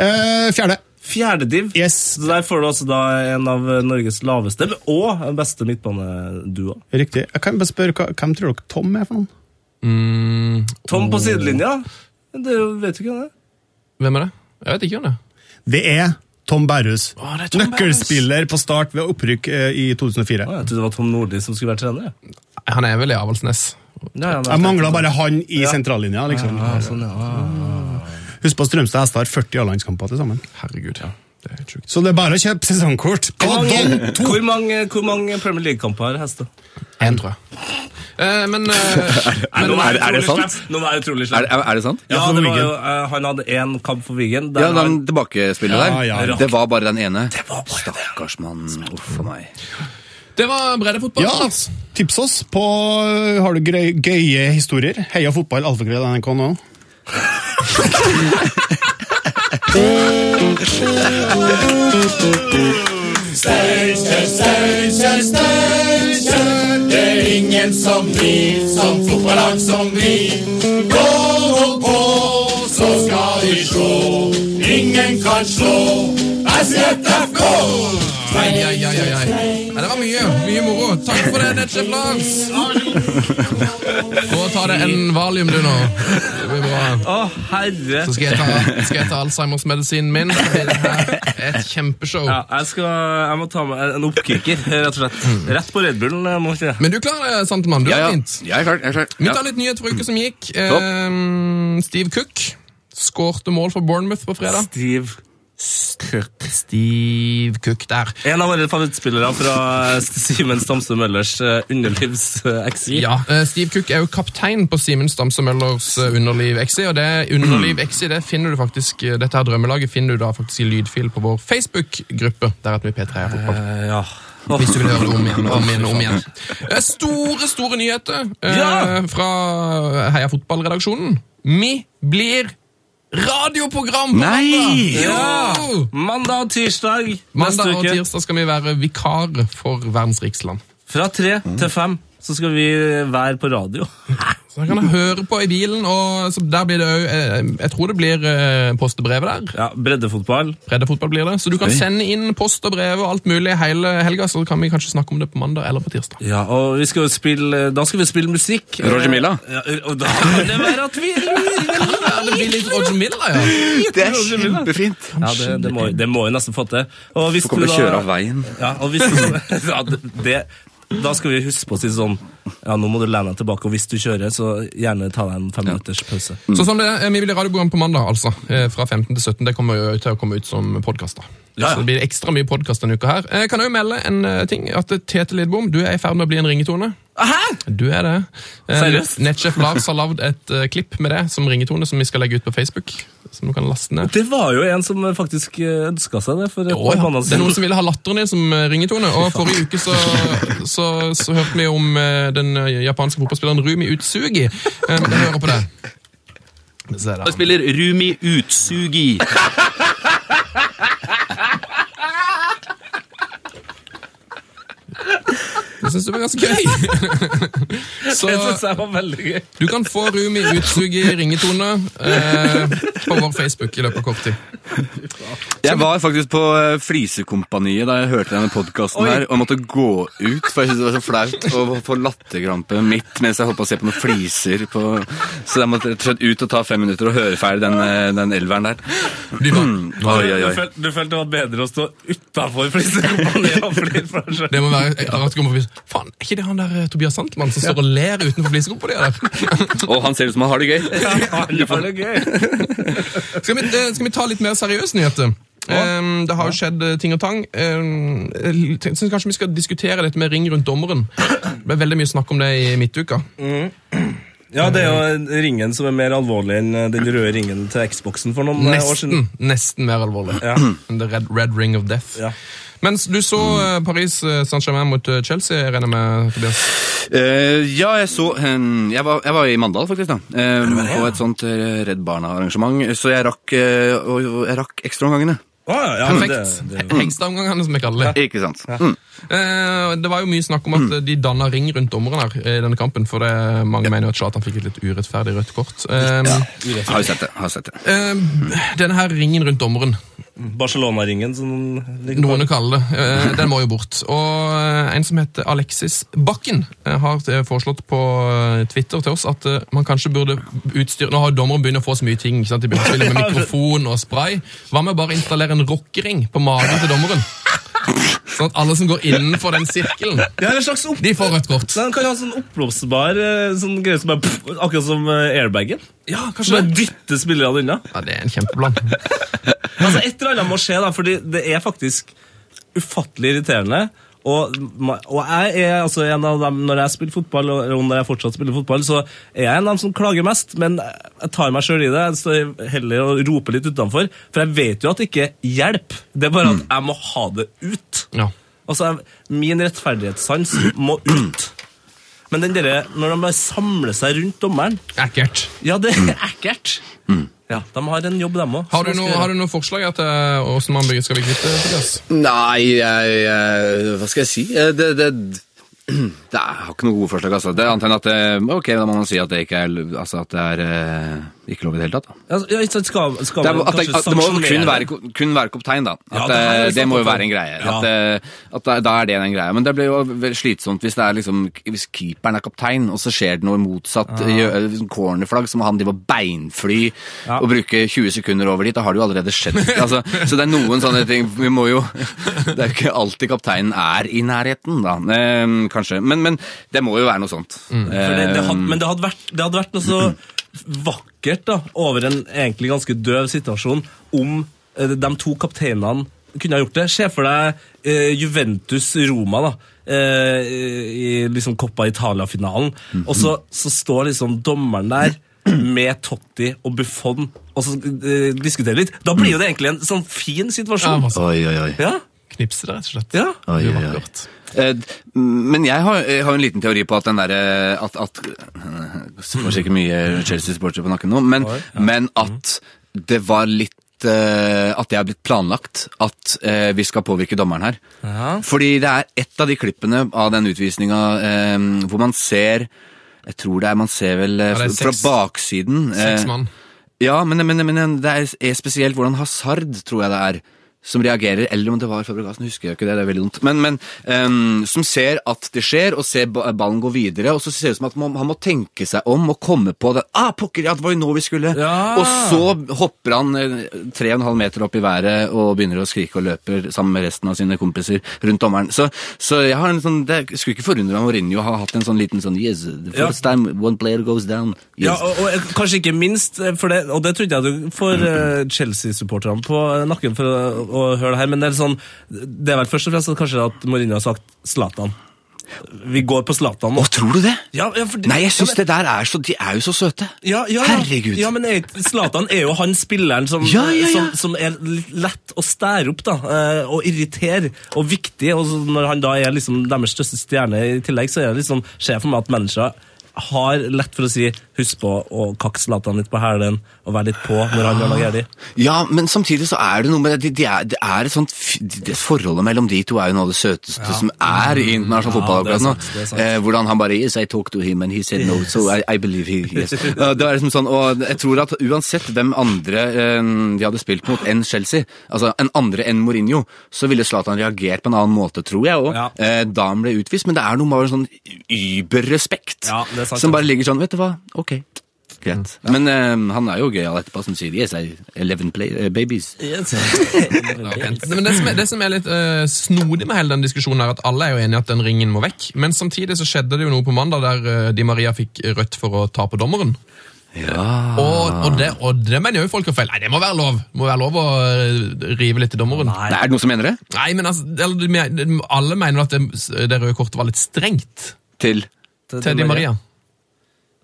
Speaker 9: Eh, fjerde.
Speaker 5: Fjerde div.
Speaker 9: Yes.
Speaker 5: Så der får du altså da en av Norges laveste men- og beste midtbaneduoer.
Speaker 9: Riktig. Jeg kan bare spørre, hva- Hvem tror dere Tom er for noen?
Speaker 5: Tom på sidelinja. Det er jo- vet du ikke det?
Speaker 4: Hvem er det? Jeg vet ikke hvem det er.
Speaker 9: Det er Tom Bærhus.
Speaker 4: Å, det er Tom
Speaker 9: Nøkkelspiller på start ved opprykk eh, i 2004.
Speaker 5: Jeg trodde det var Tom Nordli som skulle være trener. jeg.
Speaker 4: Han er vel i Avaldsnes.
Speaker 5: Nei, han er-
Speaker 9: Jeg mangla bare han i sentrallinja. liksom.
Speaker 5: Ja, sånn, ja.
Speaker 9: Husk på at Strømstad og Hestad har 40 A-landskamper til sammen.
Speaker 4: Herregud. Det er helt sjukt.
Speaker 9: Så det er bare å kjøpe sesongkort. På
Speaker 5: Hvor mange,
Speaker 9: Don to.
Speaker 5: hvor mange, hvor mange Premier League-kamper har hester?
Speaker 4: En, tror jeg. Eh, men eh,
Speaker 5: Nei, nå
Speaker 6: er-
Speaker 5: jeg
Speaker 6: er det
Speaker 5: utrolig
Speaker 6: sant?
Speaker 5: slem. Nå var jeg utrolig
Speaker 6: Er,
Speaker 5: slem.
Speaker 6: er, er det sant?
Speaker 5: Ja,
Speaker 9: for
Speaker 5: det var
Speaker 9: Wigan.
Speaker 5: jo, eh, han hadde én kamp for Wigan. der
Speaker 6: Ja, den
Speaker 5: han-
Speaker 6: tilbakespillet
Speaker 9: Ja,
Speaker 6: der.
Speaker 9: ja.
Speaker 6: Det var bare den ene.
Speaker 5: var bare det.
Speaker 6: Stakkars mann. Uff a meg.
Speaker 4: det var breddefotball.
Speaker 9: Ja,
Speaker 4: Lars.
Speaker 9: tips oss på øh, Har du grei- gøye historier? Heia fotball, alfakrøll, NRK nå.
Speaker 8: Steinkjer, Steinkjer, Steinkjer. Det er ingen som vi, som fotballag som vi. Gå nå på, så skal de slå. Ingen kan slå SFFK!
Speaker 4: Ai, ai, ai, ai, ai. Ja, det var mye. Mye moro. Takk for det, Netchef Lars. Gå og ta deg en valium, du, nå. Det blir bra.
Speaker 5: Å, herre.
Speaker 4: Så skal jeg ta, skal jeg ta Alzheimers-medisinen min. så blir det her Et kjempeshow.
Speaker 5: Ja, jeg, skal, jeg må ta med en- en oppkikker, rett og slett. Rett på Red Bullen. eh, Må jeg si det.
Speaker 4: Men du klarer det, Santemann. Du
Speaker 6: Ja,
Speaker 4: er
Speaker 6: ja.
Speaker 4: fint.
Speaker 6: Jeg er klar. Jeg er klar.
Speaker 4: Vi
Speaker 6: Ja.
Speaker 4: tar litt nyhet for uka som gikk. Ehm, Steve Cook skårte mål for Bournemouth på fredag.
Speaker 5: Steve.
Speaker 4: Steve Cook der.
Speaker 5: En av våre favorittspillere fra eh, Simen Stamse Møllers eh, underlivs eh, XI.
Speaker 4: Ja, eh, Steve Cook er jo kaptein på Simen Stamse Møllers eh, Underliv XI, og det Underliv XI det finner du faktisk, eh, dette her drømmelaget finner du da faktisk i lydfil på vår Facebook-gruppe. Der heter vi P3 er fotball.
Speaker 5: Eh, ja.
Speaker 4: Hvis du vil høre det om igjen. om igjen, om igjen. Eh, Store, store nyheter eh,
Speaker 5: Ja!
Speaker 4: fra Heia Fotball-redaksjonen. Vi blir radioprogram på
Speaker 6: Nei!
Speaker 4: mandag! Jo!
Speaker 5: Mandag og tirsdag neste
Speaker 4: Mandag og
Speaker 5: uke.
Speaker 4: tirsdag skal vi være vikarer for Verdens riksland.
Speaker 5: Fra tre til fem så skal vi være på radio.
Speaker 4: Så da kan jeg høre på i bilen, og så der blir det jo, eh, Jeg tror det blir eh, postebrevet der.
Speaker 5: Ja, Breddefotball.
Speaker 4: Breddefotball blir det. Så du kan sende inn post og brev og alt mulig hele helga, så kan vi kanskje snakke om det på mandag eller på tirsdag.
Speaker 5: Ja, og vi skal jo spille, da skal vi spille musikk. Eh,
Speaker 6: Roger Milla.
Speaker 5: Ja, og da kan det være at vi
Speaker 4: Ja, det blir litt Roger Miller, ja.
Speaker 6: Det er kjempefint.
Speaker 5: Ja, det, det, må, det må vi nesten få til. Og hvis
Speaker 6: Så kommer
Speaker 5: du
Speaker 6: du
Speaker 5: da-
Speaker 6: å kjøre av veien.
Speaker 5: Ja, og hvis du, ja, det, da skal vi huske på å si sånn Ja, nå må du lene deg tilbake, og hvis du kjører, så gjerne ta deg en fem minutters pause.
Speaker 4: Så sånn det er, eh, Vi blir radioprogram på mandag, altså. eh, Fra 15 til 17. Det kommer jo til å komme ut som podkast.
Speaker 5: Ja, ja.
Speaker 4: Så det blir ekstra mye podkast denne uka her. Jeg kan jo melde en eh, ting. At eh, Tete Lidbom, du er i ferd med å bli en ringetone.
Speaker 5: Hæ?
Speaker 4: Du er det. Eh,
Speaker 5: Seriøst?
Speaker 4: Netchef Lars har lagd et eh, klipp med det som ringetone, som vi skal legge ut på Facebook. Som du kan laste ned.
Speaker 5: Det var jo en som faktisk ønska seg det for et
Speaker 4: Å,
Speaker 5: par
Speaker 4: ja.
Speaker 5: måneder
Speaker 4: Det er noen
Speaker 5: siden.
Speaker 4: som ville ha latteren din som eh, ringetone. Og forrige uke så, så, så hørte vi om eh, den eh, japanske fotballspilleren Rumi Utsugi. Eh, Vi hører på det. Se der.
Speaker 10: spiller Rumi Utsugi.
Speaker 4: Jeg syns det var ganske gøy.
Speaker 5: Det synes
Speaker 4: Så
Speaker 5: jeg var veldig gøy.
Speaker 4: du kan få Rumi Utsugi ringetone eh, på vår Facebook i løpet av kort tid.
Speaker 6: Jeg var faktisk på eh, Flisekompaniet da jeg hørte denne podkasten her, og måtte gå ut, for jeg syntes det var så flaut å få latterkrampe midt mens jeg holdt på å se på noen fliser på Så jeg måtte rett og slett ut og ta fem minutter og høre ferdig den, eh, den elveren der. Mm. Oi, oi,
Speaker 5: Du,
Speaker 6: oi.
Speaker 5: følte, du følte det var bedre å stå utafor flisekompaniet og flire for deg sjøl?
Speaker 4: Det må være etter at du kommer forbi så, Faen, er ikke det han der eh, Tobias Sandmann som står og ler utenfor flisekompaniet der?
Speaker 6: Og han ser ut som han har det gøy.
Speaker 5: Det var det gøy.
Speaker 4: Skal vi, eh, skal vi ta litt mer seriøse nyheter? Ehm, det har jo skjedd eh, ting og tang. Ehm, jeg tenk- synes kanskje vi skal diskutere dette med ring rundt dommeren. Det ble veldig mye snakk om det i midtuka.
Speaker 5: Ja, det er jo ringen som er mer alvorlig enn eh, den røde ringen til Xboxen for noen eh, år siden.
Speaker 4: Nesten nesten mer alvorlig
Speaker 5: Ja.
Speaker 4: enn The Red, Red Ring of Death.
Speaker 5: Ja.
Speaker 4: Mens du så
Speaker 5: Mm.
Speaker 4: eh, Paris eh, Saint-Germain mot eh, Chelsea, jeg regner med, Tobias.
Speaker 6: Eh, ja, jeg så eh, jeg, var, jeg var i Mandal, faktisk, da. eh, Og et sånt eh, Redd Barna-arrangement. Så jeg rakk, eh, og- og jeg rakk ekstraomgangene.
Speaker 5: Å, ja, ja, men
Speaker 4: Perfekt.
Speaker 5: det- Mm. det-
Speaker 4: Hengstavgangene, som jeg kaller det.
Speaker 6: Ikke sant? Mm.
Speaker 4: Eh, Det var jo mye snakk
Speaker 5: Mm.
Speaker 4: om at eh, de danna ring rundt dommeren her eh, i denne kampen, for det, mange mener jo at Zlatan fikk et litt urettferdig rødt kort. Eh,
Speaker 6: Har jo sett det. har jo sett det.
Speaker 4: eh, Denne her ringen rundt dommeren,
Speaker 5: Barcelona-ringen som ligger på-
Speaker 4: noen kaller det, eh, den må jo bort. Og eh, en som heter Alexis Bakken, eh, har eh, foreslått på eh, Twitter til oss at eh, man kanskje burde utstyre Nå har dommeren begynt å få så mye ting. ikke sant? De begynner å spille med mikrofon og spray. Hva med å bare installere en rockering på magen til dommeren? Sånn at alle som går innenfor den sirkelen,
Speaker 5: Det er en slags opp...
Speaker 4: de får rødt kort.
Speaker 5: Den kan ha sånn oppblåsbar eh, sånn greie som bare pff, Akkurat som eh, airbagen.
Speaker 4: Ja,
Speaker 5: Som
Speaker 4: kanskje
Speaker 5: bare
Speaker 4: det.
Speaker 5: dytter spillerne unna.
Speaker 4: Ja, det er en kjempeplan.
Speaker 5: Altså, Et eller annet må skje, da, fordi det er faktisk ufattelig irriterende. Og, og jeg er altså en av dem, Når jeg spiller fotball, og og når jeg fortsatt spiller fotball, så er jeg en av dem som klager mest. Men jeg tar meg sjøl i det. Jeg står heller og roper litt utenfor. For jeg vet jo at det ikke hjelper. Det er bare at jeg må ha det ut.
Speaker 4: Mm. Ja.
Speaker 5: Altså, jeg- Min rettferdighetssans må ut. Men den derre når de bare samler seg rundt dommeren
Speaker 4: Ekkelt.
Speaker 5: Ja, det er ekkelt. Ja, De har en jobb, dem òg.
Speaker 4: Mm. Har du, noe, har du noen forslag til hvordan man skal bli kvitt det? Tobias?
Speaker 6: Nei, jeg, jeg Hva skal jeg si? Eh, Det, det, det er, jeg har ikke noe gode forslag, altså. Det er annet enn at det- Ok, da må man si at det ikke er Altså at det er eh, ikke lov i det hele tatt, da.
Speaker 5: Altså, Ja, ja, ikke sant, skal, skal
Speaker 6: Det, er,
Speaker 5: man
Speaker 6: at det,
Speaker 5: kanskje
Speaker 6: at det må jo kun
Speaker 5: sanksjonere?
Speaker 6: være, ko- kun være kaptein, da.
Speaker 5: Ja,
Speaker 6: At,
Speaker 5: det er jo
Speaker 6: eh, det må jo
Speaker 5: sant,
Speaker 6: være en greie.
Speaker 5: ja.
Speaker 6: At, eh, at da, da er det den greia. Men det blir jo veldig slitsomt hvis, det er liksom, hvis keeperen er kaptein, og så skjer det noe motsatt. gjør- eh, liksom Cornerflagg, så må han drive og beinfly
Speaker 5: Ja.
Speaker 6: og bruke 20 sekunder over dit. Da har det jo allerede skjedd. Altså, så det er noen sånne ting Vi må jo Det er jo ikke alltid kapteinen er i nærheten, da. Eh, kanskje. Men, men det må jo være noe sånt.
Speaker 5: For det, det
Speaker 6: Eh,
Speaker 5: hadde, men det hadde, vært, det hadde vært noe så
Speaker 6: Mm.
Speaker 5: vakkert da, over en egentlig ganske døv situasjon om eh, de to kapteinene kunne ha gjort det. Se for deg eh, Juventus-Roma da, eh, i liksom Coppa Italia-finalen,
Speaker 6: Mhm.
Speaker 5: og så, så står liksom dommeren der med Totti og Buffon og så eh, diskuterer litt. Da blir jo det egentlig en sånn fin
Speaker 4: Ja,
Speaker 5: situasjon.
Speaker 4: bare så
Speaker 6: Oi, oi, oi.
Speaker 5: Ja,
Speaker 4: knipse det, rett og slett.
Speaker 5: ja.
Speaker 6: Oi,
Speaker 4: Det er
Speaker 6: oi, oi.
Speaker 4: vakkert.
Speaker 6: Eh, Men jeg har, jeg har en liten teori på at den derre at, at Det var sikkert mye Chelsea-sportere på nakken nå, men, men at
Speaker 4: Mm.
Speaker 6: det var litt eh, at det er blitt planlagt at eh, vi skal påvirke dommeren her. Fordi det er et av de klippene av den utvisninga eh, hvor man ser Jeg tror det er man ser vel eh,
Speaker 4: Ja, det er
Speaker 6: fra
Speaker 4: seks-
Speaker 6: baksiden eh,
Speaker 4: Seks mann.
Speaker 6: ja, men, men, men det er, er spesielt hvordan Hazard, tror jeg det er, som reagerer, eller om det var Fabregas, nå husker jeg ikke det, det er veldig dumt, men, men ehm, som ser at det skjer, og ser ba- ballen gå videre, og så ser det ut som at man, han må tenke seg om og komme på det. Ah, pokker, ja, det var jo nå vi skulle.
Speaker 5: Ja.
Speaker 6: Og så hopper han eh, tre og en halv meter opp i været og begynner å skrike og løper sammen med resten av sine kompiser rundt dommeren. Så, så jeg har en sånn, det skulle ikke forundre meg om Mourinho har hatt en sånn liten sånn, yes, the
Speaker 5: Ja.
Speaker 6: first time one player goes down. Yes.
Speaker 5: Ja, og, og kanskje ikke minst, eh, for det, og det trodde jeg du får
Speaker 6: Mm.
Speaker 5: eh, Chelsea-supporterne på eh, nakken for å, å høre det her, men det er sånn, det er vel først og fremst at kanskje at Mourinho har sagt Zlatan. Vi går på Zlatan nå.
Speaker 6: Å, tror du det?
Speaker 5: Ja, ja, for det-
Speaker 6: Nei, jeg syns
Speaker 5: ja, men-
Speaker 6: det der er så De er jo så søte.
Speaker 5: ja, ja, ja.
Speaker 6: Herregud.
Speaker 5: Ja, men jeg- Zlatan er jo han spilleren som,
Speaker 6: Ja, ja, ja.
Speaker 5: som, som er litt lett å stære opp, da, eh, og irritere, og viktig, og så når han da er liksom deres største stjerne i tillegg, så er det liksom, ser jeg for meg at mennesker har lett for å si, husk på å kakke Zlatan litt på hælen, og være litt på når han gjør noe gærlig.
Speaker 6: Ja, men samtidig så er det noe med det, de, de er, det er et sånt f- de- det Forholdet mellom de to er jo noe av det søteste som er i internasjonal fotball
Speaker 5: det er
Speaker 6: akkurat nå.
Speaker 5: sant, det er sant.
Speaker 6: Eh, hvordan han bare Yes, I talked to him, and he said no, so I, I believe he yes. Eh, Det er liksom sånn, og jeg tror at uansett hvem andre eh, de hadde spilt mot enn Chelsea, altså en andre enn Mourinho, så ville Zlatan reagert på en annen måte, tror jeg òg.
Speaker 5: Ja.
Speaker 6: Eh, da han ble utvist. Men det er noe med sånn überrespekt
Speaker 5: Ja, det er sant.
Speaker 6: som bare ligger sånn Vet du hva, ok. Greit. Men eh, han er jo gøyal etterpå, som sier yes, I 11 play, eh, babies.
Speaker 4: Nei, Men det som er, det som er litt eh, snodig med hele den diskusjonen, er at alle er jo enige at den ringen må vekk. Men samtidig så skjedde det jo noe på mandag der eh, Di Maria fikk rødt for å ta på dommeren. Og, og, det, og det mener jo folk har feil. Nei, det må være lov Det må være lov å eh, rive litt i dommeren. Nei,
Speaker 6: Nei, er det noen som mener det?
Speaker 4: men altså, eller du men- Alle mener at det, det røde kortet var litt strengt
Speaker 6: Til
Speaker 4: til Di Maria.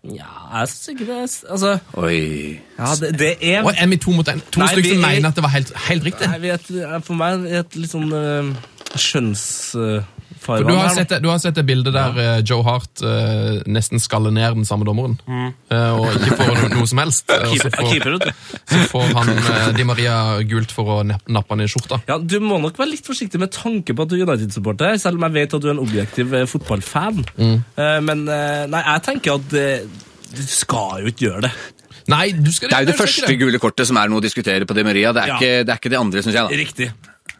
Speaker 5: Ja, jeg synes ikke det, er- altså,
Speaker 6: Oi.
Speaker 5: ja, det, det er...
Speaker 4: Og er vi to mot én? To
Speaker 5: Nei,
Speaker 4: stykker som
Speaker 5: vi-
Speaker 4: mener at det var helt, helt riktig.
Speaker 5: Nei, vi er et, er for meg et litt sånn eh, uh, skjønnsfarvann.
Speaker 4: Du har, sett det, du har sett det bildet der eh, Joe Hart eh, nesten skaller ned den samme dommeren.
Speaker 6: Mm.
Speaker 4: Eh, og ikke får noe, noe som helst. Eh, og så
Speaker 5: Keeper,
Speaker 4: får,
Speaker 5: keeper, vet du.
Speaker 4: så får han eh, Di Maria gult for å nepp- nappe han i skjorta.
Speaker 5: Ja, Du må nok være litt forsiktig med tanke på at du er United-supporter, selv om jeg vet at du er en objektiv eh, fotballfan.
Speaker 4: Mm.
Speaker 5: Eh, men eh, nei, jeg tenker at eh, du skal jo ikke gjøre det.
Speaker 4: Nei, du skal
Speaker 6: Det er jo
Speaker 4: du
Speaker 6: det
Speaker 4: skal ikke
Speaker 6: første gule kortet som er noe å diskutere på Di Maria. Det er,
Speaker 5: Ja.
Speaker 6: ikke, det, er ikke det andre, syns jeg. da.
Speaker 5: Riktig.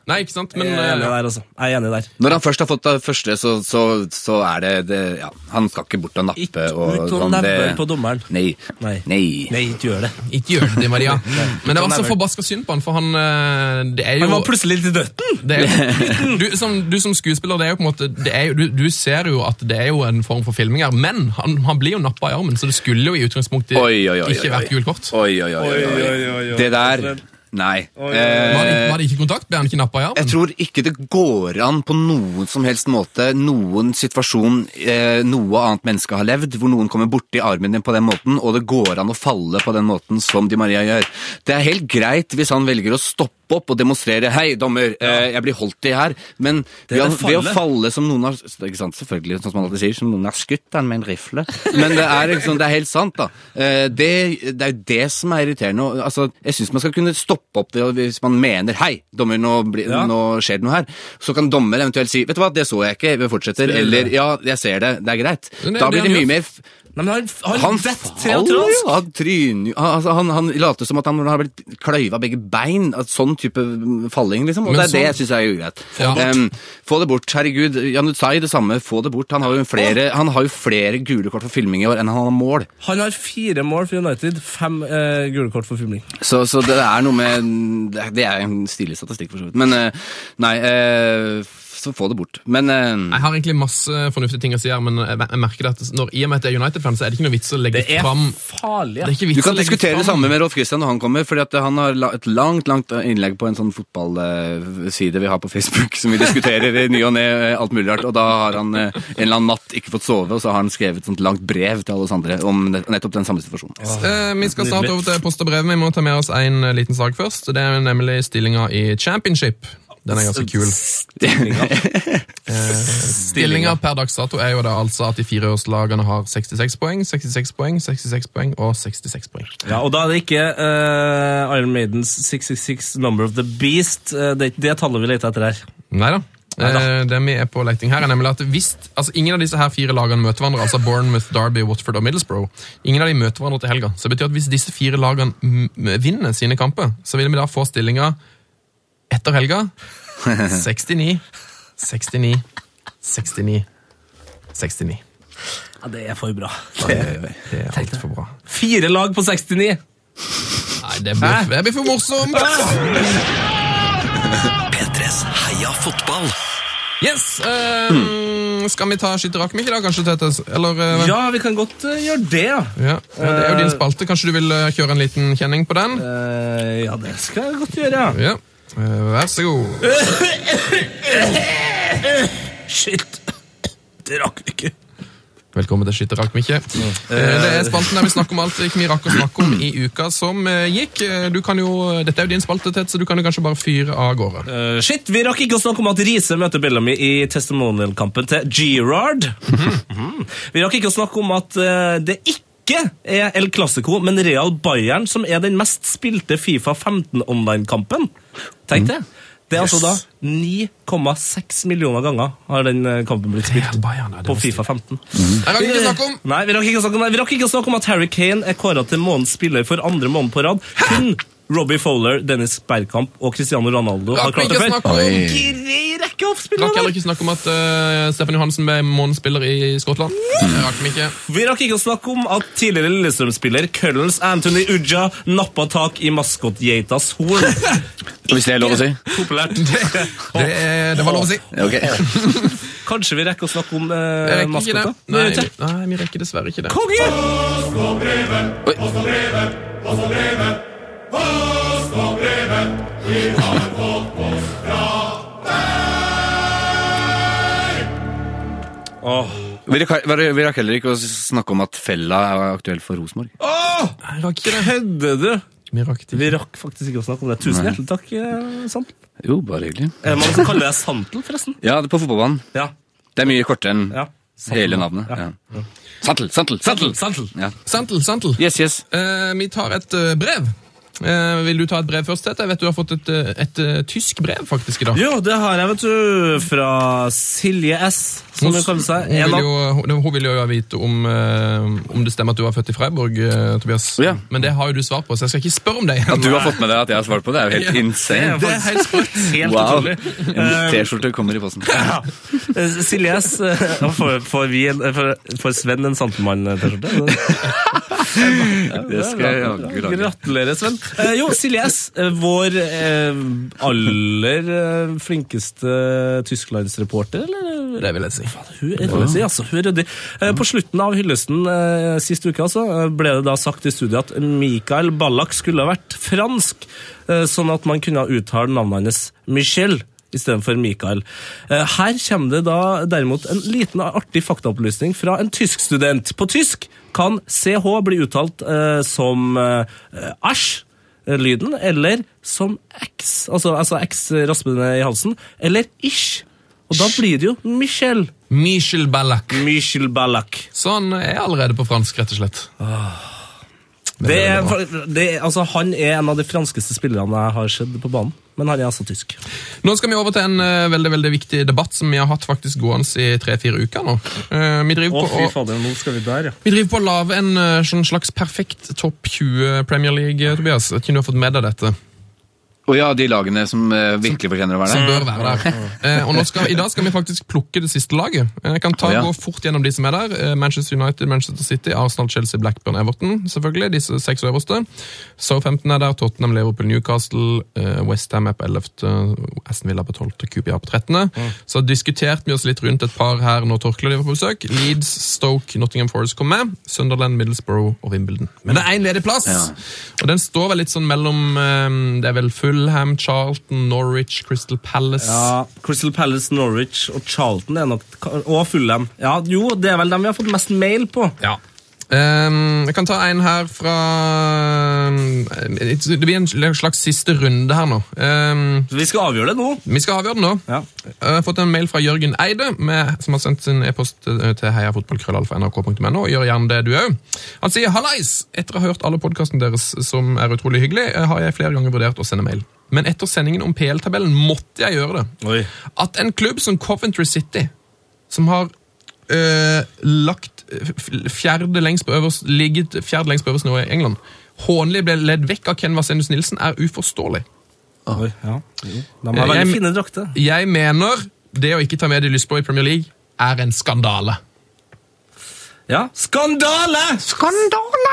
Speaker 4: Nei, ikke sant? Men
Speaker 5: Jeg er enig
Speaker 4: eh,
Speaker 5: der, altså. Jeg er enig der.
Speaker 6: Når han først har fått det første, så, så, så er det, det ja, Han skal ikke bort og nappe.
Speaker 5: Ikke
Speaker 6: og,
Speaker 5: ut og
Speaker 6: sånn,
Speaker 5: nebbe
Speaker 6: det-
Speaker 5: på dommeren.
Speaker 6: Nei. Nei.
Speaker 5: Nei. Nei, ikke gjør det.
Speaker 4: eh, ikke gjør det, Maria. Men
Speaker 6: Sånn
Speaker 4: det var så
Speaker 5: Nei.
Speaker 4: forbaska synd på han, for han eh, Det er jo
Speaker 5: Han var plutselig litt i døtten!
Speaker 4: det er, du, som, du som skuespiller, det er jo på en måte det er jo, du, du ser jo at det er jo en form for filming her, men han, han blir jo nappa i armen, så det skulle jo i utgangspunktet
Speaker 6: Oi, oi, oi, oi,
Speaker 4: ikke
Speaker 6: oi.
Speaker 4: vært gult kort.
Speaker 6: Oi, oi, oi, oi, oi. Det der Nei.
Speaker 4: Var det,
Speaker 6: Eh,
Speaker 4: var det ikke kontakt? Ble han ikke nappa i
Speaker 6: jeg
Speaker 4: armen?
Speaker 6: tror ikke det går an på noen som helst måte, noen situasjon, eh, noe annet menneske har levd, hvor noen kommer borti armen din på den måten, og det går an å falle på den måten som Di Maria gjør. Det er helt greit hvis han velger å stoppe opp og demonstrere 'hei, dommer, eh, jeg blir holdt i her', men ved, å-
Speaker 5: det
Speaker 6: ved å
Speaker 5: fallet.
Speaker 6: falle som noen har ikke sant, Selvfølgelig, sånn som man alltid sier, som noen har skutt han med en rifle. Men det er, liksom, det er helt sant, da. Eh, Det, det er jo det som er irriterende. og, Altså, jeg syns man skal kunne stoppe opp det og hvis man mener 'hei, dommer, nå, blir-
Speaker 5: Ja.
Speaker 6: nå skjer det noe her'. Så kan dommer eventuelt si 'vet du hva, det så jeg ikke, vi fortsetter', eller 'ja, jeg ser det, det er greit'.
Speaker 4: Men det er det
Speaker 6: Da blir det
Speaker 4: han
Speaker 6: mye
Speaker 4: gjør.
Speaker 6: mer f-
Speaker 5: Nei, men han, han,
Speaker 6: han
Speaker 5: vet
Speaker 6: faller jo! Han tryner jo han- altså, Han, han later som at han har blitt kløyva begge bein. at Sånn type falling, liksom. Og
Speaker 4: Men
Speaker 6: det
Speaker 4: sånn-
Speaker 6: er det jeg syns er ugreit.
Speaker 4: Ja.
Speaker 6: Em, få det bort. Herregud, Jan Utsai det samme. Få det bort. Han har jo flere, han har jo flere gule kort for filming i år enn han har mål.
Speaker 5: Han har fire mål for United, fem eh, gule kort for filming.
Speaker 6: Så, så det er noe med det er- Det er en stilig statistikk, for så vidt. Men eh, nei, eh, så få det bort. Men eh,
Speaker 4: Jeg har egentlig masse fornuftige ting å si her, men jeg jeg merker det at når, i og med at jeg er United-fan, så er det ikke noe vits å legge
Speaker 5: Det er
Speaker 4: fram
Speaker 5: farlig,
Speaker 4: det
Speaker 5: ja.
Speaker 4: er ikke vits
Speaker 6: du kan
Speaker 4: å legge
Speaker 6: diskutere det
Speaker 4: fram-
Speaker 6: samme med Rolf Christian når han kommer, fordi at han har la- et langt langt innlegg på en sånn fotballside vi har på Facebook, som vi diskuterer i ny og ne, eh, alt mulig rart. Og da har han eh, en eller annen natt ikke fått sove, og så har han skrevet et sånt langt brev til alle oss andre om nett- nettopp den samme situasjonen.
Speaker 4: Eh, vi skal snart over til post og brev. men Vi må ta med oss en eh, liten sak først. Det er nemlig stillinga i championship. Den er ganske kul. Eh, Stillinga per dags dato er jo da altså at de fire årslagene har 66 poeng, 66 poeng, 66 poeng og 66 poeng.
Speaker 5: Ja, og da er det ikke eh, Iron Maidens 666 Number of the Beast. eh, det er ikke det tallet vi leter etter her.
Speaker 4: Nei da.
Speaker 5: Neida.
Speaker 4: Eh, Det vi er e på leiting her, er nemlig at hvis altså ingen av disse her fire lagene møter hverandre, altså Bournemouth, Derby, Watford og Middlesbrough, ingen av de møter hverandre til helga. Så det betyr at hvis disse fire lagene m- vinner sine kamper, så vil vi da få stillinga etter helga 69, 69, 69, 69.
Speaker 5: Ja, Det er for bra.
Speaker 4: Det er altfor bra.
Speaker 5: Fire lag på 69!
Speaker 4: Nei, det blir, Ah! det blir for morsomt!
Speaker 3: P3s Heia fotball.
Speaker 4: Yes! eh, Skal vi ta skytterraken i dag, kanskje, Tete? Eller eh,
Speaker 5: Ja, vi kan godt eh, gjøre det, ja.
Speaker 4: Ja, ja, det er jo din spalte. Kanskje du vil eh, kjøre en liten kjenning på den?
Speaker 5: Eh, ja, det skal jeg godt gjøre, ja.
Speaker 4: Ja. Eh, Vær så god.
Speaker 5: Shit. Det rakk vi ikke.
Speaker 4: Velkommen til Skytter rakk mikkje.
Speaker 5: Mm.
Speaker 4: Det er spalten der vi snakker om alt vi rakk å snakke om i uka som eh, gikk. Eh, Du kan jo, dette er jo din spalte, Tett, så du kan jo kanskje bare fyre av gårde.
Speaker 5: Eh, shit, vi rakk ikke å snakke om at Riise møter Bellamy i testimonial-kampen til Gerard. Vi rakk ikke å snakke om at eh, det ikke er El Clasico, men Real Bayern som er den mest spilte Fifa 15-online-kampen. Tenk
Speaker 4: Mm.
Speaker 5: det. Det er altså da 9,6 millioner ganger har den eh, kampen blitt spilt
Speaker 4: Real Bayern, ja, det
Speaker 5: på
Speaker 4: var Mm.
Speaker 5: Fifa 15.
Speaker 4: Jeg rakk ikke å snakke om
Speaker 5: Nei, vi rakk ikke å snakke om det. Vi rakk ikke å snakke om at Harry Kane er kåra til månedens spiller for andre måned på rad. Kun Robbie Fowler, Dennis Bergkamp og Cristiano Ronaldo har
Speaker 4: Rakk
Speaker 5: klart
Speaker 4: ikke
Speaker 5: det
Speaker 4: å
Speaker 5: før.
Speaker 4: snakke om
Speaker 5: Grei rekke av
Speaker 4: Rakk heller
Speaker 5: spillere der.
Speaker 4: ikke snakke om at eh, Stefan Johansen ble månedsspiller i Skottland. Eh, Det rakk vi ikke.
Speaker 5: Vi rakk ikke å snakke om at tidligere Lillestrøm-spiller Cullens Anthony Uja nappa tak i maskotgeitas horn.
Speaker 6: Hvis det er lov å si.
Speaker 5: Populært.
Speaker 4: Det, er- det var lov å si.
Speaker 6: Ok.
Speaker 5: Kanskje vi rekker å snakke om
Speaker 4: Jeg
Speaker 5: eh,
Speaker 4: rekker ikke det.
Speaker 5: maskota? Vi
Speaker 4: Nei,
Speaker 5: gjør
Speaker 4: vi,
Speaker 5: ikke.
Speaker 4: nei, vi rekker dessverre ikke det.
Speaker 5: Konge! Åh.
Speaker 6: Vi rakk, vi rakk heller ikke å snakke om at Fella er aktuell for Rosenborg.
Speaker 4: Nei, vi rakk ikke det.
Speaker 5: Kødder du?
Speaker 4: Vi rakk det.
Speaker 5: Vi rakk faktisk ikke å snakke om det. Tusen hjertelig takk, eh, Sant.
Speaker 6: Jo, bare hyggelig.
Speaker 5: Er det mange som kaller deg Santel, forresten?
Speaker 6: Ja, det er på fotballbanen.
Speaker 5: Ja.
Speaker 6: Det er mye kortere enn
Speaker 5: ja. Santel.
Speaker 6: hele navnet. Ja. Santel, Santel, Santel!
Speaker 5: Santel.
Speaker 6: Ja.
Speaker 4: Santel, Santel.
Speaker 6: Yes, yes.
Speaker 4: Eh, vi tar et eh, brev. Eh, vil du ta et brev først, Tete? Jeg vet du har fått et, eh, et, eh, tysk brev faktisk i dag.
Speaker 5: Jo, det har jeg, vet du. Fra Silje S, som hun kaller seg.
Speaker 4: Hun
Speaker 5: En
Speaker 4: vil,
Speaker 5: av,
Speaker 4: jo, hun, hun vil jo vite om, eh, om det stemmer at du var født i Freiburg, eh, Tobias.
Speaker 6: Ja.
Speaker 4: Men det har jo du svar på, så jeg skal ikke spørre om det igjen.
Speaker 6: At du har fått med deg at jeg har svart på det, er jo helt insane.
Speaker 4: Det er helt sprøtt.
Speaker 5: helt
Speaker 6: Wow.
Speaker 5: utrolig.
Speaker 6: En T-skjorte kommer i posten.
Speaker 5: Ja. Eh, Silje S, eh, nå får, får, vi en, eh, får, får Sven en Santemann-T-skjorte?
Speaker 6: Det skal jeg jaggu lage.
Speaker 5: Gratulerer, Sven. Eh, jo, Silje S, eh, vår eh, aller eh, flinkeste tysklandsreporter, eller?
Speaker 4: Det vil jeg si.
Speaker 5: Hun er ryddig, altså. Hun er ryddig. Eh, På slutten av hyllesten eh, sist uke altså, eh, ble det da sagt i studiet at Mikael Ballack skulle ha vært fransk, eh, sånn at man kunne ha uttalt navnet hans Michel. Istedenfor Mikael. Eh, Her kommer det da derimot en liten artig faktaopplysning fra en tysk student. På tysk kan CH bli uttalt eh, som eh, æsj, eh, lyden, eller som X, altså, altså X eh, raspende i halsen, eller ish. Og da blir det jo Michel.
Speaker 4: Michel Ballack.
Speaker 5: Michel Ballack.
Speaker 4: Sånn er jeg allerede på fransk, rett og slett.
Speaker 5: Det er,
Speaker 4: veldig bra.
Speaker 5: det er, altså, han er en av de franskeste spillerne jeg har sett på banen. Men han er altså tysk.
Speaker 4: Nå skal vi over til en eh, veldig veldig viktig debatt som vi har hatt faktisk gående i tre-fire uker nå. Eh, vi driver på å-
Speaker 5: fader, nå skal vi der, ja.
Speaker 4: Vi driver på å lage en eh, sånn slags perfekt topp 20 Premier League, eh, Tobias. Jeg vet ikke om du har fått med deg dette.
Speaker 6: Og ja, de lagene som eh, virkelig fortjener å være
Speaker 4: Som
Speaker 6: der.
Speaker 4: bør være der. Eh, og nå skal, I dag skal vi faktisk plukke det siste laget. Eh, Jeg kan ta
Speaker 6: Å, ja.
Speaker 4: gå fort gjennom de som er der. Eh, Manchester United, Manchester City, Arsenal, Chelsea, Blackburn, Everton. selvfølgelig, disse seks øverste. Southampton er der, Tottenham, Liverpool, Newcastle, eh, West Ham er på 11., Aston Villa på 12., QPR på 13. Så diskuterte vi oss litt rundt et par her når Torkel og de var på besøk. Leeds, Stoke, Nottingham Forest kom med. Sunderland, Middlesbrough og Wimbledon. Men det er én ledig plass! Og den står vel litt sånn mellom eh, Det er vel Fulham, Charlton, Norwich, Crystal Palace
Speaker 5: Crystal Palace, Norwich og Charlton er nok Og Fulham. Ja, jo, det er vel dem vi har fått mest mail på.
Speaker 4: Ja. Ehm, jeg kan ta en her fra ehm, Det blir en slags siste runde her nå. Ehm,
Speaker 5: Vi skal avgjøre det nå.
Speaker 4: vi skal avgjøre den nå.
Speaker 5: Ja.
Speaker 4: Jeg har fått en mail fra Jørgen Eide, med, som har sendt sin e-post eh, til heiafotballkrøllalfa.nrk.no. Gjør gjerne det, du òg. Han sier hallais! Etter å ha hørt alle podkastene deres, som er utrolig hyggelig, eh, har jeg flere ganger vurdert å sende mail. Men etter sendingen om PL-tabellen måtte jeg gjøre det.
Speaker 5: Oi.
Speaker 4: At en klubb som Coventry City, som har øh, lagt f- fjerde lengst på øverst, ligget fjerde lengst på øverst nivå i England, hånlig ble ledd vekk av Ken Vasenius Nilsen, er uforståelig.
Speaker 5: Oi, ja. Jo, De har veldig
Speaker 4: Jeg-
Speaker 5: fine drakter.
Speaker 4: Jeg mener det å ikke ta med de lystblå i Premier League er en skandale.
Speaker 5: Ja. Skandale! Skandale!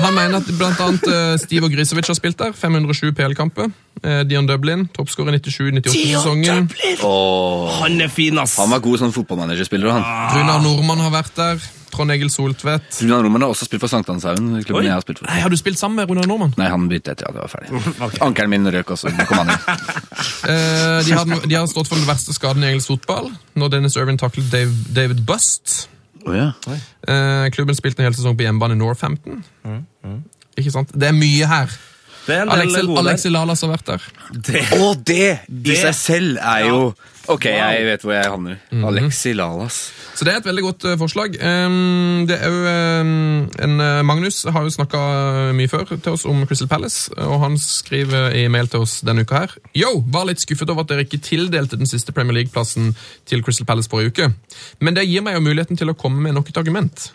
Speaker 4: Han mener at blant annet eh, Steve og Grisevic har spilt der. 507 PL-kamper. Eh, Dion Dublin, toppskårer 97-98-sesongen.
Speaker 5: Han er fin, ass!
Speaker 6: Han var god sånn fotballmanagerspiller, og han.
Speaker 4: Runar Nordmann har vært der. Trond Egil Soltvedt.
Speaker 6: Runar Roman har også spilt for Sankthanshaugen, klubben jeg har spilt for.
Speaker 4: Nei, Har du spilt sammen med Runar Nordmann?
Speaker 6: Nei, han bytte etter at jeg var ferdig. Ankelen min røk også. men Kom han inn.
Speaker 4: Eh, de, har, de har stått for den verste skaden i engelsk fotball. Når Dennis Irvin taklet Dave, David Bust.
Speaker 6: Å ja.
Speaker 4: Eh, klubben spilte en hel sesong på hjemmebane i Northampton. mm. Ikke sant? Det er mye her.
Speaker 5: Det er en del
Speaker 4: Alexi,
Speaker 5: gode der.
Speaker 4: Alexi Lalas har vært der.
Speaker 6: Og det i seg selv er jo Ok, jeg vet hvor jeg havner. Alexi Lalas.
Speaker 4: Så det er et veldig godt eh, forslag. Ehm, det er jo ehm, en eh, Magnus har jo snakka mye før til oss om Crystal Palace, og han skriver i mail til oss denne uka her Yo, var litt skuffet over at dere ikke tildelte den siste Premier League-plassen til Crystal Palace forrige uke, men det gir meg jo muligheten til å komme med nok et argument.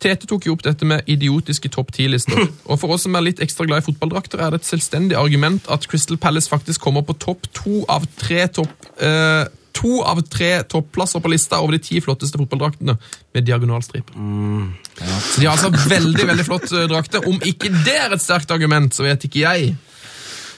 Speaker 4: Tete tok jo opp dette med idiotiske topp 10-lister. Og for oss som er litt ekstra glad i fotballdrakter, er det et selvstendig argument at Crystal Palace faktisk kommer på topp to av tre topp eh, To av tre topplasser på lista over de ti flotteste fotballdraktene med diagonalstriper.
Speaker 5: Mm,
Speaker 4: Så de har altså veldig veldig flott eh, drakte. Om ikke det er et sterkt argument, så vet ikke jeg.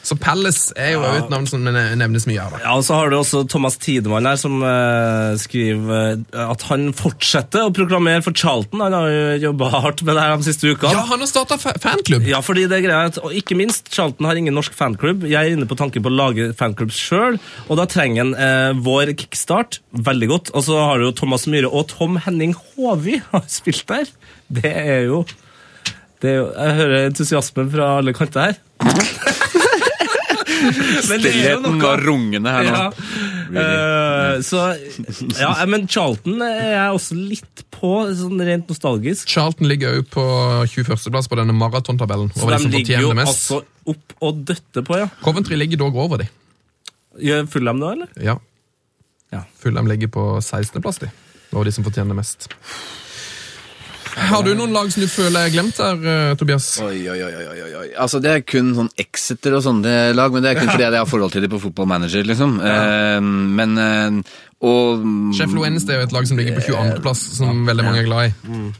Speaker 4: Så Palace er jo et navn som ne- nevnes mye her. da.
Speaker 5: Ja, og så har du også Thomas Tidemann her, som eh, skriver eh, at han fortsetter å proklamere for Charlton. Han har jo jobba hardt med det her de siste ukene.
Speaker 4: Ja, han har starta fanklubb!
Speaker 5: Ja, fordi det er greia at, og ikke minst, Charlton har ingen norsk fanklubb. Jeg er inne på tanken på å lage fanklubb sjøl, og da trenger en eh, vår kickstart veldig godt. Og så har du jo Thomas Myhre og Tom Henning Håvi har spilt der. Det er jo det er jo, Jeg hører entusiasmen fra alle kanter her. Men det er jo
Speaker 6: Stillheten
Speaker 5: noe-
Speaker 6: var rungende her nå.
Speaker 5: ja. Eh, så Ja, eh, men Charlton er jeg også litt på, sånn rent nostalgisk.
Speaker 4: Charlton ligger òg på 21.-plass på denne maratontabellen.
Speaker 5: Så
Speaker 4: over de som
Speaker 5: de ligger
Speaker 4: fortjener
Speaker 5: jo
Speaker 4: det mest.
Speaker 5: altså opp og døtter på, ja.
Speaker 4: Coventry ligger dog over de.
Speaker 5: Gjør Fulham det, eller?
Speaker 4: Ja.
Speaker 5: Ja.
Speaker 4: Fulham ligger på 16.-plass, de. Over de som fortjener mest. Har du noen lag som du føler er glemt der, eh, Tobias?
Speaker 6: Oi, oi, oi, oi, oi, oi. Altså, det er kun sånn Exeter og sånne lag, men det er kun fordi jeg har forhold til dem på Football Manager, liksom. Eh, men eh, Og
Speaker 4: Sheffield Wednesday er jo et lag som ligger på 22.-plass, som veldig mange er glad i.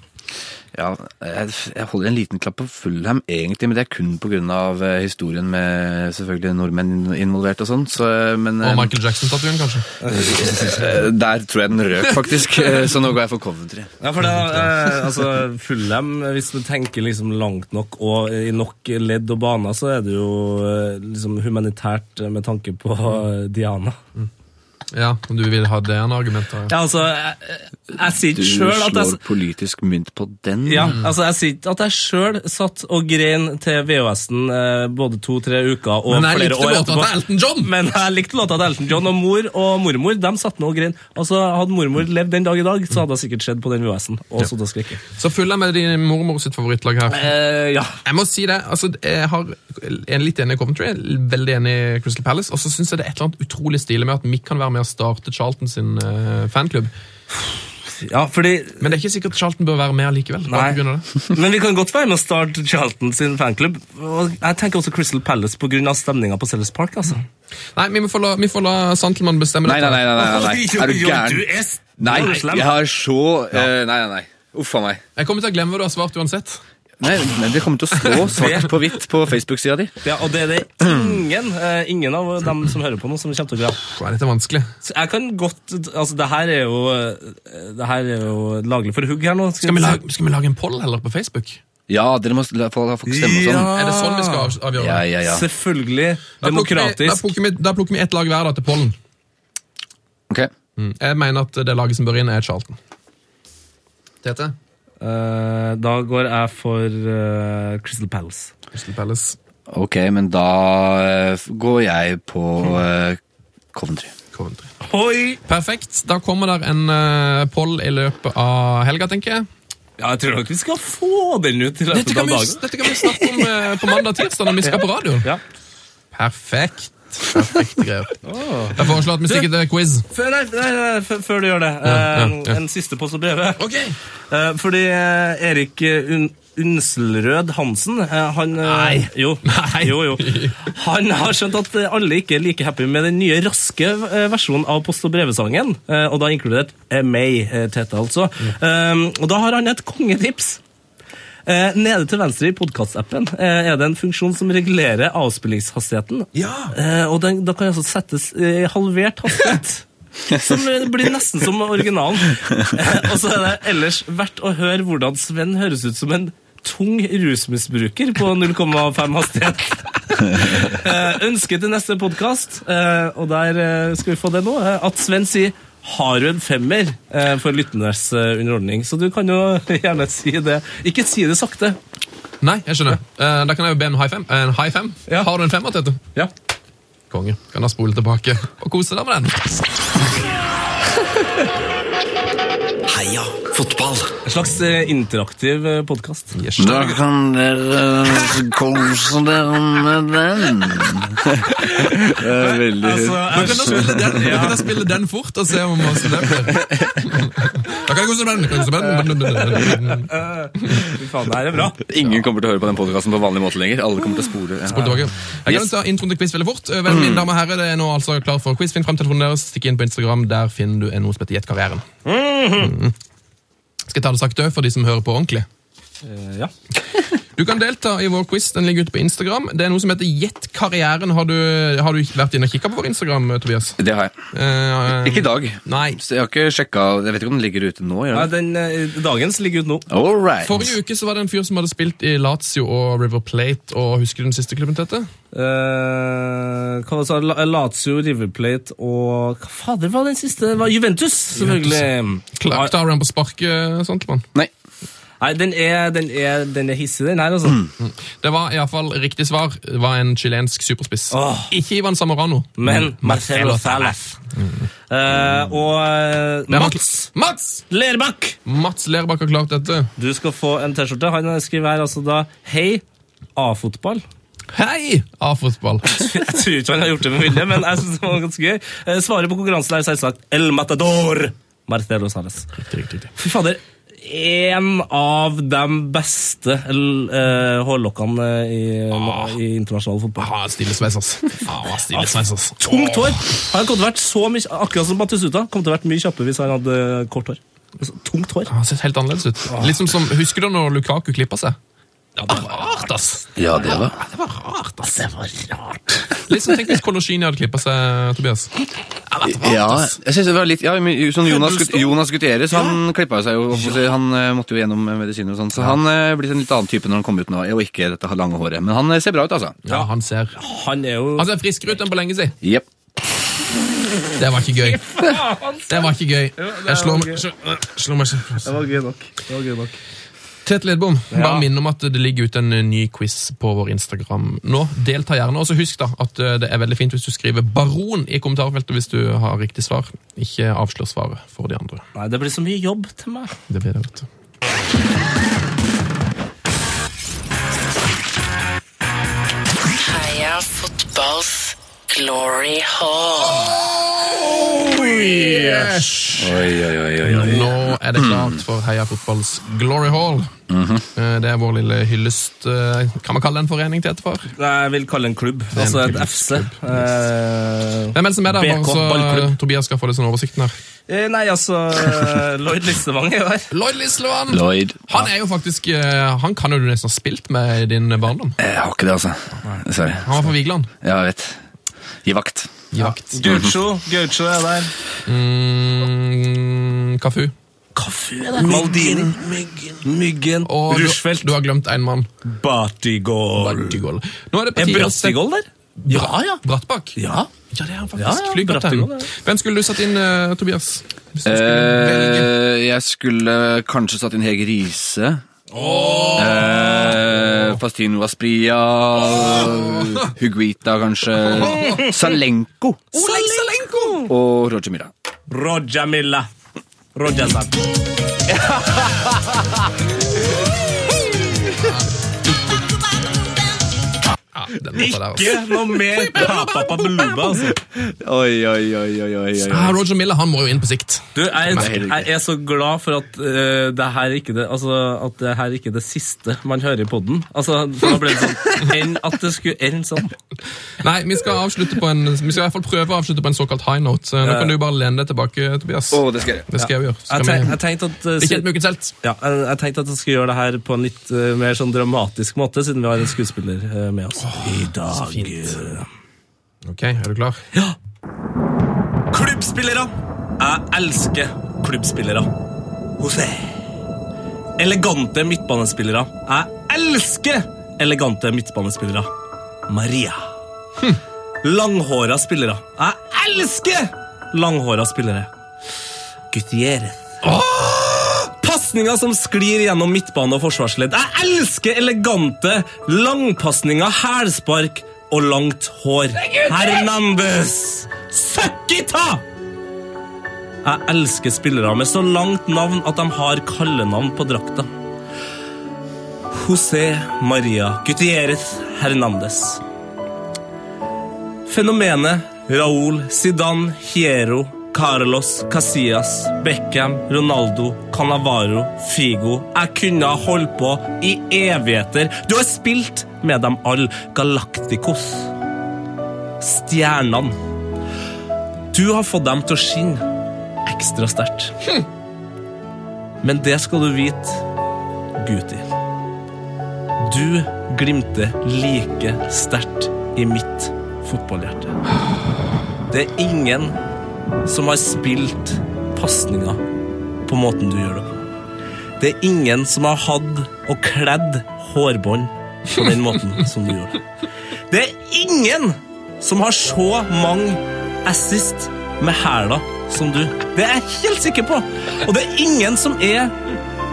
Speaker 6: Ja, jeg, jeg holder en liten klapp på Fulham, egentlig, men det er kun på grunn av eh, historien med selvfølgelig nordmenn involvert og sånn, så eh, Men
Speaker 4: Og
Speaker 6: eh,
Speaker 4: Michael Jackson-statuen, kanskje.
Speaker 6: eh, der tror jeg den røk, faktisk. eh, så nå går jeg for Coventry.
Speaker 5: Ja, for det, eh, altså, Fulham, hvis du tenker liksom langt nok og i nok ledd og baner, så er det jo eh, liksom humanitært eh, med tanke på eh, Diana.
Speaker 4: Ja, om du vil ha det en argument da.
Speaker 5: Ja, altså, jeg, jeg, jeg sier
Speaker 6: Du
Speaker 5: ikke sjøl at jeg
Speaker 6: slår politisk mynt på den.
Speaker 5: ja,
Speaker 4: Mm.
Speaker 5: altså jeg sier ikke at jeg sjøl satt og grein til VHS-en eh, både to-tre uker og
Speaker 4: Men jeg
Speaker 5: flere
Speaker 4: likte
Speaker 5: år
Speaker 4: låta til Elton John!
Speaker 5: Men jeg likte låta til Elton John, og mor og mormor de satt nå og grein. Altså, Hadde mormor levd den dag i dag, så hadde hun sikkert sett på den VHS-en og sittet og skrekket.
Speaker 4: Så Fulham er din mormor sitt favorittlag her.
Speaker 5: Eh, ja.
Speaker 4: Jeg må si det, altså jeg har er litt enig i Coventry, veldig enig i Crystal Palace, og så synes jeg det er et eller annet utrolig stilig med at Mick kan være med å starte Charlton sin eh, fanklubb.
Speaker 5: ja, fordi
Speaker 4: Men det er ikke sikkert Charlton bør være med allikevel. bare på grunn av det.
Speaker 5: Men vi kan godt være med å starte Charlton sin fanklubb. Og jeg tenker også Crystal Palace pga. stemninga på Sellers Park. altså.
Speaker 4: Nei, vi, må få la, vi får la Santelmann bestemme
Speaker 6: Nei, nei, nei, nei, nei, nei.
Speaker 5: Oi, oi,
Speaker 6: Er
Speaker 5: oi,
Speaker 6: du
Speaker 5: du
Speaker 6: gæren?
Speaker 5: er s-
Speaker 6: Nei,
Speaker 5: du er slem.
Speaker 6: jeg har så eh, Nei, nei, nei. Uff a meg.
Speaker 4: Jeg kommer til å glemme hva du har svart uansett.
Speaker 6: Nei, men Det kommer til å stå svart på hvitt på Facebook-sida di.
Speaker 5: Ja, og det er det ingen eh, ingen av dem som hører på nå, som kommer til å greie.
Speaker 4: Pff, er dette vanskelig?
Speaker 5: Så Jeg kan godt Altså, det her er jo eh, Det her er jo laglig for hugg her nå.
Speaker 4: Skal vi, lage, skal vi lage en poll heller på Facebook?
Speaker 6: Ja, dere må la folk folk stemme og sånn.
Speaker 4: Er det sånn vi skal av- avgjøre?
Speaker 6: Ja,
Speaker 4: det?
Speaker 6: ja, ja.
Speaker 5: Selvfølgelig.
Speaker 4: Da plukker vi- Da
Speaker 5: Demokratisk.
Speaker 4: plukker, vi, da plukker vi ett lag hver da til pollen.
Speaker 6: Ok.
Speaker 4: Mm. Jeg mener at det laget som bør inn, er Charlton. Tete?
Speaker 5: Eh, da går jeg for eh, Crystal Palace.
Speaker 4: Crystal Palace.
Speaker 6: ok, men da eh, går jeg på eh, Coventry.
Speaker 4: Coventry.
Speaker 5: Hoi!
Speaker 4: Perfekt. Da kommer der en eh, poll i løpet av helga, tenker jeg.
Speaker 5: Ja, jeg tror nok vi skal få den ut i
Speaker 4: Dette
Speaker 5: løpet
Speaker 4: kan
Speaker 5: av
Speaker 4: vi,
Speaker 5: dagen.
Speaker 4: dette kan vi snakke om eh, på mandag-tirsdag når vi skal på radioen.
Speaker 5: Ja.
Speaker 4: Perfekt. Perfekt grep. Jeg foreslår at vi stikker til quiz.
Speaker 5: Før, nei, nei, nei, f- før du gjør det,
Speaker 4: Ja,
Speaker 5: eh,
Speaker 4: ja, ja.
Speaker 5: en siste post og brevet.
Speaker 4: Ok.
Speaker 5: Eh, Fordi eh, Erik eh, Un Unselrød Hansen, eh, han eh,
Speaker 4: Nei.
Speaker 5: Jo,
Speaker 4: Nei.
Speaker 5: jo, jo. Han har skjønt at eh, alle ikke er like happy med den nye raske eh, versjonen av Post- og brevesangen, eh, og da inkludert eh, meg, eh, Tete, altså. Eh, Og da har han et kongetips. Eh, Nede til venstre i podkastappen er det en funksjon som regulerer avspillingshastigheten. Eh, Og den, da kan altså settes eh, halvert hastighet. Som eh, blir nesten som originalen. Eh, Og så er det ellers verdt å høre hvordan Sven høres ut som en tung rusmisbruker på 0,5 hastighet. Eh, Ønske til neste podkast, og der eh, skal vi få det nå, eh, at Sven sier 'har du en femmer' eh, for lyttenes eh, underholdning. Så du kan jo gjerne si det. Ikke si det sakte.
Speaker 4: Nei, jeg skjønner. Eh, da kan jeg jo be om en high fem. En high fem.
Speaker 5: Ja.
Speaker 4: Har du en femmer, Tete?
Speaker 5: Ja.
Speaker 4: Konge. Kan da spole tilbake og kose deg med den.
Speaker 3: Heia fotball.
Speaker 5: En slags eh, interaktiv podkast.
Speaker 4: Yes.
Speaker 6: Da kan dere kose dere med den. Det er veldig
Speaker 5: eh,
Speaker 4: Du kan da spille den, du kan da spille den fort og se om hvordan det blir. Da kan jeg kose meg med den. kose meg med den.
Speaker 5: Fy faen, det her er bra.
Speaker 6: Ingen kommer til å høre på den podkasten på vanlig måte lenger. Alle kommer til å spore.
Speaker 4: Spol tilbake. Jeg kan ta introen til quiz veldig fort. Eh, Vel, mine damer og herrer, det er nå altså klar for quiz. Finn frem telefonen deres, stikk inn på Instagram. Der finner du en noe som heter Gjett karrieren. Mhm. Skal jeg ta det sakte for de som hører på ordentlig?
Speaker 5: Eh, Ja.
Speaker 4: Du kan delta i vår quiz. Den ligger ute på Instagram. Det er noe som heter Gjett karrieren. Har du, har du vært inne og kikka på vår Instagram, eh, Tobias?
Speaker 6: Det har jeg.
Speaker 4: Eh,
Speaker 6: Ikke i dag.
Speaker 4: Nei.
Speaker 6: Så jeg har ikke sjekka Jeg vet ikke om den ligger ute nå. Gjør
Speaker 5: Nei,
Speaker 6: den?
Speaker 5: den, eh, dagens ligger ut nå.
Speaker 6: All right.
Speaker 4: Forrige uke så var det en fyr som hadde spilt i Lazio og River Plate. og Husker du den siste klubben til dette?
Speaker 5: Eh, hva sa La- Lazio, River Plate og Hva fader var den siste? Det var Juventus, selvfølgelig.
Speaker 4: eh, sånn, Klart har han på sparket, Santelmann.
Speaker 6: Nei.
Speaker 5: Nei, den er, den er, den er hissig, den her, altså.
Speaker 4: Det var iallfall riktig svar. var En chilensk superspiss.
Speaker 5: Åh.
Speaker 4: Ikke Ivan Zamorano.
Speaker 5: Men Marcelo Salas. Eh, og eh,
Speaker 4: Det er han-
Speaker 5: Mats
Speaker 4: Mats!
Speaker 5: Lerbakk!
Speaker 4: Mats Lerbakk har klart dette.
Speaker 5: Du skal få en T-skjorte. Han skriver her altså da Hei, A-fotball.
Speaker 4: Hei! A-fotball.
Speaker 5: Jeg tror ikke han har gjort det med vilje, men jeg synes det var ganske gøy. Eh, Svaret på konkurransen er selvsagt El Matador! Marcelo Salas. Fy fader, en av de beste uh, hårlokkene i, i internasjonal fotball.
Speaker 4: Ah, Stillesveis, ass. Ah, stillesveis, ass.
Speaker 5: Tungt hår! Han kom til å vært så mye, akkurat som Batistuta, kom til å vært mye kjappere hvis han hadde kort hår. Altså, Tungt hår.
Speaker 4: Han ser helt annerledes ut. Litt som, som, husker du når Lukaku klippa seg? Ja, det var rart, ass.
Speaker 6: Ja, det var
Speaker 4: Det var rart, ass.
Speaker 5: Det var rart.
Speaker 4: Litt som tenk hvis Koloshini hadde klippa seg, Tobias.
Speaker 6: Ja, jeg synes det var litt ja, men sånn Jonas, Gut- Jonas Gutierrez han klippa seg jo. Han eh, måtte jo gjennom eh, medisiner og sånn, så han eh, er blitt en litt annen type når han kom ut nå. Og ikke dette lange håret. Men han eh, ser bra ut, altså.
Speaker 4: Ja, han ser,
Speaker 5: Han er jo
Speaker 4: han ser friskere ut enn på lenge siden.
Speaker 6: Jep.
Speaker 4: Det var ikke gøy. altså. Det var ikke gøy. Jeg slår meg eh, slår meg ikke.
Speaker 5: Det var gøy nok. Det var gøy nok.
Speaker 4: Tete Lidbom, bare minn om at det ligger ute en eh, ny quiz på vår Instagram nå. Delta gjerne. Og så husk da at eh, det er veldig fint hvis du skriver 'Baron' i kommentarfeltet hvis du har riktig svar. Ikke avslør svaret for de andre.
Speaker 5: Nei, det blir så mye jobb til meg.
Speaker 4: Det blir det, vet du.
Speaker 11: Heia fotballs glory hall.
Speaker 6: Oi, oi, oi, oi, oi.
Speaker 4: Nå er det klart for Heia fotballs Glory Hall.
Speaker 5: Mhm.
Speaker 4: Eh, Det er vår lille hyllest eh, Kan man kalle det en forening til etterfor?
Speaker 5: Jeg vil kalle en klubb.
Speaker 4: en
Speaker 5: Altså et
Speaker 4: klubb,
Speaker 5: FC. Eh,
Speaker 4: Hvem er det som er der, bare
Speaker 5: BK
Speaker 4: så eh,
Speaker 5: ballklubb.
Speaker 4: Tobias skal få litt sånn oversikten her?
Speaker 5: eh, nei, altså eh, Lloyd Listevang er jo her.
Speaker 4: Lloyd Lislevann!
Speaker 6: Lloyd.
Speaker 4: Han er jo faktisk eh, Han kan jo du nesten ha spilt med i din barndom.
Speaker 6: Eh, Jeg har ikke det, altså. Dessverre.
Speaker 4: Han var fra Vigeland.
Speaker 6: Ja, jeg vet. Gi vakt.
Speaker 4: I vakt.
Speaker 5: Gaucho Gaucho er der.
Speaker 4: Mm, Kafu.
Speaker 5: Kafu er der. Maldini. Myggen.
Speaker 4: Og du,
Speaker 5: Rushfeldt.
Speaker 4: du har glemt én mann.
Speaker 5: Bartigol.
Speaker 4: Bartigol. Nå er det på
Speaker 5: Er
Speaker 4: tide å sette-
Speaker 5: Brattigol der?
Speaker 4: Bra- Brattbakk?
Speaker 5: Ja.
Speaker 4: Ja, det er han faktisk.
Speaker 5: Ja, ja,
Speaker 4: Flygkaptein.
Speaker 5: Brattbakk,
Speaker 4: Hvem skulle du satt inn, eh, Tobias? Hvis du skulle velge.
Speaker 6: Eh, jeg skulle kanskje satt inn Hege Riise. Eh, Fastino Aspria. Huguita, kanskje. Salenko.
Speaker 5: Oleg Salenko!
Speaker 6: Og Roger Mira.
Speaker 5: Roger Milla. Roger Salenko.
Speaker 4: Ja, den låta der, altså.
Speaker 5: Ikke noe mer Papa Papaluba, altså.
Speaker 6: Oi, oi, oi, oi, oi, oi.
Speaker 4: Ah, Roger Miller han må jo inn på sikt.
Speaker 5: Du, jeg,
Speaker 6: Nei, helt
Speaker 5: jeg
Speaker 6: riktig.
Speaker 5: er så glad for at eh, det her ikke det, altså, at det her ikke er det siste man hører i podden. Altså, for da ble det sånn enn at det skulle ende sånn.
Speaker 4: Nei, Vi skal avslutte på en, vi skal i hvert fall prøve å avslutte på en såkalt high note. Så nå kan du bare lene deg tilbake, Tobias.
Speaker 6: Å, det skal jeg gjøre.
Speaker 4: Det skal jeg jo gjøre.
Speaker 5: Jeg,
Speaker 4: Skal
Speaker 5: tenk,
Speaker 4: vi,
Speaker 5: jeg, tenkte at, eh,
Speaker 4: det er ikke
Speaker 5: si-
Speaker 4: helt med ukens helt.
Speaker 5: ja, jeg, jeg tenkte at jeg skulle gjøre det her på en litt eh, mer sånn dramatisk måte, siden vi har en skuespiller eh, med oss i dag.
Speaker 4: Ok, er du klar?
Speaker 5: Ja. Klubbspillere. Jeg elsker klubbspillere. José. Elegante midtbanespillere. Jeg elsker elegante midtbanespillere. Maria. Hm. Langhåra spillere. Jeg elsker langhåra spillere. Gutierrez. Pasninger som sklir gjennom midtbane og forsvarsledd. Jeg elsker elegante langpasninger, hælspark og langt hår. Hernandez! Søkkita! Jeg elsker spillere med så langt navn at de har kallenavn på drakta. José Maria Gutierrez Hernandez. Fenomenet Raúl, Zidane, Hierro, Carlos, Casillas, Beckham, Ronaldo, Canavaro, Figo Jeg kunne ha holdt på i evigheter. Du har spilt med dem alle. Galacticos. Stjernene. Du har fått dem til å skinne ekstra sterkt. Men det skal du vite, Guti. Du glimter like sterkt i mitt fotballhjerte. Det er ingen som har spilt pasninger på måten du gjør det på. Det er ingen som har hatt og kledd hårbånd på den måten som du gjør det. Det er ingen som har så mange assist med hæla som du. Det er jeg helt sikker på. Og det er ingen som er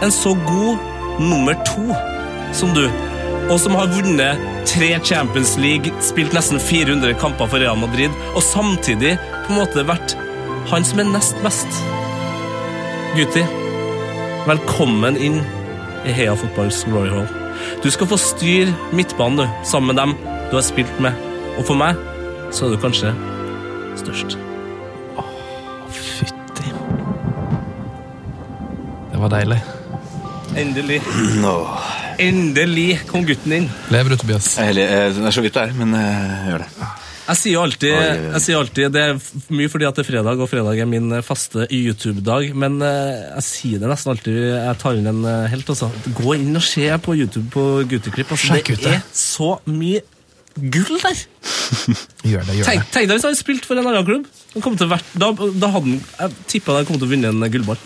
Speaker 5: en så god nummer to som du, og som har vunnet tre Champions League, spilt nesten 400 kamper for Real Madrid, og samtidig på en måte vært han som er nest best. Gutti, velkommen inn i Heia Fotballs Glory Hall. Du skal få styre midtbanen, du, sammen med dem du har spilt med. Og for meg så er du kanskje størst.
Speaker 4: Det var deilig.
Speaker 5: Endelig. Endelig kom gutten inn.
Speaker 4: Lever du, Tobias?
Speaker 6: Jeg, le- eh, det er så vidt det er, men eh, jeg gjør det.
Speaker 5: Jeg sier jo alltid,
Speaker 6: Oi, oi, oi.
Speaker 5: jeg sier alltid Det er f- mye fordi at det er fredag, og fredag er min eh, faste YouTube-dag. Men eh, jeg sier det nesten alltid jeg tar inn en eh, helt. Altså. Gå inn og se på YouTube på gutteklipp. Altså,
Speaker 4: Sjekk ut
Speaker 5: det
Speaker 4: det.
Speaker 5: er så mye gull der!
Speaker 4: Gjør det, gjør det.
Speaker 5: Tenk, tenk deg hvis han hadde spilt for en annen klubb. Han kom til å vært, da, da hadde han, jeg tippa han kom til å vinne en gullball.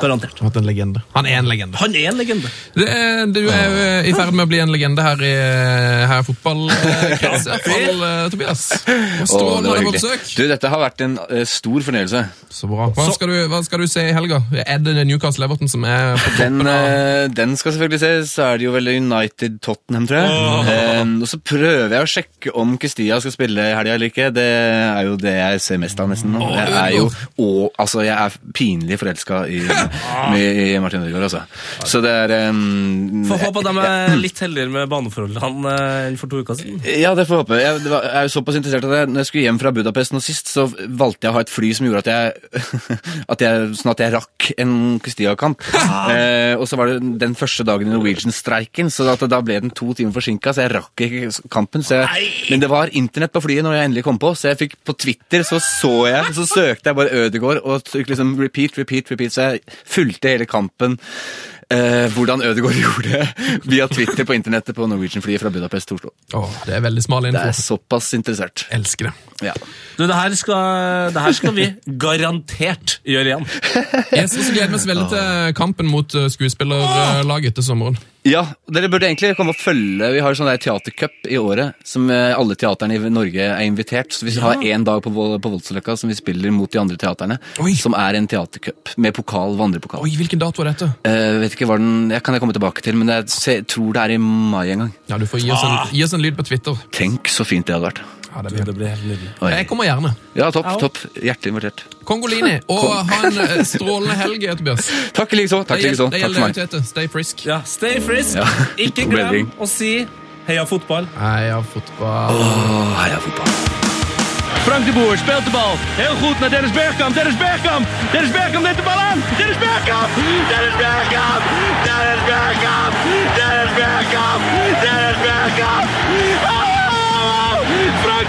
Speaker 5: Garantert.
Speaker 4: Han har vært en legende. Han er en legende.
Speaker 5: Han er en legende.
Speaker 4: Det er, du er jo eh, i ferd med å bli en legende her i, eh, her i fotballkretsen, i hvert fall, eh, Tobias. Og
Speaker 6: Åh, det
Speaker 4: Strålende
Speaker 6: var
Speaker 4: på
Speaker 6: hyggelig.
Speaker 4: besøk.
Speaker 6: Du, dette har vært en eh, stor fornøyelse.
Speaker 4: Så bra. Hva skal, du, hva skal du se i helga? Er det Newcastle Everton som er på
Speaker 6: Den,
Speaker 4: toppen av
Speaker 6: eh, den skal selvfølgelig ses. Så er det jo vel United Tottenham, tror jeg. Eh, og så prøver jeg å sjekke om Kestia skal spille i helga eller ikke. Det er jo det jeg ser mest av nesten nå. Jeg er jo og, altså, jeg er pinlig forelska i, i Martin Ødegaard, altså. Så det er eh,
Speaker 5: Får håpe at de er litt heldigere med baneforholdene eh, enn for to uker siden.
Speaker 6: Ja, det får jeg håpe. Jeg, det var, jeg er jo såpass interessert at jeg, når jeg skulle hjem fra Budapest nå sist, så valgte jeg å ha et fly som gjorde at jeg, at jeg sånn at jeg rakk en Castilla-kamp. eh, og så var det den første dagen i Norwegian-streiken, så at, da ble den to timer forsinka, så jeg rakk ikke kampen. Så jeg, men det var internett på flyet når jeg endelig kom på, så jeg fikk på Twitter så så jeg, så søkte jeg bare Ødegård og trykte liksom repeat, repeat, repeat, så jeg fulgte hele kampen. Eh, hvordan Ødegaard gjorde det via Twitter på internettet på Norwegian-flyet fra Budapest til Oslo.
Speaker 4: Åh, det er veldig smal
Speaker 6: Det er
Speaker 4: info.
Speaker 6: såpass interessert.
Speaker 4: Elsker det.
Speaker 6: Ja.
Speaker 5: Du, det her skal, det her skal vi garantert gjøre igjen.
Speaker 4: Jeg synes vi gleder meg så veldig til kampen mot eh, skuespillerlaget til sommeren.
Speaker 6: ja, dere burde egentlig komme og følge. Vi har sånn der teatercup i året som eh, alle teaterne i Norge er invitert. Så vi har én dag på, Vol- på Voldsløkka som vi spiller mot de andre teaterne.
Speaker 4: Oi.
Speaker 6: Som er en teatercup med pokal, vandrepokal.
Speaker 4: Oi, hvilken dato er dette?
Speaker 6: Eh, vet ikke hva den jeg kan jeg komme tilbake til, men jeg se- tror det er i mai en gang.
Speaker 4: Ja, Du får gi oss en,
Speaker 6: Ah.
Speaker 4: gi oss en lyd på Twitter.
Speaker 6: Tenk så fint det hadde vært.
Speaker 4: Ja, det blir.
Speaker 5: blir helt nydelig.
Speaker 6: Oi.
Speaker 4: Jeg kommer gjerne.
Speaker 6: Ja, topp, topp. Hjertelig invitert.
Speaker 4: Kongolini, og ha en eh, strålende helg, Tobias.
Speaker 6: Takk i like så. Takk, i like så.
Speaker 4: det
Speaker 6: Takk for meg.
Speaker 4: gjelder det Stay frisk.
Speaker 5: Ja, stay frisk.
Speaker 6: Ja.
Speaker 5: Ikke
Speaker 6: God bedring.
Speaker 5: glem å si heia fotball.
Speaker 4: Heia fotball.
Speaker 6: Åh, heia fotbal.
Speaker 2: Frank de Boer speelt de bal. Heel goed naar Dennis Bergkamp. Dennis Bergkamp. Dennis Bergkamp neemt de bal aan. Dennis Bergkamp. Dennis Bergkamp. Dennis Bergkamp. Dennis Bergkamp. Dennis Bergkamp. Oh! Frank